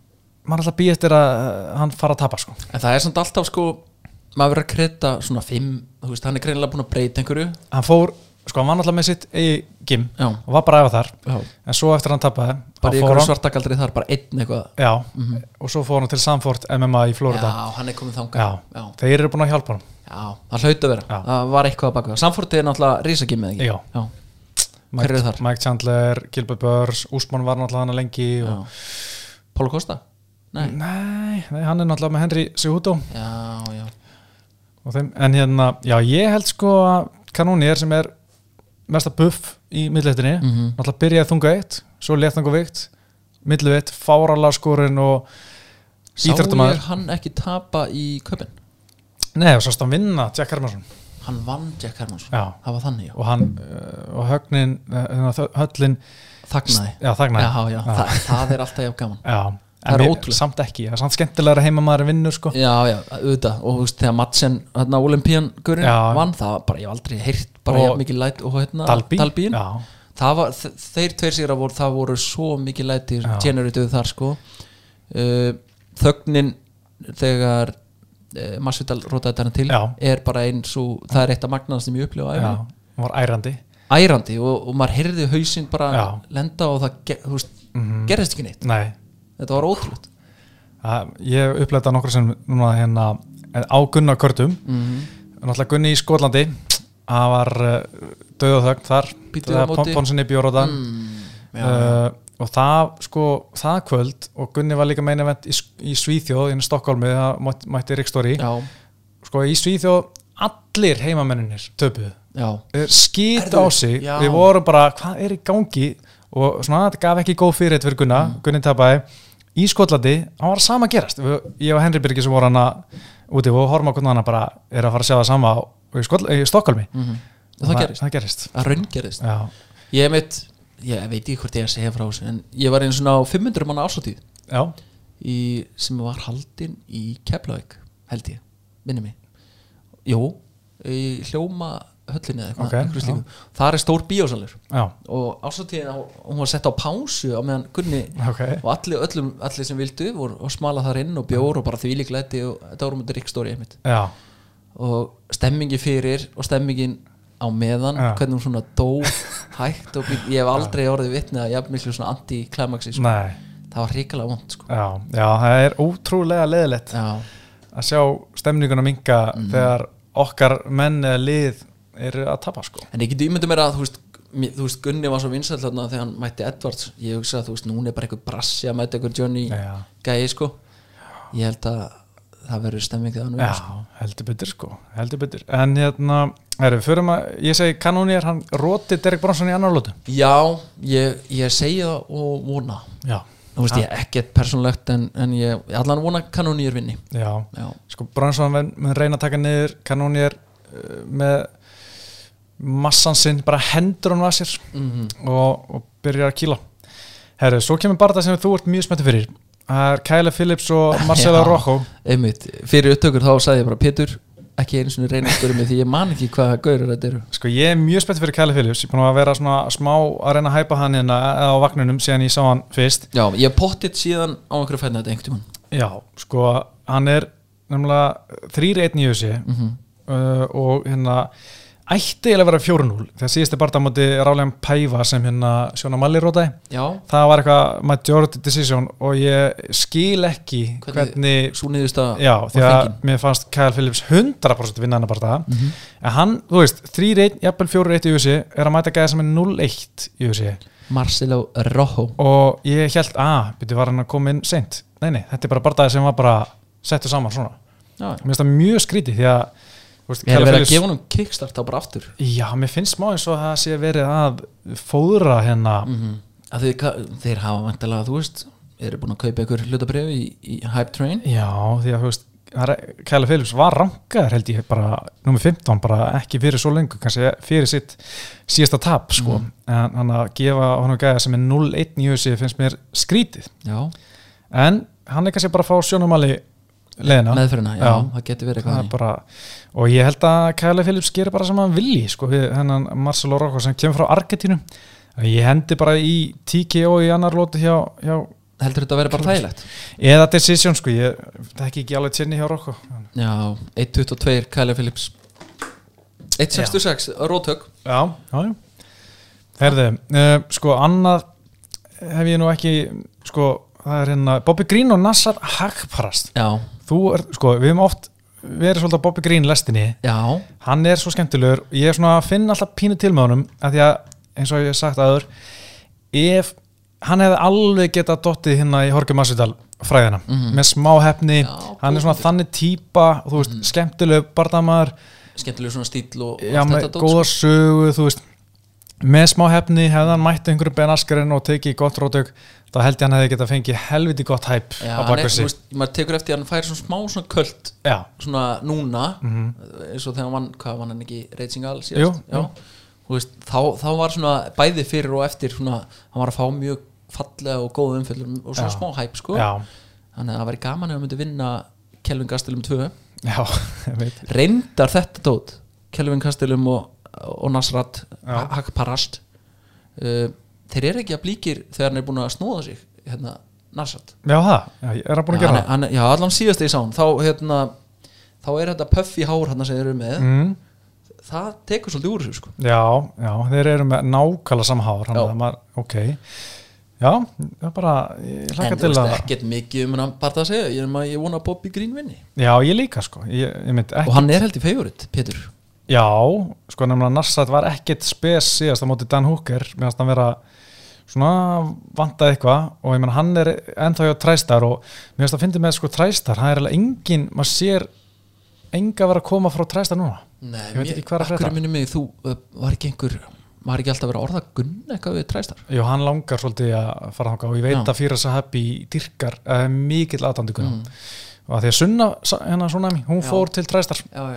Speaker 1: maður er alltaf býð eftir að eh, hann fara að tapa sko
Speaker 2: En það er samt alltaf sko maður verður að kreta svona fimm þú veist, hann er greinilega búin að breyta einhverju
Speaker 1: hann fór, sko hann var náttúrulega með sitt eigi gym
Speaker 2: Já.
Speaker 1: og var bara að æfa þar
Speaker 2: Já.
Speaker 1: en svo eftir að hann tapaði
Speaker 2: bara í
Speaker 1: þá
Speaker 2: einhverju
Speaker 1: hann,
Speaker 2: svartakaldri þar, bara einn eitthvað
Speaker 1: já, og svo fór hann til Sanford MMA í Florida
Speaker 2: Já, hann er komið
Speaker 1: já.
Speaker 2: þangað Já,
Speaker 1: þeir eru búin að hjálpa hann
Speaker 2: Já, það hlaut að vera
Speaker 1: Já.
Speaker 2: Það var eitthvað að baka það Samfórtið er náttúrulega rísagimmið ekki
Speaker 1: Já.
Speaker 2: Hver eru þar?
Speaker 1: Mike Chandler, Gilbert Burrs, Úsmann var náttúrulega hann lengi og...
Speaker 2: Pólu Kosta? Nei
Speaker 1: nei, nei, hann er náttúrulega með Henry Segudo
Speaker 2: Já, já
Speaker 1: og þeim, en hérna, já ég held sko að kanónir sem er mesta buff í miðleitinni
Speaker 2: Mhm.
Speaker 1: náttúrulega byrjaði þunga eitt, svo léttang og veikt miðluveitt, fárala skorinn og
Speaker 2: Sá
Speaker 1: Íþróttamaður.
Speaker 2: ég hann ekki tapa í köpinn
Speaker 1: Nei, og sást hann vinna Jack Hermansson
Speaker 2: Hann vann Jack Hermansson
Speaker 1: Já.
Speaker 2: Það var þannig, já
Speaker 1: og hann uh, og högnin, uh, höllin
Speaker 2: Þagnaði
Speaker 1: já, þagnaði
Speaker 2: Já, já,
Speaker 1: já.
Speaker 2: Þa, það er alltaf jafn gaman
Speaker 1: Já.
Speaker 2: Það
Speaker 1: En
Speaker 2: er
Speaker 1: mér-
Speaker 2: ótrúlegt.
Speaker 1: samt ekki, það er samt skemmtilegra heima maður vinnur sko
Speaker 2: Já, já, auðvitað og þú veist, þegar Madsen, hérna Olympian gurinn
Speaker 1: Já.
Speaker 2: vann, það var bara, ég hef aldrei heyrt bara
Speaker 1: Og-
Speaker 2: jafn mikið læt og hérna
Speaker 1: Dalby,
Speaker 2: Dalbín,
Speaker 1: Já,
Speaker 2: það var, þe- þeir tveir sigra voru, það voru svo mikið læti
Speaker 1: Já.
Speaker 2: generatiðu þar sko uh, þögnin þegar uh, Masvidal rótaði þarna til
Speaker 1: Já.
Speaker 2: er bara eins og, það er eitt af magnaðast sem ég upplifa á
Speaker 1: já,
Speaker 2: æfinni.
Speaker 1: hún var ærandi
Speaker 2: ærandi og, og maður heyrði hausinn bara
Speaker 1: Já.
Speaker 2: lenda og það ge, þú veist,
Speaker 1: Mhm.
Speaker 2: gerðist ekki neitt,
Speaker 1: Nei,
Speaker 2: þetta var ótrúlega
Speaker 1: það, ég uppleita nokkru sem núna hérna eh, á Gunnar Körtum
Speaker 2: mm -hmm.
Speaker 1: Náttúrulega Gunni í Skotlandi Það var uh, döðuþögn þar
Speaker 2: Bíddu á
Speaker 1: Þegar
Speaker 2: móti. Mm.
Speaker 1: Ponsinni bjór á það uh, Og það, sko, það kvöld Og Gunni var líka meina vent í, í Svíþjóð Í Stokkólmi, það mætti, mætti Ríkstóri
Speaker 2: já,
Speaker 1: Sko, í Svíþjóð Allir heimamenninir töpuðu
Speaker 2: já,
Speaker 1: Þeir Skýt Eh, á
Speaker 2: Herðu,
Speaker 1: sig,
Speaker 2: já.
Speaker 1: við vorum bara Hvað er í gangi Og svona, þetta gaf ekki góð fyrir fyrir Gunna
Speaker 2: Mm.
Speaker 1: Gunni tapaði Í Skotlandi, hann var sama að gerast Við- Ég og Henry Birgi sem voru hana úti og horfum á hvernig hana bara er að fara að sjá það sama á- í, Skotl, í Stokkólmi
Speaker 2: mm og það gerðist,
Speaker 1: það gerist.
Speaker 2: það raungerðist
Speaker 1: Já,
Speaker 2: ég veit, ég veit ekki hvort ég að segja frá þessu en ég var einu svona á 500 manna ásatíð
Speaker 1: já,
Speaker 2: í, sem var haldin í Keflavík held ég, minni mig jú, í hljóma höllinni eða eitthvað
Speaker 1: Ok,
Speaker 2: einhverju slíku. þar er stór bíósalur
Speaker 1: já,
Speaker 2: og ásatíðin hún var sett á pásu á meðan Gunni
Speaker 1: ok
Speaker 2: og allir, öllum, allir sem vildu voru og smala þar inn og bjór og bara því lík læti og þetta voru mútið ríkstóri einmitt
Speaker 1: Já,
Speaker 2: og stemmingi fyrir og stemmingin á meðan,
Speaker 1: Já.
Speaker 2: hvernig hún svona
Speaker 1: *laughs*
Speaker 2: dó hægt og býtt, ég hef aldrei orðið vitni að jafn miklu svona anti-klimaxi sko.
Speaker 1: nei,
Speaker 2: það var hrikalega vond sko.
Speaker 1: já, já, það er ótrúlega leðilegt
Speaker 2: já,
Speaker 1: að sjá stemninguna minga
Speaker 2: Mhm.
Speaker 1: þegar okkar menn eða lið eru að tapa sko
Speaker 2: En ég geti ímyndið mér að þú veist, mér, þú veist Gunni var svo vinsæll þarna þegar hann mætti Edwards ég hugsa að þú veist núna er bara einhver brassi að mæta einhver Johnny
Speaker 1: Já,
Speaker 2: gæi sko ég held að það verður stemming þegar hann
Speaker 1: já heldur betur sko, heldur betur En hérna, erum við förum að, ég segi kanónir, hann róti Derek Bronson í annar lótu
Speaker 2: Já, ég, ég segi það og vona
Speaker 1: Já,
Speaker 2: þú veist ég ekkert persónlegt en, en ég ég allan vona kanónýr vinni
Speaker 1: já,
Speaker 2: Já,
Speaker 1: sko Bronson mun mun reyna að taka niður kanónir uh, með massan sinn, bara hendur hann að sér
Speaker 2: mm
Speaker 1: og, og byrjar að kýla Herru, svo kemur bara það sem þú ert mjög spenntur fyrir Það er Kæla Phillips og Marcelo
Speaker 2: Já.
Speaker 1: Rojo
Speaker 2: einmitt fyrir upptökur þá sagði ég bara Pétur ekki einu sinni reyna að spyrja mig því ég man ekki hvaða gaurur þetta eru
Speaker 1: Sko ég er mjög spenntur fyrir Kæla Phillips Ég er búin að vera svona smá að reyna að hæpa hann hérna á vagnunum síðan ég sá hann fyrst
Speaker 2: Já, ég hef pottitt síðan á einhverju fætna þetta einhvern tímann
Speaker 1: Já, sko hann er nefnilega 3-1 í össi
Speaker 2: mm
Speaker 1: uh, og hérna ætti eiginlega að vera 4-0 þegar síðusti barða á móti rálega Pæva sem hérna Sjóna Malli rótaði
Speaker 2: Já,
Speaker 1: það var eitthvað majority decision og ég skil ekki
Speaker 2: Hvernig-
Speaker 1: hvernig
Speaker 2: svo niðurst að
Speaker 1: Já, því að
Speaker 2: fengin.
Speaker 1: mér fannst Kyle Phillips 100% vinna hana bara það en hann, þú veist, 3-1, jafnvel 4-1 í USA er að mæta gæða sem er 0-1 í USA
Speaker 2: Marcelo Rojo
Speaker 1: og ég held, að, byrju, var hann að koma inn seint, nei, nei, þetta er bara bardaði sem var bara settu saman svona,
Speaker 2: Já,
Speaker 1: mér finnst það mjög skrítið því að, þú veist,
Speaker 2: er
Speaker 1: Kyle
Speaker 2: verið að
Speaker 1: Phillips
Speaker 2: gefa honum kickstart þá bara aftur
Speaker 1: Já, mér finnst smá eins og það sé verið að fóðra hérna
Speaker 2: Mhm. mm -hmm. að þeir, þeir hafa vantilega, þú veist eru búin að kaupa ykkur hlutabrifi í, í Hype Train
Speaker 1: Já, því að þú veist það er- Kæla Phillips var rankaður held ég bara nummer 15, bara ekki fyrir svo lengur kannski fyrir sitt síðasta tap sko,
Speaker 2: Mm.
Speaker 1: en hann að gefa honum gæða sem er 0-1 í hausi finnst mér skrítið,
Speaker 2: já,
Speaker 1: en hann er kannski bara að fá sjónumali leðina
Speaker 2: meðferðina, já,
Speaker 1: Já.
Speaker 2: það getur verið
Speaker 1: Það er
Speaker 2: eitthvað
Speaker 1: bara, og ég held að Kæla Phillips gerir bara sem hann vilji sko, við hennan Marcelo Rocco sem kemur frá Argetínu ég hendi bara í TKO í annar lótu hjá, hjá
Speaker 2: þannig. heldur þetta að vera bara þægilegt
Speaker 1: eða Decision sko, ég þekki ekki alveg tjenni hjá Rocco
Speaker 2: já, 1.22 Kæla Phillips 1.66, rótök
Speaker 1: Já, já, já. Herði, uh, sko annað hef ég nú ekki, sko það er hérna, Bobby Green og Nassar Hagparast,
Speaker 2: já,
Speaker 1: þú er, sko við hefum oft verið svolítið á Bobby Green lestinni
Speaker 2: já,
Speaker 1: hann er svo skemmtilegur ég er svona að finna alltaf pínu til með honum af því að, eins og ég hef sagt aður ef, hann hefði alveg getað dottið hérna í Jorge Masvidal fræðina, með smá hefni
Speaker 2: Mhm. Já,
Speaker 1: hann er svona
Speaker 2: góð
Speaker 1: þannig típa, þú veist, skemmtilegur bardamaður,
Speaker 2: skemmtilegur svona stíl og
Speaker 1: já,
Speaker 2: allt
Speaker 1: með
Speaker 2: þetta dót, sko.
Speaker 1: góða sögu þú veist, með smá hefni hefði hann mætt einhverju Ben Askarinn og tekið gott rótök, þá held ég hann hefði getað fengið helviti gott hæp
Speaker 2: Já,
Speaker 1: á
Speaker 2: hann er,
Speaker 1: bakversi
Speaker 2: þú veist, maður tekur eftir að hann fær svona smá svona köld
Speaker 1: já,
Speaker 2: svona núna eins og þegar hann vann, hvað vann hann ekki Raging All síðast
Speaker 1: Mhm. Jú,
Speaker 2: já,
Speaker 1: jú.
Speaker 2: Þú Veist, þá, þá var svona bæði fyrir og eftir svona, hann var að fá mjög fallega og góða umfyllur og svona
Speaker 1: Já.
Speaker 2: smá hæp sko.
Speaker 1: já, *laughs*
Speaker 2: þannig að það væri gaman ef hann myndi vinna Kelvin Gastelum 2
Speaker 1: já, ég veit
Speaker 2: reyndar þetta tótt Kelvin Gastelum og, og Nasrat
Speaker 1: Já.
Speaker 2: Hakparast uh, þeir eru ekki að blíkir þegar hann er búin að snúða sig hérna, Nasrat
Speaker 1: já, það, já, ég er að búin að
Speaker 2: Já,
Speaker 1: gera
Speaker 2: hann, hann, já, allan síðast ég sá hann þá, hérna, þá er þetta puff í hár hann sem þeir eru með
Speaker 1: það mm,
Speaker 2: það tekur svolítið úr þessu sko.
Speaker 1: já, já, þeir eru með nákvæmlega samháður hann
Speaker 2: Já.
Speaker 1: að það maður, ok já, það er bara ég
Speaker 2: en
Speaker 1: hlakka
Speaker 2: þú
Speaker 1: til
Speaker 2: veist
Speaker 1: að
Speaker 2: ekkert mikið um hann bara að segja ég, ég vona að Bobby Green vinni
Speaker 1: já, ég líka sko, ég, ég mynd
Speaker 2: og
Speaker 1: ekki
Speaker 2: hann er held í favorite, Pétur
Speaker 1: já, sko nefnilega Nassat var ekkit spes síðast á móti Dan Hooker meðan hann vera svona vantað eitthvað og ég menn hann er ennþá hjá træstar og mér finnst að fyndi með sko træstar, hann er alveg engin maður sér enga vera að koma frá træstar núna
Speaker 2: Nei,
Speaker 1: Ég veit ekki hvað er að frétta.
Speaker 2: minni mig, þú uh, var ekki einhver var ekki alltaf að vera að orða að gunna eitthvað við træstar
Speaker 1: Jú, hann langar svolítið að fara þangað og ég veit
Speaker 2: Já.
Speaker 1: að fyrir þess að hafi dyrkar uh, mikill aðdandikuna mm. og að því að Sunna, sa- hérna Sunami, hún
Speaker 2: Já.
Speaker 1: fór til træstar og var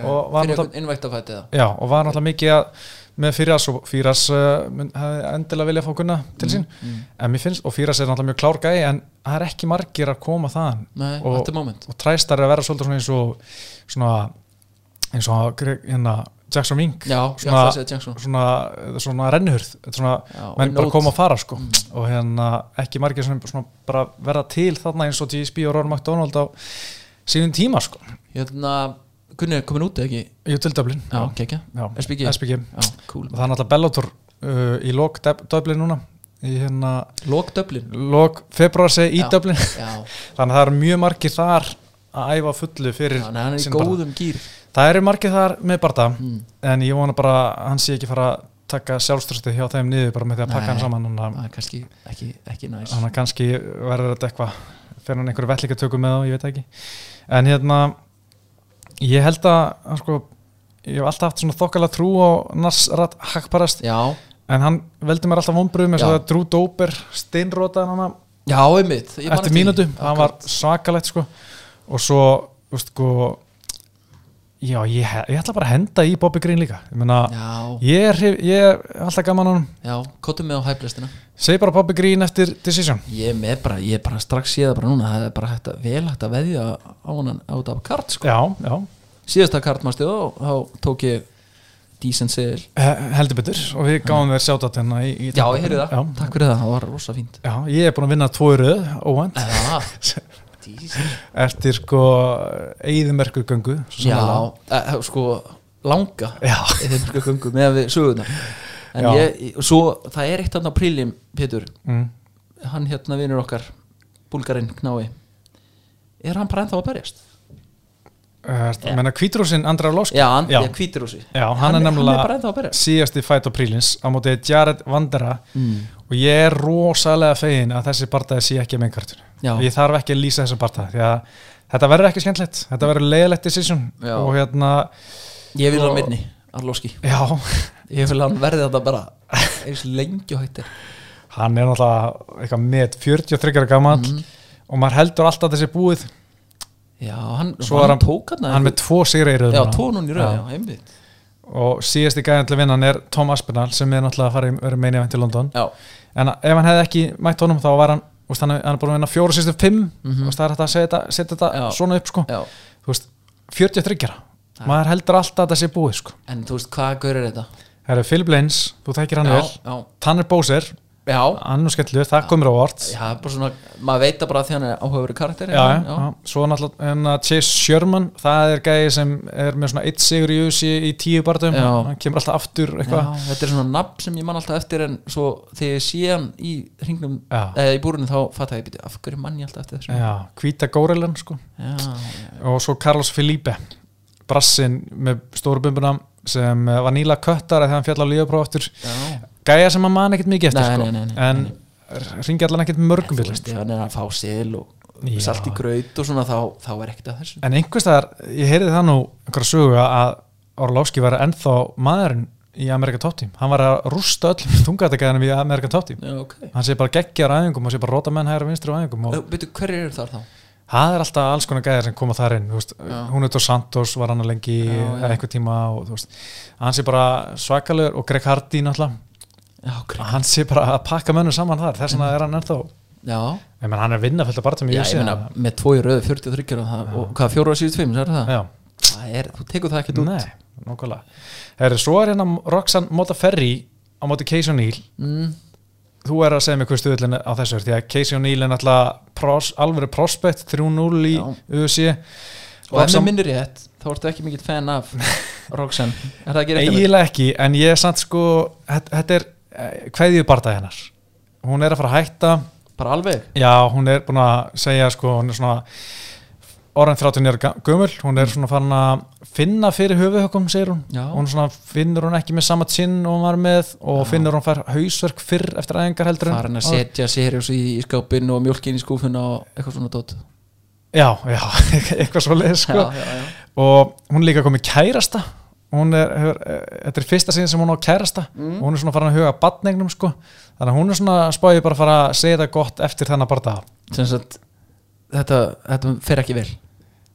Speaker 1: náttúrulega
Speaker 2: fyrir einhvern innvægtafæti eða
Speaker 1: Já, og var náttúrulega mikið að með Fýras og Fýras uh, mun- hefði endilega vilja fá Gunna til
Speaker 2: Mm,
Speaker 1: sín en mér finnst, og Fýras er náttúrulega mjög klár gæi en það er ekki margir að koma þaðan
Speaker 2: Nei,
Speaker 1: og,
Speaker 2: þetta er moment
Speaker 1: og træstar er að vera svolítið svona eins og svona, eins og Greg- hérna, Jackson Wink
Speaker 2: Já, ég ætla að segja Jackson
Speaker 1: svona, svona rennhurð þetta er svona,
Speaker 2: Já, og
Speaker 1: menn bara
Speaker 2: nót. Mm.
Speaker 1: koma að fara sko. og hérna ekki margir sem svona bara verða til þarna eins og GSP og Ron McDonald á sínum tíma sko.
Speaker 2: Hérna, Gunni er komin út eða ekki
Speaker 1: í Duldöflin
Speaker 2: Já, kekja, SBG Já,
Speaker 1: SBG.
Speaker 2: cool
Speaker 1: og það er náttúrulega Bellator uh, í lok Dublin núna í hérna
Speaker 2: Lok Dublin
Speaker 1: lok februar segi í
Speaker 2: Já.
Speaker 1: Dublin *laughs*
Speaker 2: *laughs* Já,
Speaker 1: þannig að það eru mjög margir þar að æfa fullu fyrir
Speaker 2: Já, nei, hann er í
Speaker 1: sinn barða.
Speaker 2: góðum gýr
Speaker 1: það eru margir þar með barða
Speaker 2: Mm.
Speaker 1: en ég vona bara að hann sé ekki fara að taka sjálfströsti hjá þeim niður bara með því að
Speaker 2: Nei.
Speaker 1: pakka hann saman þannig að-
Speaker 2: Það er kannski ekki, ekki næs
Speaker 1: þannig að kannski verður þetta eitthvað fer hann einhverju vellikatöku með þá, ég veit það ekki en hérna ég held að, að sko, ég hef alltaf haft svona þokkala trú á Nasrat Hagparast,
Speaker 2: Já,
Speaker 1: en hann veldi mér alltaf vonbröðum eins og
Speaker 2: Já.
Speaker 1: það Drew Dober steinrótaði hann hana
Speaker 2: já, einmitt ég man
Speaker 1: eftir
Speaker 2: eftir því.
Speaker 1: mínútu, það var
Speaker 2: Akkurat.
Speaker 1: svakalegt sko. og svo þú veist, sko, já, ég, he- ég ætla bara að henda í Bobby Green líka ég meina,
Speaker 2: Já,
Speaker 1: ég er, hrif- ég er alltaf gaman á hann,
Speaker 2: já, kóttum með á hæplistina
Speaker 1: segi bara Bobby Green eftir Decision
Speaker 2: Ég er með bara, ég er bara strax séð það bara núna Það er bara hægt að vel hægt að veðja á hann á þetta kart sko
Speaker 1: já, já,
Speaker 2: Síðasta kart mástu og þá tók ég decent seil
Speaker 1: Eh, heldur betur og við gáum þér sjátt hérna í, í
Speaker 2: Já, ég heyrði það,
Speaker 1: já,
Speaker 2: takk fyrir það, það var rosa fínt
Speaker 1: já, ég er búin að vinna tvo í röð óvænt,
Speaker 2: Já, decent
Speaker 1: *laughs* eftir sko eigðumerkurgöngu
Speaker 2: Já, eh, sko, langa
Speaker 1: já,
Speaker 2: í þeim sko göngu með við sögurnar en
Speaker 1: Já.
Speaker 2: ég, og svo, það er eitt annar prílim, Pétur,
Speaker 1: mm.
Speaker 2: hann hérna vinur okkar, búlgarinn knái er hann bara ennþá að berjast?
Speaker 1: Eh, Ertu að menna kvítrúsin Andra Lósk
Speaker 2: Já, hann,
Speaker 1: Já.
Speaker 2: já. hvítir úr sig
Speaker 1: Já, hann,
Speaker 2: Hann
Speaker 1: er
Speaker 2: er-
Speaker 1: nefnilega
Speaker 2: hann er bara ennþá að berjast.
Speaker 1: síðasti fæt á prílins á mótið Jared Vandera
Speaker 2: Mm.
Speaker 1: og ég er rosalega fegin að þessi bardaði sé ekki með
Speaker 2: Já.
Speaker 1: kartinu ég þarf ekki að lýsa þessum bardaði því að þetta verður ekki skemmtilegt, þetta verður leiðilegt decision
Speaker 2: Já.
Speaker 1: og hérna,
Speaker 2: ég vil
Speaker 1: Og-
Speaker 2: hann minni, Arlóski
Speaker 1: já
Speaker 2: *laughs* ég vil hann verði þetta bara eins lengi og hægt er
Speaker 1: hann er náttúrulega eitthvað með 43 gammal
Speaker 2: Mhm.
Speaker 1: og maður heldur alltaf þessi búið
Speaker 2: já, hann,
Speaker 1: Svo
Speaker 2: hann,
Speaker 1: er hann-
Speaker 2: tók hann
Speaker 1: hann er með tvo sigri í röð
Speaker 2: já,
Speaker 1: núna.
Speaker 2: tvo núna í röð, já,
Speaker 1: Já.
Speaker 2: einmitt
Speaker 1: og síðasti gæðan til að vinna hann er Tom Aspinall sem er náttúrulega að fara í verið meini event í London
Speaker 2: já,
Speaker 1: en ef hann hefði ekki mætt honum þá var hann úst, hann, hann er búin að vinna fjóru sýstu fimm mm og það er hægt að setja þetta, setja þetta
Speaker 2: Mhm. Já.
Speaker 1: svona upp sko.
Speaker 2: já,
Speaker 1: Þú veist, 43 maður heldur alltaf að þetta sé búið sko.
Speaker 2: en þú veist, hvað gaurir þetta?
Speaker 1: það eru Phil Blains, þú tekir hann
Speaker 2: já,
Speaker 1: vel
Speaker 2: já,
Speaker 1: Tanner Bowser,
Speaker 2: já,
Speaker 1: hann er skemmtilegur það komur á vort
Speaker 2: já, bara svona maður veit það bara því hann er áhugaveru karakter
Speaker 1: já, já. svo náttúrulega hérna, Chase Sherman, það er gæði sem er með svona eitt sigur í USA í tíu barðum,
Speaker 2: Já.
Speaker 1: hann kemur alltaf aftur eitthvað,
Speaker 2: Já, þetta er svona nafn sem ég man alltaf eftir en svo þegar ég sé hann í hringnum
Speaker 1: Já.
Speaker 2: eða í búrunum þá fatt að ég býti af hverju mann ég alltaf eftir þessu
Speaker 1: já, hvíta górilan sko,
Speaker 2: já,
Speaker 1: og svo Carlos Felipe brassinn með stórubumbuna sem eh, var nýla köttar þegar hann fjall á lífapróf aftur,
Speaker 2: já,
Speaker 1: gæja sem hann man ekkert mikið eftir
Speaker 2: Nei,
Speaker 1: sko,
Speaker 2: nei, nei, nei,
Speaker 1: en ringi allan ekkert mörgum
Speaker 2: þú
Speaker 1: bílist,
Speaker 2: veist, ef hann er að fá sil og
Speaker 1: Já.
Speaker 2: salt í graut og svona þá, þá er ekkert að þessu
Speaker 1: en einhvers staðar ég heyrði það nú einhverja sögu að Orlovski var ennþá maðurinn í Amerika Top Team, hann var að rústa öllum *laughs* þungatakaðanum í Amerika Top Team
Speaker 2: já, ok
Speaker 1: hann sé bara geggjar æfingum og sé bara róta menn hægra vinstri á æfingum og
Speaker 2: Býtu, hverju eru þar þá?
Speaker 1: það er alltaf alls konar gæðir sem koma þar inn þú veist,
Speaker 2: Já.
Speaker 1: hún er Santos, var hann að lengi
Speaker 2: Já, já.
Speaker 1: eða einhver tíma og þú veist hann sé bara svakalur og Greg Hardy náttúrulega
Speaker 2: Já, ok
Speaker 1: hann sé bara að pakka mönnum saman þar þess vegna er hann ennþá
Speaker 2: Já,
Speaker 1: ég menn hann er vinnafælt að barðum í
Speaker 2: já ég
Speaker 1: UFC,
Speaker 2: meina með tvo í röðu 43 og, það, og hvað, fjóru og síðust fimm, sagði það?
Speaker 1: já,
Speaker 2: það er, þú tekur það ekkert út
Speaker 1: nei, nokkulega herri, svo er hérna Roxanne Modaferri á móti Casey O'Neill
Speaker 2: mm,
Speaker 1: þú er að segja mér hvað stuðlinn á þessu er því að Casey O'Neill er náttúrulega pros, alveg prospect 3-0 í
Speaker 2: Já.
Speaker 1: UFC
Speaker 2: Og ef
Speaker 1: Roxanne-
Speaker 2: mér minnir rétt, þá ertu ekki mikill
Speaker 1: *laughs*
Speaker 2: fan af Roxanne Er það ekki rétt? Emil?
Speaker 1: eiginlega ekki, en ég er samt sko þetta þetta er hverju barða hennar hún er að fara að hætta
Speaker 2: Bara alveg?
Speaker 1: já, hún er búin að segja sko, hún er svona orðan 30 er gömul, hún er svona farin að finna fyrir höfuhökum, segir hún
Speaker 2: Mm. Já.
Speaker 1: hún svona finnur hún ekki með sama tinn og hún var með og finnur hún fær hausverk fyrr eftir aðingar heldur en
Speaker 2: farin
Speaker 1: áður.
Speaker 2: að setja Sirius í, í skápinn og mjölkin í skúfuna og eitthvað svona dót
Speaker 1: já, já, *laughs* eitthvað svo leið sko.
Speaker 2: já, já, já.
Speaker 1: og hún er líka komið kærasta hún er, hefur, eh, þetta er fyrsta síðan sem hún á kærasta
Speaker 2: Mm.
Speaker 1: og hún er svona farin að huga að batningnum sko, þannig að hún er svona spáið bara að fara að segja þetta gott eftir þennan barða
Speaker 2: Sem sagt, þetta, þetta fer ekki vel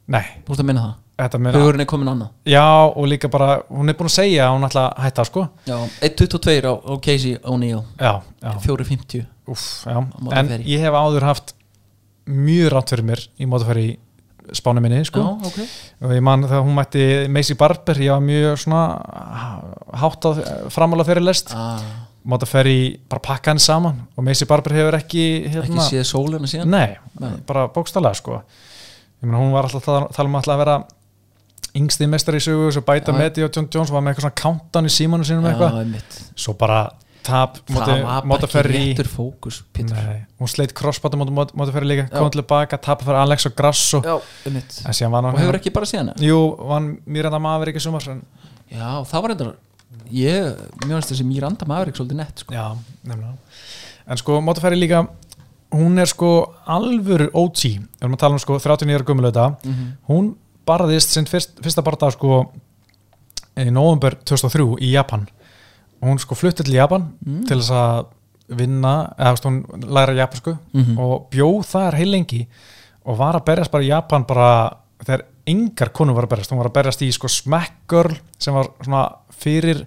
Speaker 1: nei,
Speaker 2: Þú ert að minna það,
Speaker 1: þetta meina
Speaker 2: hugurinn er komin annað
Speaker 1: já og líka bara, hún er búin að segja að hún ætla að hætta sko,
Speaker 2: Já, 1.22 á, á Casey O'Neill
Speaker 1: já, já,
Speaker 2: 4.50
Speaker 1: úff já.
Speaker 2: móti
Speaker 1: en
Speaker 2: fer í.
Speaker 1: ég hef áður haft mjög rátt fyrir mér í mótafæri í spánu minni sko,
Speaker 2: Já, ok
Speaker 1: og ég man þegar hún mætti Macy Barber, ég var mjög svona ah, háttað framála fyrir lest
Speaker 2: ah,
Speaker 1: Máta Ferry bara pakka hann saman og Macy Barber hefur ekki
Speaker 2: Ekki
Speaker 1: hérna,
Speaker 2: séð sólina síðan
Speaker 1: nei,
Speaker 2: Nei.
Speaker 1: bara bókstallega sko ég meina hún var alltaf að tala um alltaf að vera yngsti mestar í sögu svo bæta
Speaker 2: Já.
Speaker 1: með því og John Jones var með eitthvað svona countdown í símanum sínum eitthvað,
Speaker 2: Já, einmitt
Speaker 1: svo bara tap
Speaker 2: Það var bara
Speaker 1: Máta
Speaker 2: ekki
Speaker 1: Ferry
Speaker 2: réttur fókus, Pétur
Speaker 1: Nei, hún sleit crossbata Máta Ferry líka,
Speaker 2: Já.
Speaker 1: kom tilbaka tapa fyrir Alex og Grasso
Speaker 2: Já, einmitt
Speaker 1: en síðan var
Speaker 2: Og
Speaker 1: hann
Speaker 2: hefur ekki bara síðan
Speaker 1: Jú, vann Miranda Maver ekki sumar en,
Speaker 2: Já, það var eitthvað Ég, mjög veist þessi Miranda Maverick svolítið nett sko.
Speaker 1: Já, nefnilega En sko, Motofæri líka hún er sko alvöru OG við erum að tala um sko 39 ára gömul þetta hún barðist sinn fyrst, fyrsta barða sko í november 2003 í Japan hún sko flutti til Japan
Speaker 2: Mm.
Speaker 1: til þess að vinna eða þú veist, hún læra japansku
Speaker 2: Mhm.
Speaker 1: og bjó þar heilengi og var að berjast bara í Japan bara þegar engar konur var að berjast hún var að berjast í sko Smack Girl sem var svona fyrir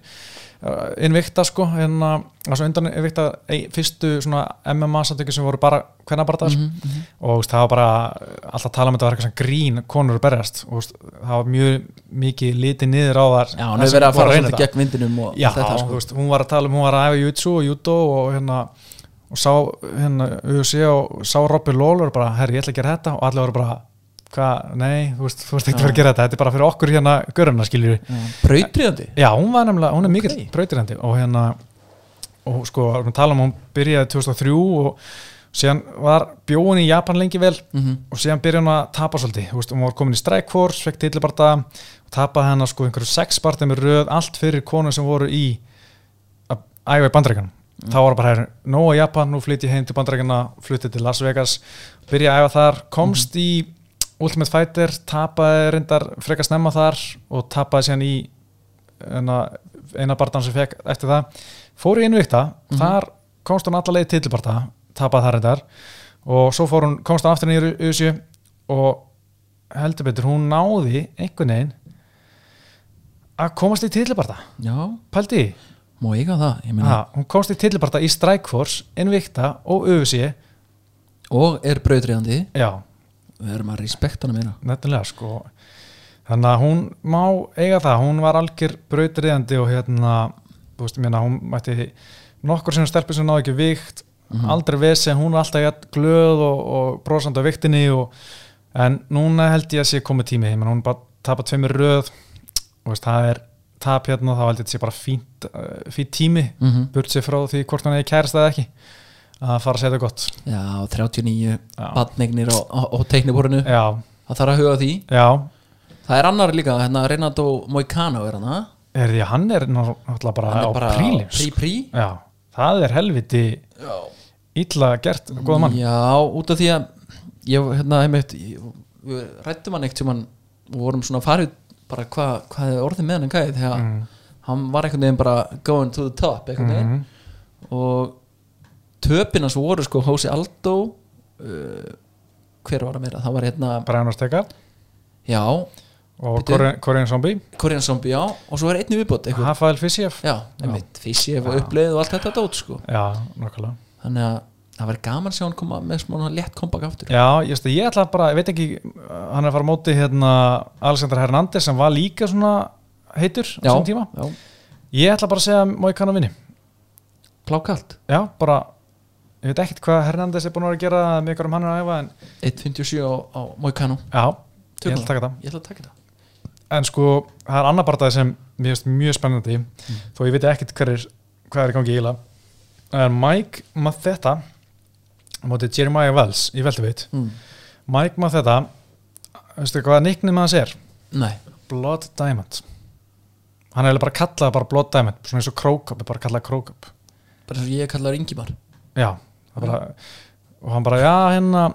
Speaker 1: uh, innvikta sko hérna, altså undan innvikta ei, fyrstu svona MMA samtökju sem voru bara kvennabartar
Speaker 2: Mhm,
Speaker 1: mm -hmm. og þú veist, það var bara uh, alltaf tala um þetta var eitthvað svona grín konur að berjast og þú veist, það var mjög mikið litið niður á þar
Speaker 2: Já, hann hefur verið að
Speaker 1: voru
Speaker 2: fara
Speaker 1: reyna
Speaker 2: svolítið
Speaker 1: þetta.
Speaker 2: gegn vindinum og
Speaker 1: Já,
Speaker 2: allt þetta
Speaker 1: þú
Speaker 2: sko.
Speaker 1: veist, hún var að tala um hún var að æfa jutsu og judo og hérna og sá hérna UFC og sá Robby Lawler bara, herri, ég ætla að gera þetta og allir voru bara, hvað, nei þú veist, þú veist ekki að vera að gera þetta, þetta er bara fyrir okkur hérna göruna skiljur
Speaker 2: Brautriðandi
Speaker 1: Já, hún var nefnilega, hún er mikill
Speaker 2: Ok.
Speaker 1: okay. og hérna og sko, við tala um að hún byrjaði 2003 og síðan var bjóin í Japan lengi vel og síðan byrjaði hún að tapa svolítið, þú veist, hún var komin í strike force, fekk tillibarta og tapaði hennar sko einhverju sex partið með röð, allt fyrir konu sem voru í að æfa í bandreikanum þá var bara hér, nóg að Japan, nú flytti ég heim til bandreikana, flytti til Las Vegas byrjaði að æfa þar, komst í Ultimate Fighter, tapaði reyndar frekar snemma þar og tapaði síðan í eina, eina barndan sem fekk eftir það fór í innvíkta, þar komst hún alla leið til tilbarta tapað þar þetta og svo fór hún, komst hún aftur nýjur USU og heldur betur hún náði einhvern veginn að komast í tilbarta
Speaker 2: já,
Speaker 1: pældi í,
Speaker 2: má eiga það ég meina,
Speaker 1: ha, hún komst í tilbarta í Strike Force Invicta og USU
Speaker 2: og er brautriðandi
Speaker 1: já,
Speaker 2: við erum að respekta hana meira
Speaker 1: nettilega sko þannig að hún má eiga það hún var algjör brautriðandi og hérna, þú veist, mér hún mætti nokkur sem stelpur sem náðu ekki vikt aldrei vesi, hún var alltaf jafn glöð og, og brosandi á viktinni og, en núna held ég að sé komið tími ég menn hún bara tapa tveimur röð og veist, það er tap hérna þá held ég að sé bara fínt, uh, fínt tími
Speaker 2: mm
Speaker 1: burt sér frá því hvort hún er kærist eða ekki að fara að segja það gott
Speaker 2: já, 39
Speaker 1: Já.
Speaker 2: badneignir á, á, á teikniborinu
Speaker 1: já,
Speaker 2: það þarf að huga að því
Speaker 1: já,
Speaker 2: það er annar líka, hérna Renato Moicano er hann, ha?
Speaker 1: er því að hann er náttúrulega bara
Speaker 2: hann
Speaker 1: á
Speaker 2: er bara
Speaker 1: prílims
Speaker 2: prí-prí
Speaker 1: Já, það er helviti
Speaker 2: já
Speaker 1: illa gert, góða mann
Speaker 2: Já, út af því að ég, hérna, einmitt, ég, við rættum hann eitt sem hann og vorum svona farið bara hvað hva er orðið með hann gæði þegar
Speaker 1: Mm.
Speaker 2: hann var einhvern veginn bara going to the top einhvern veginn
Speaker 1: Mhm.
Speaker 2: og töpinas voru sko Hósi Aldó uh, hver var það meira? Það var hérna,
Speaker 1: Brian Ortega
Speaker 2: já
Speaker 1: og
Speaker 2: Bíddu.
Speaker 1: Korean Korean Zombie
Speaker 2: Korean Zombie, já og svo er einnig viðbót eitthvað
Speaker 1: Hafael Fissiev
Speaker 2: Já, einmitt, físi og uppleið og allt þetta dót sko
Speaker 1: Já, nokkulega
Speaker 2: þannig að það var gaman að sjá hann koma með svona létt kompakt aftur
Speaker 1: Já, ég, veist, ég ætla bara, ég veit ekki hann er að fara á móti hérna Alexander Hernandez sem var líka svona heitur á þessum tíma
Speaker 2: já,
Speaker 1: Ég ætla bara að segja að má ég kannan vinni
Speaker 2: klákalt
Speaker 1: Já, bara, ég veit ekkert hvað Hernandez er búin að vera að gera með ykkur um hann er að æfa en
Speaker 2: 1.57 á, á Moicano
Speaker 1: já, ég
Speaker 2: Tökum
Speaker 1: ætla að taka það
Speaker 2: ég ætla að taka það
Speaker 1: en sko, það er annar barndað sem mér finnst mjög spennandi þó ég veit ekkert hver er, hvað er í gangi íla það er Mike Matheta á móti Jeremiah Wells í Veltuveit
Speaker 2: mm.
Speaker 1: Mike Matheta veistu hvað nicknum hans er?
Speaker 2: nei,
Speaker 1: Blood Diamond hann er eiginlega bara kallað bara Blood Diamond svona eins og Krókup, bara kallað Krókup
Speaker 2: bara svo ég kallar Ingimar
Speaker 1: já, það bara og hann bara, já, hérna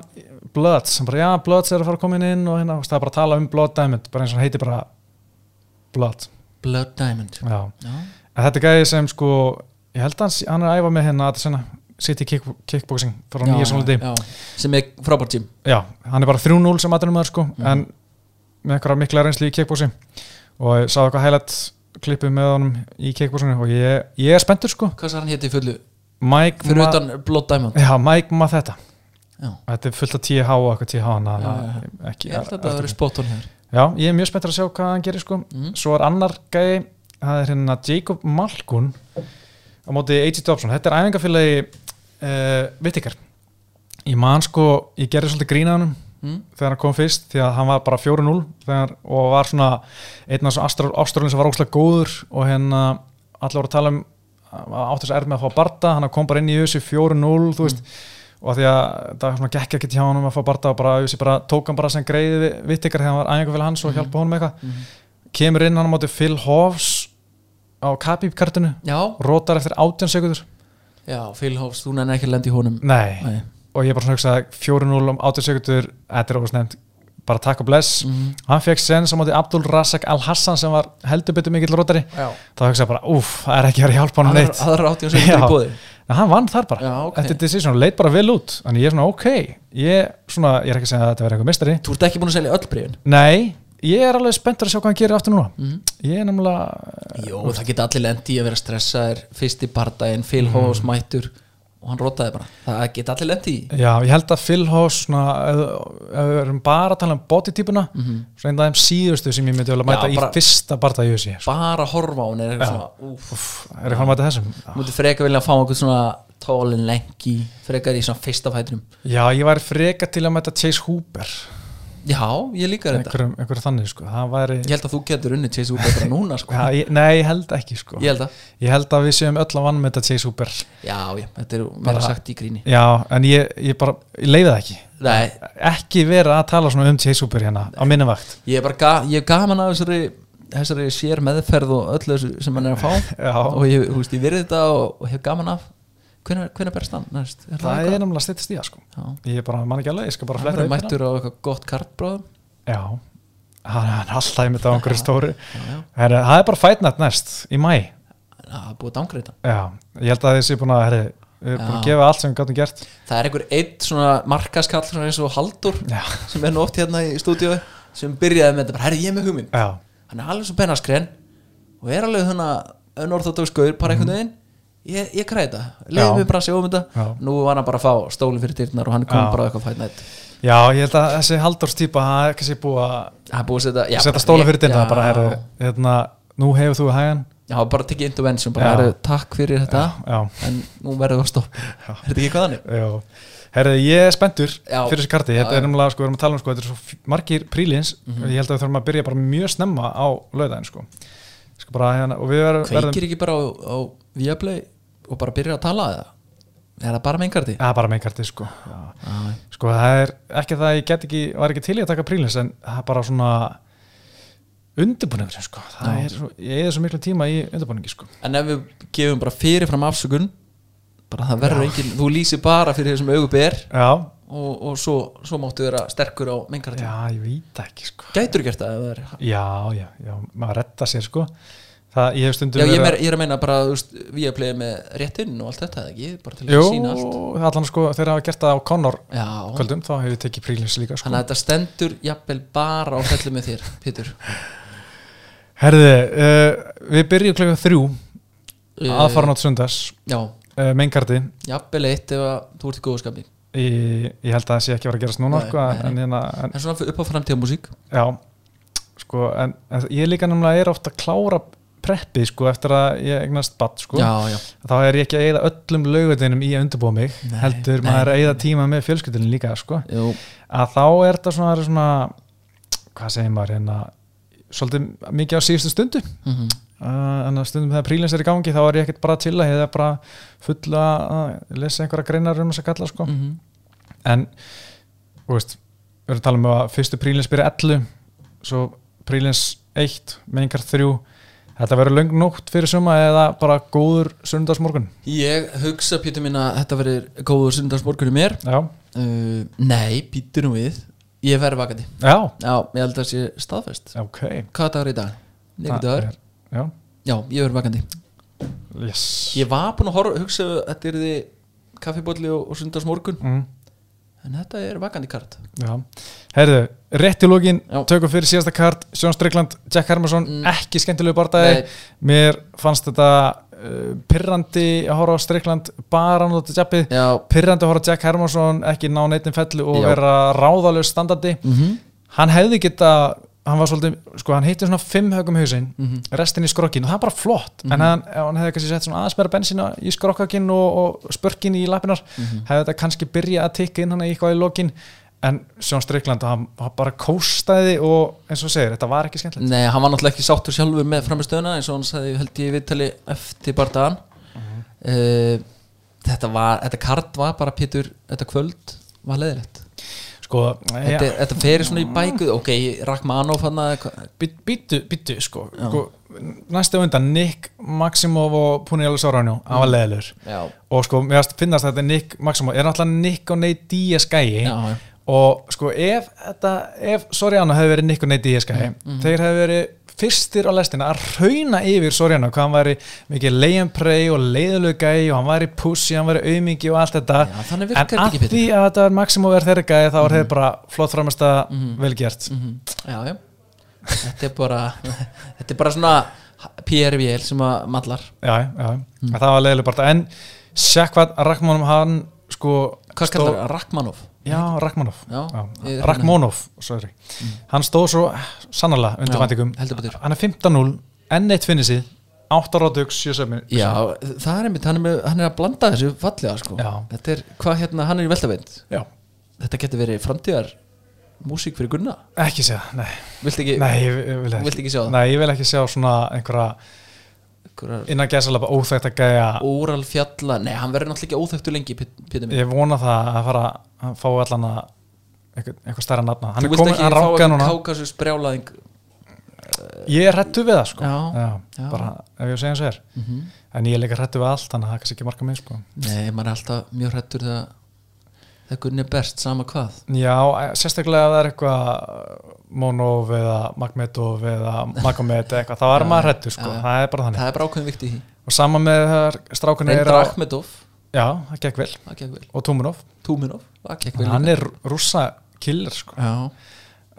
Speaker 1: Bloods, hann bara, já, Bloods er að fara að koma inn og hérna, þú veist, það er bara að tala um Blood Diamond bara eins og hann heiti bara Blood
Speaker 2: Blood Diamond
Speaker 1: já
Speaker 2: já,
Speaker 1: En Þetta er gæði sem sko ég held að hans, hann er að æfa með hérna Adesina City kick, Kickboxing frá nýja svolítið já.
Speaker 2: já, sem er frábært tím
Speaker 1: hann er bara 3-0 sem aðdunum maður sko
Speaker 2: Mhm.
Speaker 1: en með einhverja mikla reynslu í kickboxing og ég sáði eitthvað hælætt klippið með honum í kickboxinu og ég, ég er spenntur sko
Speaker 2: hvað sær hann héti í fullu
Speaker 1: Mike,
Speaker 2: fyrir
Speaker 1: Ma-
Speaker 2: utan Blood Diamond
Speaker 1: já, Mike Matheta
Speaker 2: já,
Speaker 1: þetta er fullt af 10H og eitthvað 10H hana,
Speaker 2: Já, já,
Speaker 1: Ekki,
Speaker 2: ég held að þetta
Speaker 1: eftir-
Speaker 2: verið spot on hér
Speaker 1: já, ég er mjög spenntur að sjá hvað hann gerir sko
Speaker 2: mm.
Speaker 1: svo er annar gæi það er hérna Jacob Malkun á móti AJ Dobson, þetta er æfingafélagi uh, Vittikar ég man sko, ég gerði svolítið grínaðanum
Speaker 2: Mm.
Speaker 1: þegar hann kom fyrst því að hann var bara 4-0 þegar- og var svona einn af þessum ástrálinn sem var óslega góður og hérna allir voru að tala um átti þess að er með að fá barda hann kom bara inn í Jussi 4-0 þú veist og að því að það var svona gekk ekkert hjá hann um að fá barda og bara Jussi bara tók hann bara sem greiði vittikar þegar hann var æfingar fyrir hans og hjálpa honum eitthvað
Speaker 2: Mm.
Speaker 1: kemur inn hann á móti Phil Hoffs á Kapip-kartinu
Speaker 2: já,
Speaker 1: rótar eftir 18 sekundur
Speaker 2: já, Phil Hoffs, þú nenni ekki að lenda í honum
Speaker 1: nei,
Speaker 2: nei,
Speaker 1: og ég bara svona hugsaði 4-0 um 18 sekundur, þetta er ofast nefnt bara takk og bless,
Speaker 2: mm.
Speaker 1: hann fekk sen á móti Abdul Razak Al-Hassan sem var heldur betur mikill rótari,
Speaker 2: já
Speaker 1: þá hugsaði bara úf, það er ekki verið að hjálpa hann neitt
Speaker 2: aðra átti hann sem
Speaker 1: Já.
Speaker 2: er í bóði
Speaker 1: en hann vann þar bara,
Speaker 2: já, ok
Speaker 1: þetta er decision, leit bara vel út þannig ég er svona ok, ég, svona, ég er ekki að segja að þetta verið einhver mistari,
Speaker 2: þú ert ekki búin að selja öll breyfin
Speaker 1: nei ég er alveg spenntur að sjá hvað hann gerir aftur núna
Speaker 2: mm.
Speaker 1: ég er nefnilega
Speaker 2: Jó, það geta allir lendi í að vera stressaðir fyrst í bardaginn, Phil Hoss mættur og hann rotaði bara, það geta allir lendi í
Speaker 1: Já, ég held að Phil Hoss svona, ef, ef við erum bara að tala um bodytypuna, mm -hmm. svo einn af þeim síðustu sem ég myndi vel að mæta
Speaker 2: Mhm. Já,
Speaker 1: í
Speaker 2: bara-
Speaker 1: fyrsta barða í USA sko.
Speaker 2: bara horfa á hún er eitthvað svona úf,
Speaker 1: er ég fann að mæta þessum?
Speaker 2: mútið frekar vilja að fá einhvern svona tólin lengi, frekar í svona fyrsta fætinum
Speaker 1: Já, ég væri freka til að mæta Chase Hooper
Speaker 2: já, ég líka þetta
Speaker 1: einhverjum, einhverjum þannig, sko það væri,
Speaker 2: ég held að þú getur unni Chase Hooper bara núna sko.
Speaker 1: ja, ég, nei, ég held ekki, sko
Speaker 2: ég held að,
Speaker 1: ég held að við séum öll að vann með þetta Chase Hooper
Speaker 2: já, já, þetta er
Speaker 1: Bara-
Speaker 2: meira sagt í gríni
Speaker 1: Já, en ég, ég bara, ég leiði það ekki
Speaker 2: nei,
Speaker 1: ekki vera að tala svona um Chase Hooper hérna á minni vakt
Speaker 2: ég er bara ga ég er gaman af þessari þessari sér meðferð og öllu þessu sem hann er að fá
Speaker 1: *laughs* Já,
Speaker 2: og ég, þú veist, ég virði þetta og, og hef gaman af hvenær, hvenær berst hann næst? Er
Speaker 1: það er
Speaker 2: eitthvað?
Speaker 1: nefnilega stýttist í það, sko
Speaker 2: Já.
Speaker 1: ég bara man ekki alveg, ég skal bara
Speaker 2: hann
Speaker 1: fletta
Speaker 2: verður
Speaker 1: upp hérna.
Speaker 2: mættur á eitthvað gott kartbróðum
Speaker 1: Já, hann hann er alltaf einmitt á einhverju stóru
Speaker 2: já, já,
Speaker 1: Herri, Það er bara fætnætt næst í mæ
Speaker 2: það er búið að dangreita
Speaker 1: Já, ég held að þessi búin að herri, við erum búin að
Speaker 2: Já.
Speaker 1: gefa allt sem við gáttum gert
Speaker 2: það er einhver eitt svona markaskall svona eins og Haldur
Speaker 1: Já.
Speaker 2: sem er nú oft hérna í stúdíu sem byrjaði með þetta, bara herri ég er með hugmynd
Speaker 1: já,
Speaker 2: hann er alveg svo bennaskren og er alveg þannig að önorthodoxkur bara einhvern veginn ég, ég græði þetta, leiði
Speaker 1: Mhm. Já.
Speaker 2: mig bara að sjá um þetta
Speaker 1: Já.
Speaker 2: nú var hann bara að fá stóli fyrir dyrnar og hann kom
Speaker 1: Já.
Speaker 2: bara á eitthvað fætt nætt
Speaker 1: já, ég held að þessi haldórstýpa það er kannski búið að
Speaker 2: hann búið að setja já, bara-
Speaker 1: setja stóla fyrir
Speaker 2: já.
Speaker 1: dyrna bara, heru, hérna, nú hefur þú hægan
Speaker 2: já, bara tekið intervention, bara
Speaker 1: Já.
Speaker 2: herri, takk fyrir þetta
Speaker 1: já,
Speaker 2: en nú verður það stopp er þetta ekki
Speaker 1: *laughs*
Speaker 2: hvað þannig?
Speaker 1: já Herði, ég er spenntur
Speaker 2: Já.
Speaker 1: fyrir þessi karti
Speaker 2: Já,
Speaker 1: þetta
Speaker 2: já. Mhm.
Speaker 1: er nefnilega, sko, við erum að tala um sko, þetta er svo f- margir prílins, ég held að við þurfum að byrja bara mjög snemma á laudaginn sko. sko bara, hérna, og við verðum verðum-
Speaker 2: kveikir ekki bara á, á Viaplay og bara byrjar að tala eða? er það bara meinkarti?
Speaker 1: Já, bara meinkarti sko já.
Speaker 2: Já.
Speaker 1: Sko það er ekki það að ég get ekki var ekki til í að taka prílins en það er bara svona undirbúningur sko. það
Speaker 2: Já.
Speaker 1: er svo, ég er svo miklu tíma í undirbúningi sko.
Speaker 2: en ef við gefum bara fyrirfram afsökun bara það verður engin, þú lýsir bara fyrir þessum auguber
Speaker 1: Já,
Speaker 2: og, og svo, svo máttu vera sterkur á meinkarti
Speaker 1: já, ég veit ekki sko.
Speaker 2: gætur gert það? ef það er-
Speaker 1: Já, já, já, maður retta sér sko Það, ég hef stundum
Speaker 2: Já, ég,
Speaker 1: verið að-
Speaker 2: meir, ég er að meina bara þú veist, Viaplay með réttinn og allt þetta eða ekki, bara til að sína allt
Speaker 1: Jú, allan sko, þegar hafa gert það á Connor
Speaker 2: Já,
Speaker 1: kvöldum, þá hef ég tekið prílins líka sko.
Speaker 2: þannig að þetta stendur jafnvel bara á fellu með þér, Pétur
Speaker 1: Herði, uh, við byrjum klukkan þrjú aðfaran átt sundas,
Speaker 2: Eh, Já,
Speaker 1: uh, meinkarti
Speaker 2: jafnvel eitt ef að þú ert í góðu skapi
Speaker 1: ég, ég held að það sé ekki að vera að gerast núna
Speaker 2: Nei,
Speaker 1: sko,
Speaker 2: nei,
Speaker 1: en, hérna, en
Speaker 2: En svona upp á framtíða músík
Speaker 1: Já, sko, en, en ég líka nefnilega er ofta að klára preppið, sko, eftir að ég egnast batt, sko.
Speaker 2: Já, já,
Speaker 1: Þá er ég ekki að eyða öllum laugadeinum í að undirbúa mig,
Speaker 2: Nei,
Speaker 1: heldur
Speaker 2: nei.
Speaker 1: maður að eyða tíma með fjölskyldinu líka, sko.
Speaker 2: jú,
Speaker 1: Að þá er þetta svona, það eru svona hvað segir maður, hérna, svolítið mikið á síðustu stundu.
Speaker 2: mm
Speaker 1: Uh, en að stundum þegar prílins er í gangi þá er ég ekkert bara til að hefða bara fulla að lesa einhverja greinar um þess að kalla, sko.
Speaker 2: -hmm.
Speaker 1: en þú veist, við erum að tala um að fyrstu prílins byrja 11 svo prílins 1, mengar 3 þetta verður löng nótt fyrir suma eða bara góður sundarsmorgun
Speaker 2: Ég hugsa, Pétur mín, að þetta verður góður sundarsborgur í mér
Speaker 1: já,
Speaker 2: uh, Nei, Pétur nú við Ég verður vakandi
Speaker 1: já,
Speaker 2: Já, ég held að það sé staðfest
Speaker 1: ok
Speaker 2: Hvað dagur í dag? Nikudagur
Speaker 1: er- já,
Speaker 2: Já, ég verður vakandi
Speaker 1: yes
Speaker 2: Ég var búinn að horfa, hugsa að þetta er því kaffibólli og, og sundarsmorgun
Speaker 1: mm,
Speaker 2: En þetta er vakandi kart
Speaker 1: já, heyrðu, rétt í lógin
Speaker 2: Já.
Speaker 1: tökum fyrir síðasta kart, Sjón Strykland Jack Hermansson,
Speaker 2: Mm.
Speaker 1: ekki skemmtilegu barndagi
Speaker 2: Nei,
Speaker 1: mér fannst þetta uh, pirrandi að horfa á Strykland bara hann út að jappið
Speaker 2: Já,
Speaker 1: pyrrandi að horfa á Jack Hermansson ekki ná neittin fellu og
Speaker 2: Já.
Speaker 1: vera ráðalög standandi
Speaker 2: mm
Speaker 1: hann hefði geta, hann var svolítið sko, hann hitti svona fimm högum hausinn
Speaker 2: Mhm.
Speaker 1: restin í skrokkin og það er bara flott en hann, ef hann hefði kannski sett svona aðeins meira bensina í skrokkakinn og, og spörkin í lapinar
Speaker 2: Mhm.
Speaker 1: hefði þetta kannski byrjað að tikka inn hann í eitthvað í lokin en Sjón Strykland, hann, hann bara kóstaði og eins og þú segir, þetta var ekki skemmtilegt
Speaker 2: Nei, hann var náttúrulega ekki sáttur sjálfur með framistöðuna eins og hann sagði, held ég, í viðtali eftir bardaðan uh, þetta var, þetta kart var bara Pétur, þetta kvöld var leðilegt
Speaker 1: sko,
Speaker 2: þetta, þetta ferir svona í bækuð ok, Rachmanov hann að
Speaker 1: Býtu, býtu, sko, sko næstu undan, Nick Maximov og Punial Soranu, hann var leðilur
Speaker 2: Mm. já,
Speaker 1: og sko, mér varst- finnast þetta Nick Maximov, er náttúrulega Nick og Nate Diaz gæi
Speaker 2: já, já,
Speaker 1: og sko, ef þetta, ef Soriano hefði verið Nick og Nate Diaz
Speaker 2: Mm,
Speaker 1: gæi, þeir hefði verið fyrstir á lestina að rauna yfir Soriano, hvað hann væri mikið leiðanprei og leiðilug gæi og hann væri pussi, hann væri aumingi og allt þetta
Speaker 2: já, þannig
Speaker 1: en
Speaker 2: virkar þetta
Speaker 1: að
Speaker 2: ekki Mm. Pétur
Speaker 1: því að þetta er Maximov er þeirra gæi þá er þeir bara flott framist að vel gert
Speaker 2: Mhm, já, já þetta er bara *laughs* þetta er bara svona PRVL sem að mallar
Speaker 1: já, já,
Speaker 2: Hmm.
Speaker 1: mm. það var leiðileg bara en Sjakvat Rachmanov hann sko
Speaker 2: hvað
Speaker 1: stóð-
Speaker 2: kallar það, Rachmanov
Speaker 1: Já, Rachmanov
Speaker 2: Já, ég er hérna. Hmm.
Speaker 1: Rachmanov, sorry hann stóð svo eh, sannarlega
Speaker 2: Já,
Speaker 1: undir vendingum
Speaker 2: heldur betur.
Speaker 1: hann er 15-0, enn eitt finnið síð 8 ráðugs, 7 sömur
Speaker 2: já, það er einmitt, hann er, með, hann er að blanda þessu fallega sko,
Speaker 1: Já.
Speaker 2: þetta er, hvað hérna, hann er í veltaveint
Speaker 1: já,
Speaker 2: þetta getur verið framtíðar músík fyrir Gunna
Speaker 1: ekki sé það, nei
Speaker 2: vilt ekki
Speaker 1: nei, ég, ég vil
Speaker 2: Þú
Speaker 1: ekki,
Speaker 2: vilt ekki sjá það?
Speaker 1: nei, ég vil ekki sjá svona einhverja
Speaker 2: einhverjar
Speaker 1: innan gæsalapa óþægt að gæja
Speaker 2: óral fjalla nei, hann verður náttúrulega ekki óþögtu lengi Pétur minn
Speaker 1: ég vona það að fara að fá allan að eitthvað, eitthvað stærra nafna hann
Speaker 2: þú
Speaker 1: er
Speaker 2: vilt
Speaker 1: komin,
Speaker 2: ekki
Speaker 1: hann
Speaker 2: fá
Speaker 1: rákaði núna
Speaker 2: kákasus brjálaðing
Speaker 1: ég er hrættu við það sko
Speaker 2: Já, já. Mhm.
Speaker 1: bara ef ég á að segja eins og er en ég er líka hrættu við allt þannig að það er kannski ekki marka minn sko
Speaker 2: nei, maður er alltaf mjög hrættur þegar þegar Gunni er best, sama hvað
Speaker 1: já, eh, sérstaklega ef það er eitthvað uh, Monov eða Magmetov eða Magomet eða eitthvað, þá er maður hrættu sko
Speaker 2: já, já.
Speaker 1: það er bara þannig
Speaker 2: það er bara ákveðin vikt í því
Speaker 1: og sama með þegar strákunni er
Speaker 2: reyndur
Speaker 1: á
Speaker 2: Akhmedov
Speaker 1: já, það gekk vel
Speaker 2: það gekk vel,
Speaker 1: og Tóminov,
Speaker 2: Túminov það gekk vel
Speaker 1: hann
Speaker 2: líka.
Speaker 1: er rússa killer sko.
Speaker 2: já,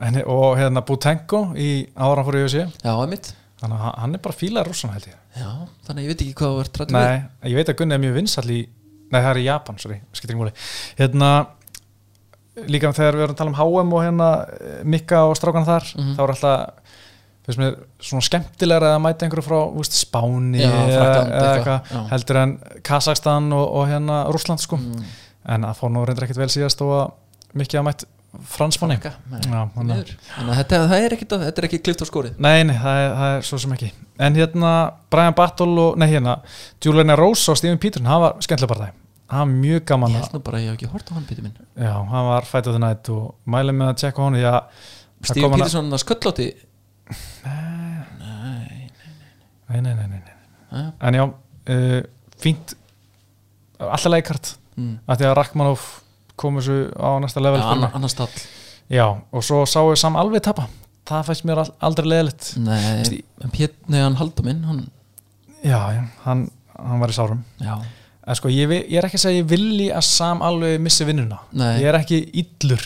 Speaker 1: en, og hérna Butenko í ára fór í USA
Speaker 2: já, emitt
Speaker 1: þannig að hann- hann er bara fílað rússan held ég
Speaker 2: já, þannig að ég veit ekki hvað þú ert trættu við
Speaker 1: Nei, ég veit að Gunni er mjög vinsall í Nei, það er í Japan, sorry, skiptir ekki múli Hérna, líka þegar við erum að tala um HM og hérna eh, Mikka og strákan þar,
Speaker 2: Mhm.
Speaker 1: þá er alltaf finnst mér svona skemmtilegra að mæta einhverju frá, þú veist, Spáni
Speaker 2: Já,
Speaker 1: eða-
Speaker 2: Frakkland,
Speaker 1: eða
Speaker 2: eitthvað,
Speaker 1: eitthvað,
Speaker 2: já.
Speaker 1: heldur en Kazakstan og, og hérna Rússland, sko
Speaker 2: Mm,
Speaker 1: en að fór nú reyndar ekkit vel síðast og að Mikki að mætt fransmanni
Speaker 2: Franka, nei,
Speaker 1: Já, hann
Speaker 2: því
Speaker 1: er-
Speaker 2: miður. þannig að þetta, það er ekki, þetta er ekki klift á skórið
Speaker 1: Nei, nei, það er, það er svo sem ekki En hérna, Brian Battle og, nei hérna Julian Rose og Stephen Peterson, það var skemmtilega bara það Það var mjög gaman
Speaker 2: ég
Speaker 1: að,
Speaker 2: held nú bara að ég hef ekki hort á hann pítur minn
Speaker 1: já, hann var Fight of the Night og mælið með að tjekka honum því að það
Speaker 2: Steve
Speaker 1: kom hann að-
Speaker 2: Peterson að sköllóti
Speaker 1: Nei, nei, nei, nei, nei.
Speaker 2: Jæja.
Speaker 1: En já, uh, fínt Alltaf leikart
Speaker 2: mm.
Speaker 1: Af því að Rachmanov kom þessu á næsta level
Speaker 2: ja,
Speaker 1: fyrir mig.
Speaker 2: annar, annar stall
Speaker 1: já, og svo sáu við sam alveg tapa Það fæst mér al- aldrei leðilegt
Speaker 2: nei, en Pét, nei, hann haldum inn hann, Mm.
Speaker 1: Já, já, hann, hann var í sárum
Speaker 2: já,
Speaker 1: En sko, ég, vi- ég er ekki að segja ég vilji að Sam alveg missi vinnuna.
Speaker 2: Nei.
Speaker 1: Ég er ekki illur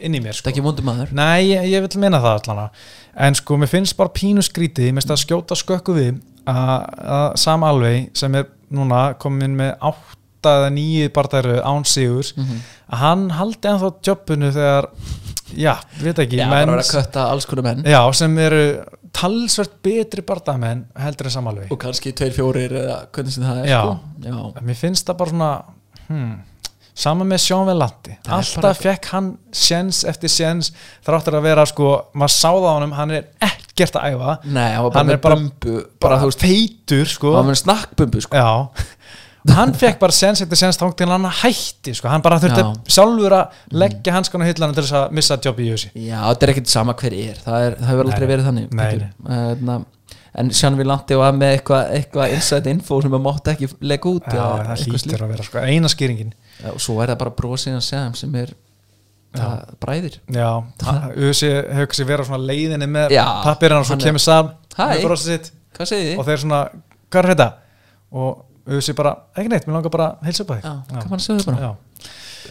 Speaker 1: inn í mér,
Speaker 2: þetta
Speaker 1: sko.
Speaker 2: er ekki vondi maður
Speaker 1: Nei, ég, ég vil minna það allan að. En sko, mér finnst bara pínu skrítið, mér finnst að skjóta skökku við að að Sam alveg, sem er núna komin með átta eða nýju barndæru án sigur,
Speaker 2: mm
Speaker 1: að hann haldi ennþá jobbunu þegar, já, við veit ekki,
Speaker 2: já, bara verið að kötta alls konar menn
Speaker 1: já, sem eru talsvert betri barndamenn heldur en Sam alveg.
Speaker 2: og kannski tveir fjórir eða hvernig sem það er
Speaker 1: Já.
Speaker 2: sko. já.
Speaker 1: En mér finnst það bara svona hmm, sama með Sjón Velandi
Speaker 2: Það er
Speaker 1: alltaf
Speaker 2: bara-
Speaker 1: fekk hann sjens eftir sjens þráttur að vera sko, maður sáða honum hann er ekkert að æfa
Speaker 2: Nei, hann var bara
Speaker 1: Hann er
Speaker 2: með
Speaker 1: bara-
Speaker 2: bumbu bara,
Speaker 1: bara
Speaker 2: þú
Speaker 1: þú veist
Speaker 2: veist,
Speaker 1: feitur sko
Speaker 2: hann var með snakkbumbu sko.
Speaker 1: já hann fekk bara sjens eftir sjens þá til hann hætti sko, hann bara þurfti
Speaker 2: Já.
Speaker 1: sjálfur að leggja mm. hanskana hillana til þess að missa jobb í Jössi
Speaker 2: Já, þetta er ekkert sama hver er Það, er, það hefur
Speaker 1: Nei,
Speaker 2: aldrei
Speaker 1: nei.
Speaker 2: verið þannig
Speaker 1: Nei,
Speaker 2: Pétur. Eh, na, En Sján Vilandi var með eitthvað eitthva inside info sem maður mátti ekki leggja út
Speaker 1: já,
Speaker 2: eða
Speaker 1: það
Speaker 2: eitthvað slíkt.
Speaker 1: hlýtur að vera sko, eina skýringin
Speaker 2: Já, Og svo er það bara brosið að segja þeim sem er það bræðir
Speaker 1: já, Jössi hefur kannski verið á svona leiðinni með
Speaker 2: Já,
Speaker 1: pappirinn og svo
Speaker 2: hann er-
Speaker 1: kemur Sam
Speaker 2: Hæ.
Speaker 1: með brosið sitt
Speaker 2: Hvað segið
Speaker 1: og
Speaker 2: þið?
Speaker 1: þeir svona, hvað er þetta? og Usi bara, ekki neitt, mér langar bara að heilsa upp að
Speaker 2: Já,
Speaker 1: þig
Speaker 2: hvað mann segðu bara?
Speaker 1: Já.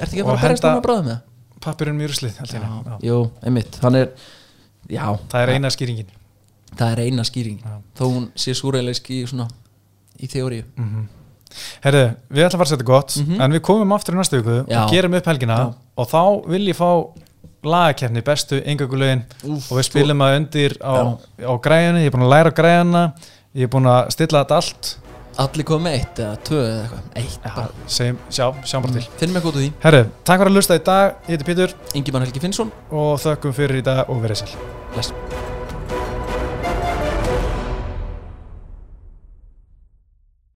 Speaker 2: Ertu ekki að
Speaker 1: Og
Speaker 2: fara að berjast
Speaker 1: henda-
Speaker 2: hann að bráða með?
Speaker 1: pappirinn mjög ruslið allt í einu.
Speaker 2: það?
Speaker 1: Já.
Speaker 2: Jú, einmitt, hann er Já,
Speaker 1: það er eina skýringin
Speaker 2: það er eina skýring
Speaker 1: Já.
Speaker 2: Þó hún sé súreileisk í svona í teóriu
Speaker 1: mm herðu, við ætlum að fara að setja gott
Speaker 2: Mhm.
Speaker 1: en við komum aftur í næstu viku
Speaker 2: Já.
Speaker 1: og gerum upp helgina
Speaker 2: Já.
Speaker 1: og þá vil ég fá lagakefni bestu yngökulögin
Speaker 2: Úff, sko.
Speaker 1: og við spilum að undir á, á græjunni, ég er búin að læra græjuna ég er búin að stilla þetta allt
Speaker 2: Allir komið með eitt eða tvö eða eitthvað Eitt
Speaker 1: já,
Speaker 2: bara
Speaker 1: segjum, sjá, sjáum bara til
Speaker 2: Finnum eitthvað út úr því
Speaker 1: herðu, takk fyrir að lusta í dag, ég heiti Pítur
Speaker 2: Ingi Helgi Finnsson
Speaker 1: og þökkum fyrir í dag og verið sæl
Speaker 2: Bless